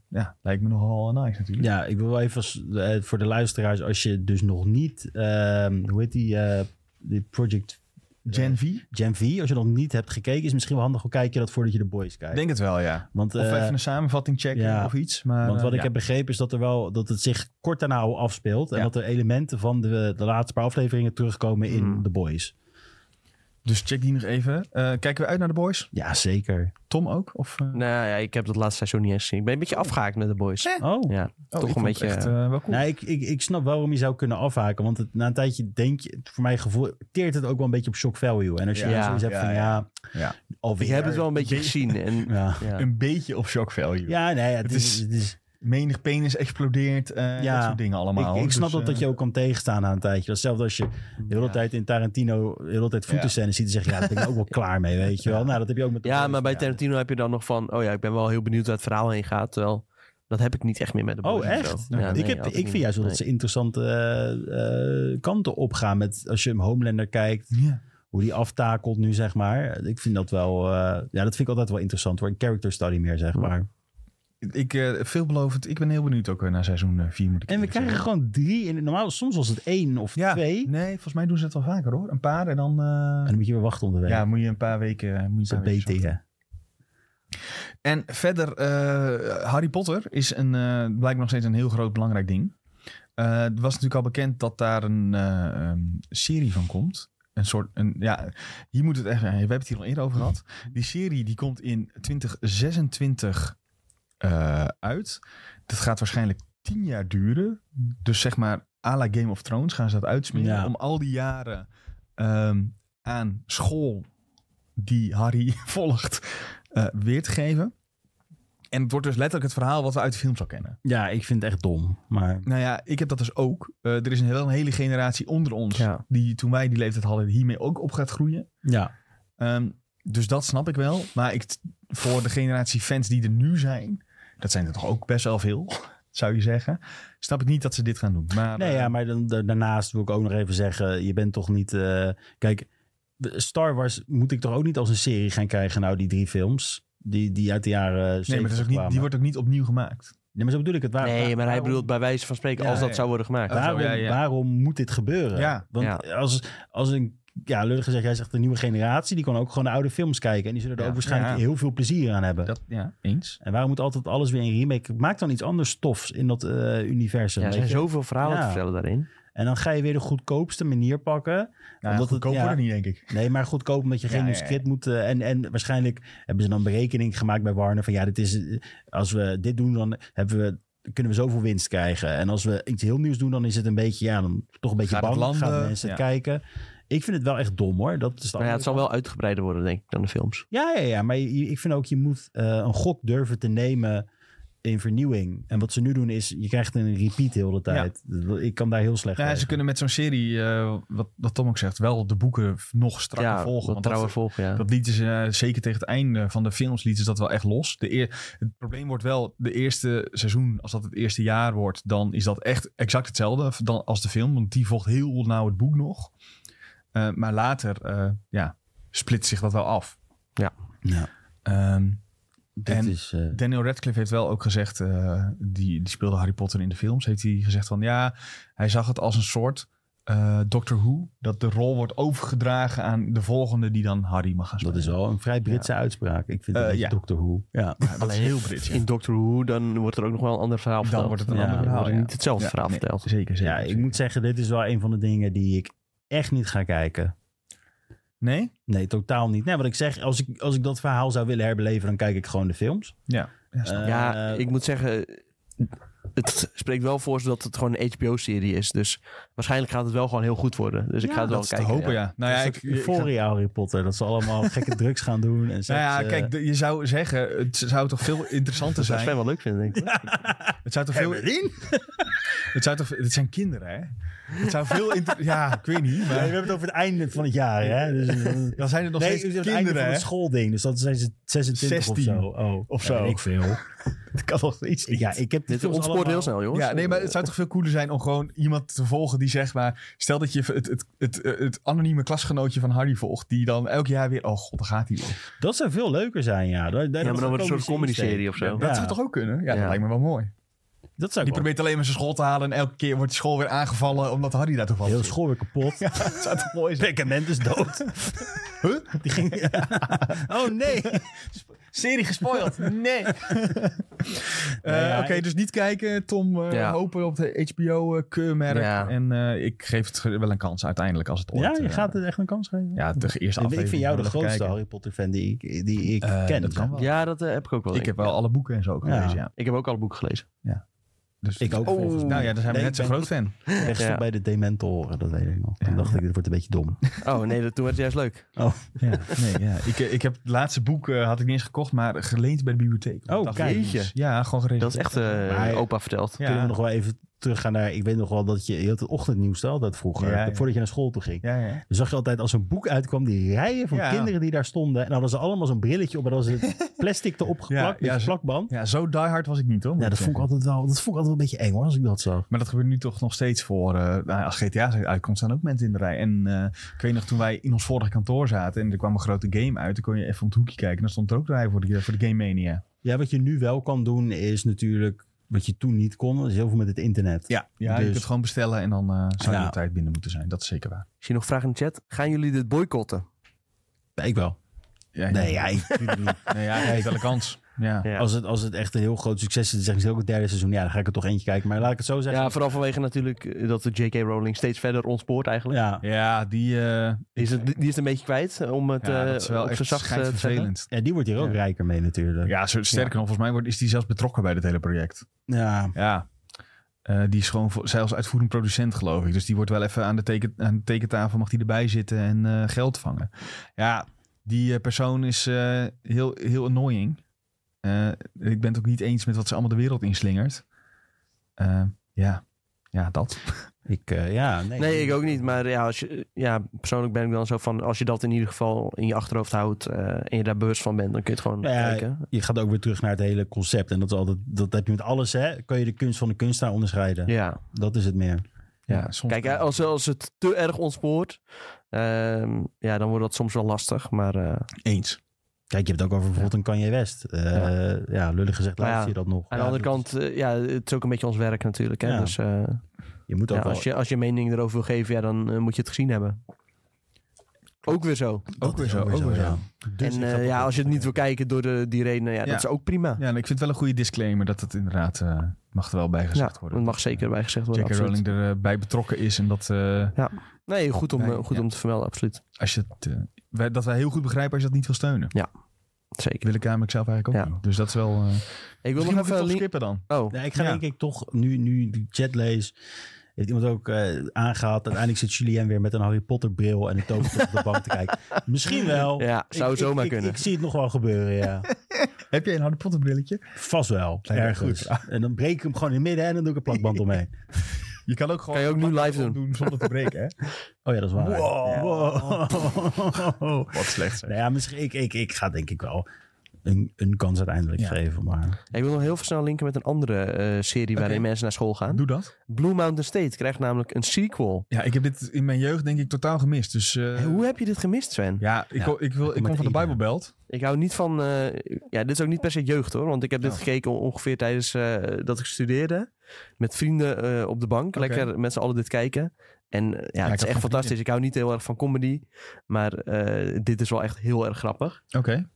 A: ja, lijkt me nogal nice natuurlijk.
C: Ja, ik wil wel even als- eh, voor de luisteraars, als je dus nog niet, ehm, hoe heet die, eh, die Project Eh,
A: Gen V?
C: Gen V, als je nog niet hebt gekeken, is misschien wel handig om kijken dat voordat je de boys kijkt.
A: Denk het wel, ja.
C: want,
A: Of
C: eh,
A: even een samenvatting checken
C: ja.
A: of iets. Maar,
C: want
A: eh,
C: wat ik
A: ja.
C: heb begrepen is dat er wel dat het zich kort daarna al afspeelt en
A: Ja.
C: dat er elementen van de, de laatste paar afleveringen terugkomen in
B: Mm.
C: de boys.
A: Dus check die nog even. Eh, kijken we uit naar de boys?
C: Ja, zeker.
A: Tom ook? Of, eh?
B: Nou ja, ik heb dat laatste seizoen niet eens gezien. Ik ben een beetje afgehaakt met de boys.
A: Eh?
C: Oh.
B: Ja,
A: Oh,
B: toch
A: ik
B: een
A: vond het
B: beetje...
A: Echt, eh, wel cool.
C: Nou, ik, ik, ik snap wel waarom je zou kunnen afhaken. Want het, na een tijdje denk je, voor mijn gevoel, teert het ook wel een beetje op shock value. En als je
B: Ja.
C: dan zoiets hebt
A: Ja,
C: van, ja,
A: Ja.
C: alweer.
B: ik heb het wel een beetje gezien. En,
C: Ja.
B: ja.
A: Een beetje op shock value.
C: Ja, nee, het,
A: Het
C: is,
A: is-
C: het is-
A: Menig penis explodeert. eh
C: Ja.
A: Dat soort dingen allemaal.
C: ik, ik
A: Dus,
C: snap dat,
A: eh,
C: dat je ook kan tegenstaan aan een tijdje. Hetzelfde als je de hele
A: Ja.
C: tijd in Tarantino, de hele tijd voetenscènes ziet en zegt, ja, daar ben ik ook wel klaar mee, weet je wel. Nou, dat heb je ook met... de
B: Ja,
C: boys.
B: maar bij Tarantino heb je dan nog van... Oh ja, ik ben wel heel benieuwd waar het verhaal heen gaat. Terwijl, dat heb ik niet echt meer met de boys.
C: Oh,
B: en
C: echt?
B: zo.
A: Nou,
B: Ja,
C: ik,
B: nee,
C: heb,
B: had
C: ik
B: niet.
C: vind juist wel dat ze
B: Nee.
C: interessante eh, eh, kanten opgaan met... Als je hem Homelander kijkt,
A: Ja.
C: hoe die aftakelt nu, zeg maar. Ik vind dat wel... eh, ja, dat vind ik altijd wel interessant. hoor. Een character study meer, zeg
B: Ja.
C: maar.
A: Ik, eh, veelbelovend. Ik ben heel benieuwd ook eh, naar seizoen 4. moet ik
C: En we
A: eerlijk
C: krijgen
A: zeggen.
C: gewoon drie... In, normaal, soms was het één of
A: ja.
C: twee. En
A: Nee, volgens mij doen ze het wel vaker hoor. Een paar en dan... eh,
C: dan moet je weer wachten om de week.
A: ja, moet je een paar weken... eh, Moet je
C: dat
A: een paar
C: is
A: weken
C: BT, hè.
A: En verder, eh, Harry Potter is een, eh, blijkt nog steeds een heel groot belangrijk ding. Eh, het was natuurlijk al bekend dat daar een eh, ehm, serie van komt. Een soort, een, ja, hier moet het echt, we hebben het hier al eerder over gehad. Die serie die komt in 2026 eh, uit. Dat gaat waarschijnlijk tien jaar duren. Dus zeg maar, à la Game of Thrones gaan ze dat uitsmeren.
C: Ja.
A: Om al die jaren ehm, aan school die Harry volgt eh, weer te geven. En het wordt dus letterlijk het verhaal wat we uit de films al kennen.
C: Ja, ik vind het echt dom. Maar
A: Nou ja, ik heb dat dus ook. Eh, er is een, wel een hele generatie onder ons
B: Ja.
A: die toen wij die leeftijd hadden hiermee ook op gaat groeien.
C: ja,
A: Ehm, dus dat snap ik wel. Maar ik, voor de generatie fans die er nu zijn, dat zijn er toch ook best wel veel, zou je zeggen. Snap ik niet dat ze dit gaan doen. Maar,
C: nee,
A: eh,
C: ja, maar dan, da- daarnaast wil ik ook nog even zeggen: je bent toch niet. eh, kijk, Star Wars moet ik toch ook niet als een serie gaan krijgen, nou, die drie films. Die, die uit de jaren.
A: nee, maar dat is ook niet, die wordt ook niet opnieuw gemaakt.
C: Nee, maar zo bedoel ik het. Waar,
B: Nee, maar hij
C: waarom-
B: bedoelt bij wijze van spreken...
A: Ja,
B: als dat
A: ja.
B: zou worden gemaakt.
A: Oh, zo,
C: Waarom,
A: ja, ja.
C: waarom moet dit gebeuren?
A: Ja.
C: Want
B: Ja.
C: Als, als een. Ja, lullig gezegd, jij zegt de nieuwe generatie, die kan ook gewoon de oude films kijken. En die zullen er
A: Ja.
C: ook waarschijnlijk
A: Ja.
C: heel veel plezier aan hebben.
A: Dat, ja, eens.
C: En waarom moet altijd alles weer in remake? Maak dan iets anders tofs in dat eh, universum.
B: Ja, er
C: weet
B: zijn
C: je?
B: zoveel verhalen
C: Ja.
B: te vertellen daarin.
C: En dan ga je weer de goedkoopste manier pakken.
A: Nou,
C: Omdat het-
A: dat goedkoop
C: ja.
A: wordt het niet, denk ik.
C: Nee, maar goedkoop omdat je geen
A: Ja,
C: nieuw
A: ja, ja.
C: script moet. eh, en, en waarschijnlijk hebben ze dan berekening gemaakt bij Warner van ja, dit is, eh, als we dit doen, dan hebben we, kunnen we zoveel winst krijgen. En als we iets heel nieuws doen, dan is het een beetje, ja, dan toch een beetje
A: Gaat het
C: bang.
A: landen?
C: gaan mensen het
A: Ja.
C: kijken. Ik vind het wel echt dom hoor. Dat is de
B: Maar ja,
C: andere
B: het zal
C: kant.
B: wel uitgebreider worden, denk ik, dan de films.
C: Ja, ja, ja. Maar je- je- ik vind ook, je moet eh, een gok durven te nemen in vernieuwing. En wat ze nu doen is, je krijgt een repeat heel de tijd. Ik kan daar heel slecht
A: Ja, ze
C: tegen.
A: kunnen met zo'n serie, eh, wat, wat Tom ook zegt, wel de boeken nog strakker
B: ja,
A: volgen.
B: Wat
A: want dat-
B: trouwe volgen, ja.
A: Dat lieten ze, eh, zeker tegen het einde van de films, lieten ze dat wel echt los. De eer, het probleem wordt wel, de eerste seizoen, als dat het eerste jaar wordt, dan is dat echt exact hetzelfde dan als de film. Want die volgt heel nauw het boek nog. Eh, maar later, eh ja, split zich dat wel af.
C: Ja,
A: Ehm,
C: dit
A: En-
C: is, eh,
A: Daniel Radcliffe heeft wel ook gezegd, eh, die, die speelde Harry Potter in de films, heeft hij gezegd van ja, hij zag het als een soort eh, Doctor Who, dat de rol wordt overgedragen aan de volgende die dan Harry mag gaan spelen.
C: Dat is wel een vrij Britse uitspraak. Ik vind
A: Eh,
C: dat
A: ja.
C: Doctor Who. Ja.
A: Ja, dat is heel Brits, ja.
B: In Doctor Who, dan wordt er ook nog wel een ander verhaal
A: Dan
B: verteld.
A: wordt het een
B: Ja,
A: ander
B: dan
A: verhaal,
B: wordt er
A: ja.
B: niet hetzelfde
A: Ja,
B: verhaal
A: nee,
B: verteld.
A: Zeker, zeker.
C: Ja, ik
A: zeker.
C: moet zeggen, dit is wel een van de dingen die ik echt niet ga kijken.
A: Nee?
C: Nee, totaal niet. Nee, wat ik zeg, als ik, als ik dat verhaal zou willen herbeleven, dan kijk ik gewoon de films.
A: Ja. Ja, snap ik.
B: ja,
C: Eh,
B: ik moet zeggen, het spreekt wel voor ze dat het gewoon een HBO-serie is. Dus waarschijnlijk gaat het wel gewoon heel goed worden. Dus ik
A: Ja,
B: ga het wel
A: dat is
B: kijken.
A: te hopen, ja. Nou ja,
C: Dus
A: ik,
C: dat
A: ik- ik-
C: Euphoria, Harry Potter. Dat ze allemaal gekke drugs gaan doen. En
A: nou
C: seks,
A: ja,
C: eh,
A: kijk, de- je zou zeggen, het zou toch veel interessanter
B: Dat zou Sven
A: zijn.
B: wel leuk vinden, denk ik.
A: Het zou toch veel,
C: Evelien?
A: het zou toch, het zijn kinderen, hè? Het zou veel, inter- ja, ik weet niet,
C: Ja, we
A: maar
C: hebben het over het einde van het jaar, hè? Dus, eh,
A: dan zijn er nog
C: nee,
A: steeds
C: het einde
A: kinderen,
C: van
A: hè?
C: het schoolding. Dus dat zijn ze 26 of
A: 16
C: zo. Oh,
A: of
C: ja,
A: zo.
C: weet ik veel.
A: Het kan nog steeds niet.
C: Ja, ik heb die
B: Dit
C: films
B: ontspoort
C: allemaal-
B: heel snel, jongens.
A: Ja, nee, maar het zou toch veel cooler zijn om gewoon iemand te volgen die zeg maar... Stel dat je het, het, het, het anonieme klasgenootje van Harry volgt, die dan elk jaar weer... Oh god, daar gaat hij weer.
C: Dat zou veel leuker zijn, ja. Dat, dat
B: Ja, maar dan wordt het een soort comedy-serie of zo.
A: Dat
C: Ja.
A: zou toch ook kunnen? Ja,
B: Ja.
A: dat lijkt me wel mooi.
C: Dat
A: Die
C: zou ik wel-
A: probeert alleen maar zijn school te halen en elke keer wordt die school weer aangevallen omdat Harry daar toevallig
C: Heel
A: zit.
C: school weer kapot.
A: Ja, dat zou toch mooi zijn?
C: Perkament is dood.
A: Huh?
C: Die ging... oh nee.
A: Serie gespoild? Nee.
C: ja,
A: Oké,
C: ik-
A: dus niet kijken. Tom, eh,
B: Ja.
A: hopen op de HBO-keurmerk.
B: Ja.
A: eh, En eh, ik geef het wel een kans uiteindelijk als het ooit...
C: Ja, je
A: eh,
C: gaat het echt een kans geven.
A: Ja, de eerste
C: ik,
A: aflevering.
C: ik vind jou de
A: wel even
C: grootste
A: kijken.
C: Harry Potter fan die ik, die ik
A: Eh,
C: ken.
A: dat kan wel.
B: Ja, dat eh, heb ik ook wel.
A: Ik heb wel alle boeken en zo
C: Ja.
A: gelezen, ja.
B: ik heb ook al het boek gelezen.
A: Dus
C: Ik ook, volgens mij.
A: Nou ja, daar zijn we
C: Nee,
A: net
C: ik
A: zo'n groot
C: ben-
A: fan.
C: Ik ben gestopt bij de Dementoren, dat weet ik nog. Toen
A: Ja.
C: dacht ik, dit wordt een beetje dom.
B: Oh nee, dat, toen werd het juist leuk.
C: Oh,
A: Ja, nee, ja. Ik, eh, ik heb het laatste boek eh, had ik niet eens gekocht, maar geleend bij de bibliotheek.
C: Oh,
A: Ik dacht,
C: kijk.
A: jezus. Ja, gewoon gereserveerd.
B: Dat is echt eh,
C: Maar-
B: opa verteld.
A: Ja.
C: Kunnen we nog wel even teruggaan naar... Ik weet nog wel dat je... Je had het ochtendnieuws altijd vroeger.
A: Ja, ja.
C: Voordat je naar school toe ging.
A: Ja, ja.
C: Dan zag je altijd als een boek uitkwam, die rijen van
A: Ja.
C: kinderen die daar stonden. En dan hadden ze allemaal zo'n brilletje op. En dan hadden ze het plastic erop geplakt
A: ja,
C: met
A: ze-
C: plakband. Ja,
A: ja, zo diehard was ik niet, hoor. moet
C: dat,
A: ik
C: vond ik
A: zeggen.
C: altijd wel, dat vond ik altijd wel een beetje eng hoor, als ik dat zag.
A: Maar dat gebeurt nu toch nog steeds voor... eh, nou, als GTA uitkomt, staan ook mensen in de rij. En eh, ik weet nog, toen wij in ons vorige kantoor zaten... en er kwam een grote game uit, dan kon je even om het hoekje kijken... en dan stond er ook de rij voor de, voor de Game Mania.
C: Ja, wat je nu wel kan doen is natuurlijk... Wat je toen niet kon, dat is heel veel met het internet.
A: Ja, ja je
C: Dus-
A: kunt het gewoon bestellen en dan eh, zou je
C: Ja.
A: op tijd binnen moeten zijn. Dat is zeker waar.
B: Zie je nog vragen in de chat? Gaan jullie dit boycotten?
C: Ik wel.
A: Ja,
C: Nee, ja, ik,
A: Nee, ja, hij heeft wel een kans. Ja.
B: Ja.
C: als, het, als het echt een heel groot succes is, dan zeg ik ook het derde seizoen. Ja, dan ga ik er toch eentje kijken. Maar laat ik het zo zeggen.
B: Ja, vooral vanwege natuurlijk eh, dat de J.K. Rowling steeds verder ontspoort eigenlijk.
C: ja.
A: Ja, die, eh
B: Die, is het, die is het een beetje kwijt eh, om het
A: ja,
B: eh,
A: dat is wel
B: op
A: echt
B: zijn zacht eh, te zeggen.
A: vervelend.
C: Ja, die wordt hier ook
B: Ja.
C: rijker mee natuurlijk.
A: Ja, zo- sterker nog, volgens mij wordt, is die zelfs betrokken bij dit hele project.
C: Ja.
A: Ja. Eh, die is gewoon voor- zelfs uitvoerend producent, geloof ik. Dus die wordt wel even aan de, teken, aan de tekentafel, mag die erbij zitten en eh, geld vangen. Ja, die eh, persoon is eh, heel, heel annoying. Eh, ik ben het ook niet eens met wat ze allemaal de wereld inslingert. Eh, ja. ja, dat.
C: Ik, eh, ja, nee.
B: Nee, ik ook niet. Maar ja, als je, ja, persoonlijk ben ik dan zo van... als je dat in ieder geval in je achterhoofd houdt... eh, en je daar bewust van bent, dan kun je het gewoon
C: Nou ja,
B: kijken.
C: Je gaat ook weer terug naar het hele concept. En dat, is altijd, dat heb je met alles, hè. Kun je de kunst van de kunstenaar onderscheiden.
B: Ja.
C: Dat is het meer.
A: Ja, soms
B: Kijk, eh, oh. als, als het te erg ontspoort... ehm, ja, dan wordt dat soms wel lastig. Maar eh,
A: eens.
C: Kijk, je hebt het ook over bijvoorbeeld een Kanye West. Eh, ja. lullig gezegd,
B: Maar ja,
C: luister je dat nog.
B: aan
C: Ja,
B: de andere
C: dat
B: kant, eh, ja, het is ook een beetje ons werk natuurlijk. Hè?
C: Ja.
B: Dus eh,
C: is- Je moet ook
B: ja,
C: wel...
B: als, je, als je mening erover wil geven, ja, dan eh, moet je het gezien hebben. Ook weer zo.
C: dat
A: Ook weer
C: is
A: zo, ook weer zo.
C: Dus
B: en
C: ik ga
B: eh,
C: toch
B: ja,
C: wel-
B: als je het niet wil kijken door de, die redenen, ja,
A: Ja.
B: dat is ook prima.
A: Ja, en ik vind wel een goede disclaimer dat het inderdaad eh, mag er wel bij
B: Ja,
A: gezegd worden.
B: dat mag zeker bij gezegd worden.
A: J.K.
B: absoluut.
A: Rowling erbij betrokken is en dat, eh,
B: Nee, goed om,
A: Nee,
B: eh, goed
A: ja.
B: om te vermelden, absoluut.
A: als je het, eh, wij, dat wij heel goed begrijpen als je dat niet wil steunen.
B: Zeker.
A: Wil ik namelijk zelf eigenlijk ook
B: Ja.
A: niet. Dus dat is wel... eh
B: Ik
A: misschien
B: wil nog
A: moet ik
B: even...
A: toch
B: link-
A: skippen dan.
B: Oh,
C: Nee, ik ga
A: Ja.
C: denk ik toch, nu, nu de chat lees, heeft iemand ook eh, aangehaald. Uiteindelijk zit Julien weer met een Harry Potter bril en een toverstop op de bank te kijken. Misschien wel.
B: ja,
C: Ik-
B: zou
C: ik-
B: zomaar
C: ik-
B: kunnen.
C: Ik, zie het nog wel gebeuren, ja.
A: Heb jij een Harry Potter brilletje?
C: Vast wel,
A: Lijkt me
C: ergens. dus- En dan breek ik hem gewoon in het midden en dan doe ik een plakband omheen.
A: Je kan ook gewoon...
B: Kan je ook nu live doen.
A: zonder te breken, hè?
C: Oh ja, dat is waar.
A: Wow.
C: Wow.
A: Wat slecht zeg.
C: nou ja, misschien, ik, ik, ik ga denk ik wel een, een kans uiteindelijk
A: Ja.
C: geven. Maar
B: ik wil nog heel snel linken met een andere eh, serie waarin
A: Oké.
B: mensen naar school gaan.
A: Doe dat.
B: Blue Mountain State krijgt namelijk een sequel.
A: Ja, ik heb dit in mijn jeugd denk ik totaal gemist. Dus... eh,
B: Hey, hoe heb je dit gemist, Sven?
A: ja, ik,
C: Ja,
A: ko- ik, wil, ik
C: met
A: kom van de
C: Ida.
A: Bijbelbelt.
B: Ik hou niet van... eh, ja, dit is ook niet per se jeugd, hoor. Want ik heb dit
A: Oh.
B: gekeken on- ongeveer tijdens eh, dat ik studeerde. Met vrienden eh, op de bank.
A: Oké.
B: Lekker met z'n allen dit kijken. En eh, ja,
A: ik
B: het
A: had
B: is echt
A: van
B: fantastisch. Ik hou niet heel erg van comedy, maar eh, dit is wel echt heel erg grappig.
A: Oké.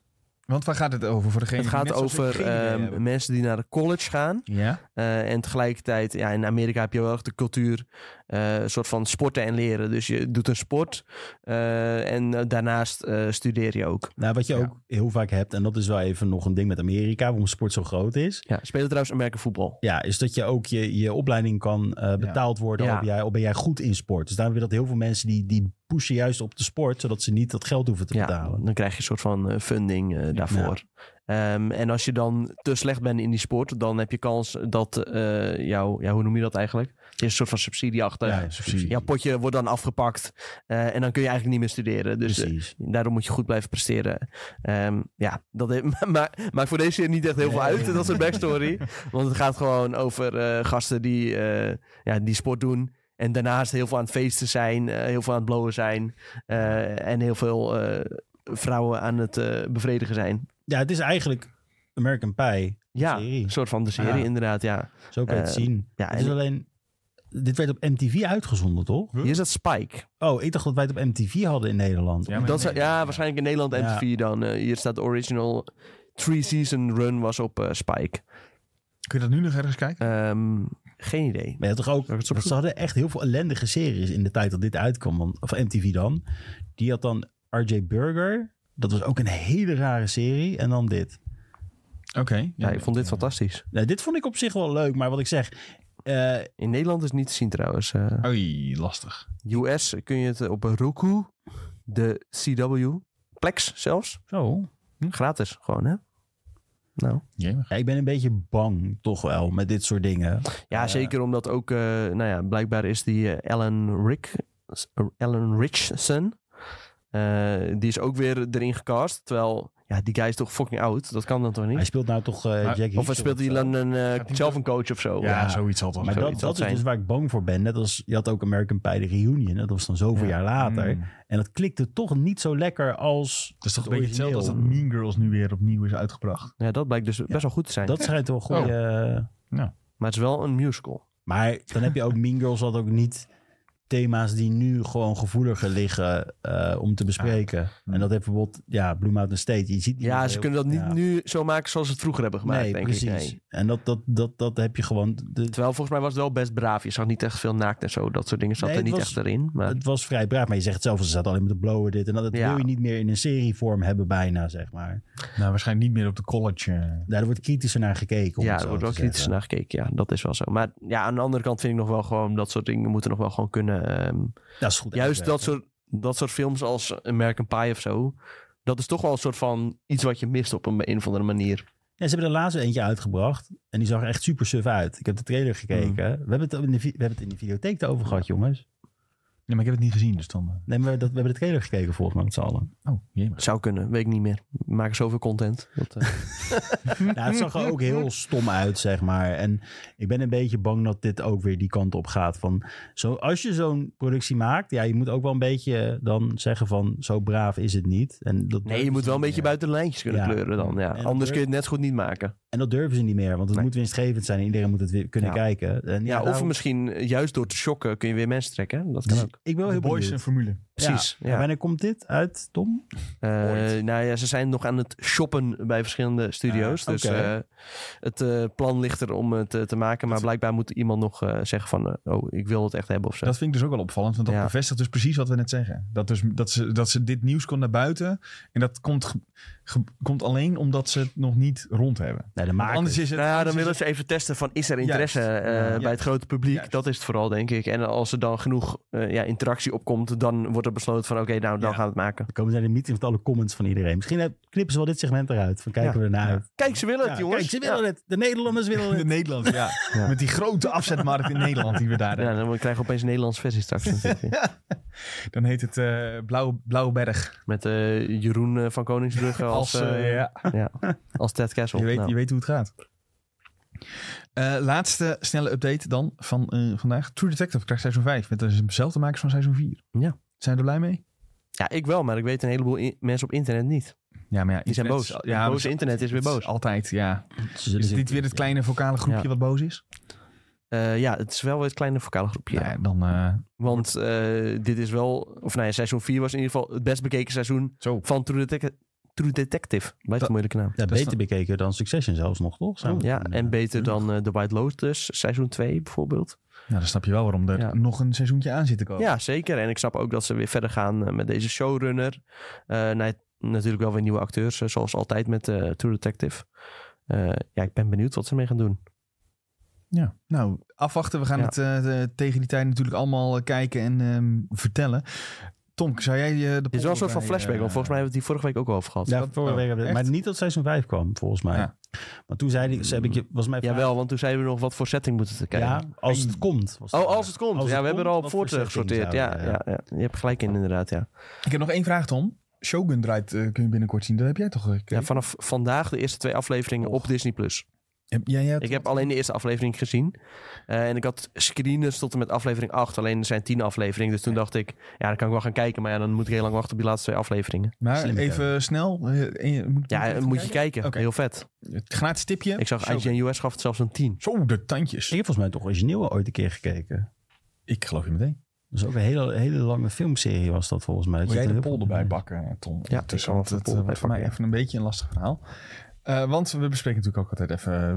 A: Want waar gaat het over voor degene
B: het
A: die
B: gaat
A: net zoals ik
B: over
A: geen idee
B: ehm,
A: hebben?
B: mensen die naar de college gaan.
A: Ja,
B: Eh, en tegelijkertijd, ja, in Amerika heb je wel echt de cultuur, eh, een soort van sporten en leren. Dus je doet een sport eh, en eh, daarnaast eh, studeer je ook.
C: Nou, wat je
A: Ja.
C: ook heel vaak hebt, en dat is wel even nog een ding met Amerika, waarom sport zo groot is.
B: Ja, spelen trouwens American voetbal.
C: Ja, is dat je ook je, je opleiding kan eh, betaald worden.
B: Ja.
C: Al, ben jij, al ben jij goed in sport. Dus daarom weer dat heel veel mensen die, die pushen juist op de sport, zodat ze niet dat geld hoeven te
B: Ja,
C: betalen.
B: dan krijg je een soort van eh, funding eh, daarvoor. Ehm, en als je dan te slecht bent in die sport, dan heb je kans dat eh, jouw, ja, hoe noem je dat eigenlijk? Het is een soort van subsidie achter.
C: Ja, subsidie.
B: Jouw potje wordt dan afgepakt eh, en dan kun je eigenlijk niet meer studeren. Dus eh,
C: Precies.
B: Daarom moet je goed blijven presteren. Ehm, ja, dat heeft, maar, maar- maakt voor deze niet echt heel veel uit. Dat is een backstory. Want het gaat gewoon over eh, gasten die, eh, ja, die sport doen. En daarnaast heel veel aan het feesten zijn. eh, heel veel aan het blowen zijn. eh, en heel veel eh, vrouwen aan het eh, bevredigen zijn.
C: Ja, het is eigenlijk American Pie.
B: Ja,
C: Serie.
B: een soort van de serie
C: Ja.
B: inderdaad. Ja.
C: Zo kan je het
B: Eh,
C: zien.
B: Ja,
C: Het is
B: en
C: alleen, dit werd op MTV uitgezonden, toch?
B: hier is dat Spike.
C: Oh, ik dacht dat wij het op MTV hadden in Nederland.
A: Ja, maar
B: dat
A: nee.
B: zou- ja, waarschijnlijk in Nederland
C: Oh, Ja.
B: MTV dan. eh, hier staat de original three season run was op eh, Spike.
A: Kun je dat nu nog ergens kijken?
B: Ehm, geen idee.
C: Maar ja, toch ook,
B: ik het opzoeken?
C: ze hadden echt heel veel ellendige series in de tijd dat dit uitkwam. Want, of MTV dan. Die had dan RJ Burger. Dat was ook een hele rare serie. En dan dit.
A: Oké.
B: Ja, ik vond dit fantastisch.
C: Nou, dit vond ik op zich wel leuk. Maar wat ik zeg, eh,
B: In Nederland is het niet te zien trouwens. Eh,
A: Oei, lastig.
B: US kun je het op Roku, de CW, Plex zelfs.
C: Zo.
B: Gratis gewoon, hè? Nou.
A: Jemig.
C: Ja, ik ben een beetje bang toch wel met dit soort dingen.
B: Ja,
C: Ja.
B: zeker omdat ook, eh, nou ja, blijkbaar is die eh, Ellen, Rick, Ellen Richardson, eh, die is ook weer erin gecast. Terwijl, ja, die guy is toch fucking oud? Dat kan dan toch
C: Hij
B: niet?
C: speelt nou toch eh
A: Maar-
C: Jackie.
B: Of hij speelt hij dan een, eh,
A: Gaat die
B: zelf
A: zo-
B: een coach of zo?
A: Ja, zoiets altijd.
C: Maar dat,
B: Zoiets
C: dat
B: zal
C: is
B: het
C: dus waar ik bang voor ben. Net als je had ook American Pie de Reunion. Dat was dan zoveel jaar
A: Mm.
C: later.
A: Hmm.
C: En dat klikte toch niet zo lekker als.
A: Het is toch
C: het
A: een beetje
C: origineel.
A: hetzelfde als dat Mean Girls nu weer opnieuw is uitgebracht.
B: Ja, dat blijkt dus best wel goed te zijn.
C: Dat schijnt wel goed.
B: Oh. Maar het is wel een musical.
C: Maar dan heb je ook Mean Girls had ook niet thema's die nu gewoon gevoeliger liggen eh, om te bespreken.
A: Hm.
C: En dat heeft bijvoorbeeld, ja, Blue Mountain State. Je ziet niet
B: Ja,
C: meer
B: ze
C: heel-
B: kunnen dat niet
C: ja.
B: nu zo maken zoals ze het vroeger hebben gemaakt,
C: nee,
B: denk
C: precies.
B: ik. Nee.
C: En dat, dat, dat, dat heb je gewoon. de-
B: Terwijl volgens mij was het wel best braaf. Je zag niet echt veel naakt en zo. Dat soort dingen zat
C: Nee,
B: er
C: het
B: niet
C: was-
B: echt erin. Maar
C: het was vrij braaf, maar je zegt het zelf, ze zaten alleen met de blower dit en dat. Dat
B: Ja.
C: wil je niet meer in een serievorm hebben bijna, zeg maar.
A: Nou, waarschijnlijk niet meer op de college. eh.
C: Daar wordt kritischer naar gekeken. om
B: ja,
C: het
B: er
C: zo
B: wordt wel
C: te
B: kritisch
C: zeggen.
B: naar gekeken. Ja, dat is wel zo. Maar ja, aan de andere kant vind ik nog wel gewoon... dat soort dingen moeten nog wel gewoon kunnen. ehm,
C: Dat is goed.
B: juist dat
C: uitgewerkt.
B: soort, dat soort films als American Pie of zo... dat is toch wel een soort van iets wat je mist op een, een of andere manier.
C: Ja, ze hebben er laatst eentje uitgebracht. En die zag er echt super suf uit. Ik heb de trailer gekeken. We, hebben het in de, vi- we hebben het in de videotheek erover gehad, jongens.
A: Nee, maar ik heb het niet gezien, dus dan...
C: Nee, maar dat, we hebben de trailer gekeken volgens mij met z'n allen.
A: eh, Oh, jemig.
B: Zou kunnen, weet ik niet meer. We maken zoveel content. Dat, eh,
C: nou, het zag er ook heel stom uit, zeg maar. En ik ben een beetje bang dat dit ook weer die kant op gaat. Van, zo, als je zo'n productie maakt, ja, je moet ook wel een beetje dan zeggen van... zo braaf is het niet. En dat
B: nee, je moet wel een beetje buiten de lijntjes kunnen
C: Ja.
B: kleuren dan. Ja.
C: En
B: Anders
C: er-
B: kun je het net zo goed niet maken.
C: En dat durven ze niet meer, want het
B: Nee.
C: moet winstgevend zijn. En iedereen moet het weer kunnen
B: Ja.
C: kijken. En
B: Ja,
C: ja,
B: of
C: daarom-
B: misschien eh, juist door te shocken... kun je weer mensen trekken. hè. Dat kan ook.
C: Ik ben wel
A: De
C: heel
A: boys en
C: benieuwd.
A: formule.
B: Precies,
C: Ja.
B: ja.
C: Wanneer komt dit uit, Tom?
B: Eh,
A: Ooit.
B: nou ja, ze zijn nog aan het shoppen bij verschillende studio's.
C: Ah,
B: dus
C: oké.
B: eh, het eh, plan ligt er om het eh, te maken. Maar blijkbaar moet iemand nog eh, zeggen van... eh, oh, ik wil het echt hebben of zo.
A: Dat vind ik dus ook wel opvallend, want dat
B: Ja.
A: bevestigt dus precies wat we net zeggen. Dat, dus, dat, ze, dat ze dit nieuws kon naar buiten en dat komt, ge- ge- komt alleen omdat ze het nog niet rond hebben.
C: Nee, de
A: Maar
C: makers.
A: anders is het...
B: nou ja, dan
A: anders
B: willen
A: is
B: ze even testen van... is er interesse
A: Juist.
B: eh,
A: Ja.
B: bij het grote publiek?
A: Juist.
B: Dat is het vooral, denk ik. En als er dan genoeg eh, ja, interactie opkomt... dan wordt er besloten van... oké, nou, dan
A: Ja.
B: gaan we het maken.
C: Dan komen ze naar de meeting met alle comments van iedereen. Misschien eh, knippen ze wel dit segment eruit. Van kijken
B: Ja.
C: we ernaar
A: Ja.
C: uit.
B: Kijk, ze willen
C: Ja,
B: het, jongens.
C: Kijk, ze willen het. De Nederlanders willen
A: het-
C: het.
A: in Nederland, ja.
B: Ja.
A: Met die grote afzetmarkt in Nederland die we daar
B: Ja.
A: hebben.
B: Ja, dan krijgen we opeens een Nederlandse versie straks. natuurlijk.
A: Dan heet het eh Blauw, Blauwberg.
B: Met eh, Jeroen eh, van Koningsbrugge als,
A: Als, eh,
B: eh,
A: ja.
B: ja, als Ted Kessel.
A: je, weet,
B: Nou.
A: je weet hoe het gaat. Eh, laatste snelle update dan van eh, vandaag. True Detective krijgt seizoen 5. Met dezelfde makers van seizoen 4.
B: Ja.
A: Zijn we er blij mee?
B: Ja, ik wel, maar ik weet een heleboel in- mensen op internet niet.
A: Ja, maar ja,
B: Die zijn
A: internet
B: boos.
A: is-
B: Ja,
A: maar
B: boos
A: het-
B: internet is weer
A: het
B: boos.
A: Altijd, ja.
C: Ze zullen
A: Is het
C: zich-
A: niet weer het kleine vocale groepje
B: Ja.
A: wat boos is?
B: Eh, ja, het is wel weer het kleine vocale groepje.
A: Nee, dan eh,
B: Want eh, dit is wel, of nou ja, seizoen 4 was in ieder geval het best bekeken seizoen
A: zo.
B: van True, Detec- True Detective. Blijft
A: Dat- Oh.
B: een moeilijke naam.
C: Ja,
A: Dat is
C: beter bekeken dan Succession zelfs nog, toch? Zijn we
B: Ja,
C: toen,
B: en
C: eh,
B: beter
C: terug.
B: dan eh, The White Lotus, seizoen 2 bijvoorbeeld.
A: Ja, dan snap je wel waarom er
B: Ja.
A: nog een seizoentje aan zit te komen.
B: Ja, zeker. En ik snap ook dat ze weer verder gaan eh, met deze showrunner. Eh, nee, natuurlijk wel weer nieuwe acteurs, eh, zoals altijd met eh, True Detective. Eh, ja, ik ben benieuwd wat ze ermee gaan doen.
A: Ja. Nou, afwachten. We gaan
B: Ja.
A: het eh, de- tegen die tijd natuurlijk allemaal eh, kijken en ehm, vertellen. Tom, zou jij eh, de
B: Het is wel een soort van flashback, want volgens
A: eh,
B: mij hebben we het hier vorige week ook al over gehad.
C: Ja,
A: dat-
C: vorige
A: oh,
C: week hebben we-
A: echt?
C: maar niet tot seizoen 5 kwam, volgens mij.
A: Ja.
C: Want toen zei ik, heb ik je, was mijn vraag-
B: Jawel, want toen zeiden we nog wat voor setting moeten te kijken.
C: Ja, als het komt. was de
B: Oh,
C: vraag.
B: als het komt. ja,
C: het
B: we hebben er al op
C: wat
B: voor
C: voor setting
B: gesorteerd. Ja,
C: zouden we-
B: ja, ja, je hebt gelijk in inderdaad, ja.
A: Ik heb nog één vraag, Tom. Shogun draait eh, kun je binnenkort zien. Dat heb jij toch eh, gekeken?
B: ja. Vanaf vandaag de eerste twee afleveringen op Disney+. Plus.
A: Heb- jij hebt-
B: Ik heb alleen de eerste aflevering gezien. Eh, en ik had screeners tot en met aflevering 8. Alleen er zijn 10 afleveringen. Dus toen dacht ik, ja, dan kan ik wel gaan kijken. Maar ja, dan moet ik heel lang wachten op die laatste twee afleveringen.
A: Maar
C: Slimme
A: even snel. eh, eh, moet,
B: Ja,
A: ik
B: dan
A: even
B: moet je kijken.
A: Oké.
B: Heel vet.
A: Het gratis tipje.
B: Ik zag
A: Shogun.
B: IGN US gaf het zelfs een 10.
A: Zo, de tandjes.
C: Ik heb volgens mij toch origineel wel ooit een keer gekeken.
A: Ik geloof je meteen.
C: Dat is ook een hele, hele lange filmserie was dat volgens mij. Er
A: Moet jij
C: zitten
A: de
C: heel
A: pol
C: veel-
A: erbij bakken, eh, Tom?
B: ik
A: tussen,
B: zal
A: want
B: even
A: het
B: de pol
A: eh, wordt voor
B: erbij
A: mij even een beetje een lastig verhaal. Eh, want we bespreken natuurlijk ook altijd even eh,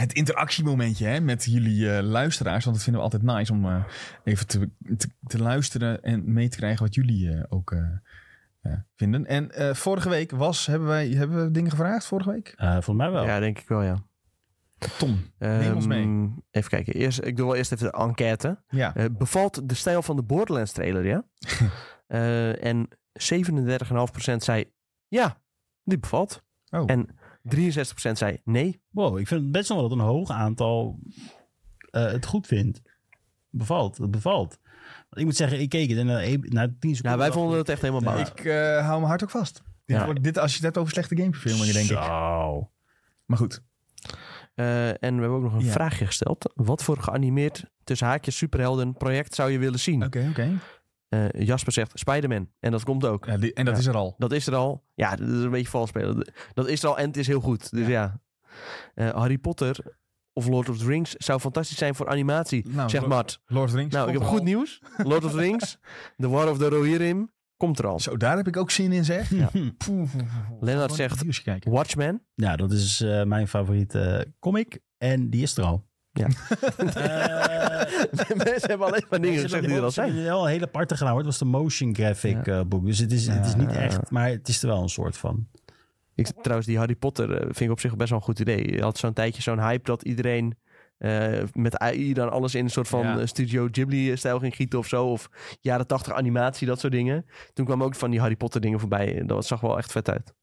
A: het interactiemomentje hè, met jullie eh, luisteraars. Want dat vinden we altijd nice om eh, even te, te, te luisteren en mee te krijgen wat jullie eh, ook eh, eh, vinden. En eh, vorige week was, hebben, wij, hebben we dingen gevraagd vorige week?
C: Eh, volgens mij wel.
B: Ja, denk ik wel, ja.
A: Tom, Neem ons mee.
B: Ehm, Even kijken. Eerst, ik doe wel eerst even de enquête.
A: ja.
B: Eh, bevalt de stijl van de Borderlands trailer, ja? Eh, en 37,5% zei ja, die bevalt.
A: Oh.
B: En 63% zei nee.
C: Wow, ik vind het best wel dat een hoog aantal eh, het goed vindt. Bevalt, het bevalt. Want ik moet zeggen, ik keek het en na, één- na tien
B: Nou,
C: seconden...
B: wij vonden het echt helemaal
C: Ja.
B: bout.
A: Ik eh, hou mijn hart ook vast. Dit,
B: Ja.
A: wordt, dit, als je het hebt over slechte gameverfilmingen, denk ik.
C: Zo.
A: Maar goed.
B: Eh, en we hebben ook nog een
A: Ja.
B: vraagje gesteld. Wat voor geanimeerd tussen haakjes superhelden project zou je willen zien?
A: Oké, oké.
B: Eh, Jasper zegt Spider-Man. En dat komt ook.
A: Ja, die- en dat
B: Ja.
A: is er al.
B: Dat is er al. Ja, dat is een beetje vals spelen. Dat is er al en het is heel goed. Dus ja. Eh, Harry Potter of Lord of the Rings zou fantastisch zijn voor animatie,
A: Nou,
B: zegt
A: Lo-
B: Mart.
A: Lord of the Rings.
B: Nou, ik
A: komt
B: heb
A: er
B: goed
A: al.
B: nieuws. Lord of the Rings, The War of the Rohirrim, komt er al.
A: Zo, daar heb ik ook zin in, zeg.
B: Ja.
A: Poeh, poeh, poeh, poeh.
B: Lennart
A: Gewoon
B: Nou, zegt-
A: interviews kijken.
B: Watchmen.
C: Nou, dat is eh, mijn favoriete eh, comic. En die is er al.
B: Ja.
C: Eh,
B: Mensen hebben alleen maar dingen
C: Ze
B: gezegd
C: hebben
B: die er
C: ook-
B: al
C: ze hebben
B: zijn.
C: wel een hele aparte gedaan. hoor. Het was de motion graphic eh, boek. Dus het is, het is niet
B: Ja.
C: echt, maar het is er wel een soort van.
B: Ik, trouwens, die Harry Potter eh, vind ik op zich best wel een goed idee. Je had zo'n tijdje zo'n hype dat iedereen eh, met AI dan alles in een soort van
A: Ja.
B: eh, Studio Ghibli-stijl ging gieten of zo. Of jaren tachtig animatie, dat soort dingen. Toen kwam ook van die Harry Potter dingen voorbij. Dat zag wel echt vet uit.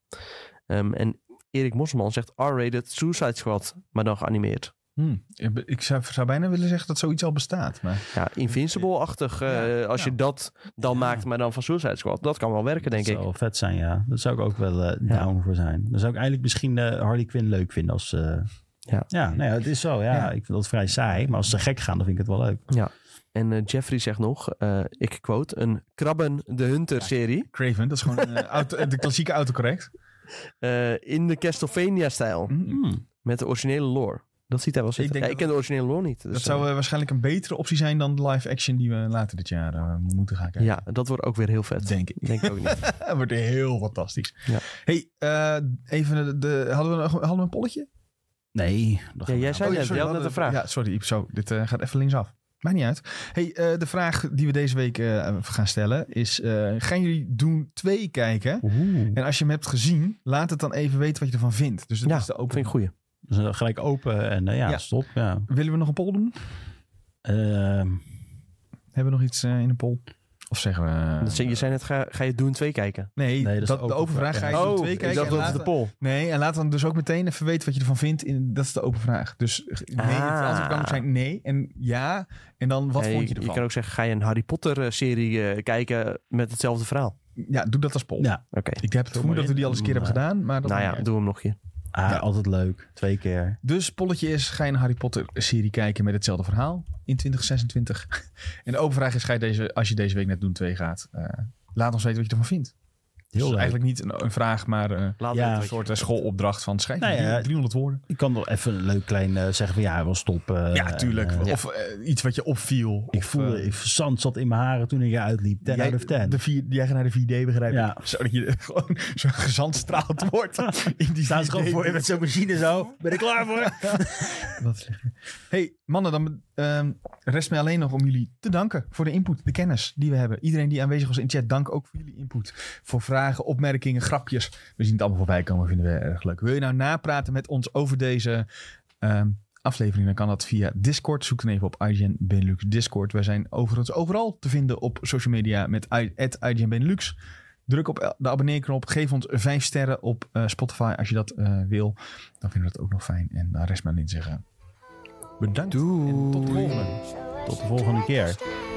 B: Ehm, en Erik Mosman zegt R-rated Suicide Squad, maar dan geanimeerd.
A: Hmm. Ik be- Ik zou, zou bijna willen zeggen dat zoiets al bestaat. Maar
B: Ja, Invincible-achtig. eh,
A: Ja,
B: als
A: ja.
B: je dat dan maakt, maar dan van Suicide Squad. Dat kan wel werken, denk
C: dat
B: ik.
C: zou wel vet zijn, ja. Dat zou ik ook wel eh, down voor zijn. Dan zou ik eigenlijk misschien eh, Harley Quinn leuk vinden als... eh,
B: Ja.
C: ja, nou ja, het is zo. Ja.
A: Ja.
C: ik vind dat vrij saai. Maar als ze gek gaan, dan vind ik het wel leuk.
B: En eh, Jeffrey zegt nog, eh, ik quote, een Krabben de Hunter serie.
A: Craven, dat is gewoon eh, auto- eh, de klassieke autocorrect.
B: eh, in de Castlevania-stijl.
A: Hmm.
B: Met de originele lore. Dat ziet hij wel zitten.
A: denk
B: Ja,
A: dat-
B: ik ken de originele lore niet. dus,
A: Dat zou eh, waarschijnlijk een betere optie zijn dan de live action die we later dit jaar eh, moeten gaan
B: eh,
A: kijken.
B: ja, dat wordt ook weer heel vet.
A: Denk ik.
B: Denk ik ook niet.
A: Dat wordt heel fantastisch.
B: Ja.
A: hey, eh, even de, de- hadden, we, nog- hadden we een polletje?
C: Nee. dan gaan we
B: jij
C: naar-
B: zei-
A: ja, oh, sorry,
B: net, je had
A: we
B: net een
A: hadden-
B: vraag.
A: Ja, sorry, Iep, zo, dit eh, gaat even linksaf. Maakt niet uit. Hey, eh, de vraag die we deze week eh, gaan stellen is: eh, gaan jullie Doen 2 kijken?
C: Oeh.
A: En als je hem hebt gezien, laat het dan even weten wat je ervan vindt. Dus dat
B: Ja,
A: is de
B: vind ik
A: open.
B: een goeie.
C: Dus dan gelijk open en eh, ja,
A: Ja.
C: stop. Ja.
A: Willen we nog een poll doen?
C: Ehm,
A: Hebben we nog iets eh, in de poll? Of zeggen we...
B: Dat zei- je zei net, ga, ga je Doen 2 kijken?
A: Nee,
C: Nee, dat
A: dat
C: is
A: de
C: de
A: open
C: open
A: vraag.
C: vraag.
A: Ga je
C: Ja.
A: doen
B: oh,
A: twee
B: ik
A: kijken
B: dacht
A: en
B: dat het
A: laat
B: de poll.
A: Nee, en laat dan dus ook meteen even weten wat je ervan vindt. In, dat is de open vraag. Dus eh, nee, het
B: Ah.
A: antwoord kan ook zijn nee en ja. En dan wat
B: Hey,
A: vond je
B: Je
A: ervan?
B: kan ook zeggen, ga je een Harry Potter-serie eh, kijken met hetzelfde verhaal?
A: Ja, doe dat als poll.
C: ja,
B: Oké.
A: Ik heb het
C: Zo
A: gevoel dat we die al eens een keer
C: maar-
A: hebben gedaan. Maar dat
B: Nou
A: maakt
B: ja,
A: niet
B: doe hem nog een keer.
C: Ah,
A: Ja.
C: altijd leuk. Twee keer.
A: uit. Dus polletje is, ga je een Harry Potter serie kijken met hetzelfde verhaal in 2026? en de open vraag is, ga je deze, als je deze week net doen twee gaat, eh, laat ons weten wat je ervan vindt. Dus
C: Heel leuk.
A: eigenlijk niet een, een vraag, maar eh,
B: Laat
C: Ja,
B: weten
A: een
B: wat je-
A: soort eh, schoolopdracht van schrijf
C: Nou ja,
A: 300 woorden.
C: Ik kan nog even een leuk klein eh, zeggen van ja, hij was top. eh,
A: ja, tuurlijk.
C: en, eh,
A: Of eh, iets wat je opviel.
C: ik
A: Of,
C: voelde,
A: eh,
C: ik, zand zat in mijn haren toen ik eruit liep. 10
A: jij,
C: out of 10.
A: De vier, jij gaat naar de 4D begrijp
C: Ja.
A: ik. Zodat je gewoon zo gezandstraald wordt. In die
C: Staan ze gewoon
A: 4D.
C: voor je met zo'n machine zo. Ben ik klaar voor?
A: Wat zeg je? hey, mannen, dan ehm, rest mij alleen nog om jullie te danken voor de input, de kennis die we hebben. Iedereen die aanwezig was in chat, dank ook voor jullie input. Voor vragen, opmerkingen, grapjes. We zien het allemaal voorbij komen, vinden we erg leuk. Wil je nou napraten met ons over deze ehm, aflevering, dan kan dat via Discord. Zoek dan even op IGN Benelux Discord. Wij zijn overigens overal te vinden op social media met i- at IGN Benelux. Druk op de abonneerknop. Geef ons vijf sterren op eh, Spotify als je dat eh, wil. Dan vinden we dat ook nog fijn. En eh, dan rest mij alleen te zeggen. Bedankt. En tot de volgende.
C: Tot de volgende keer.
D: keer.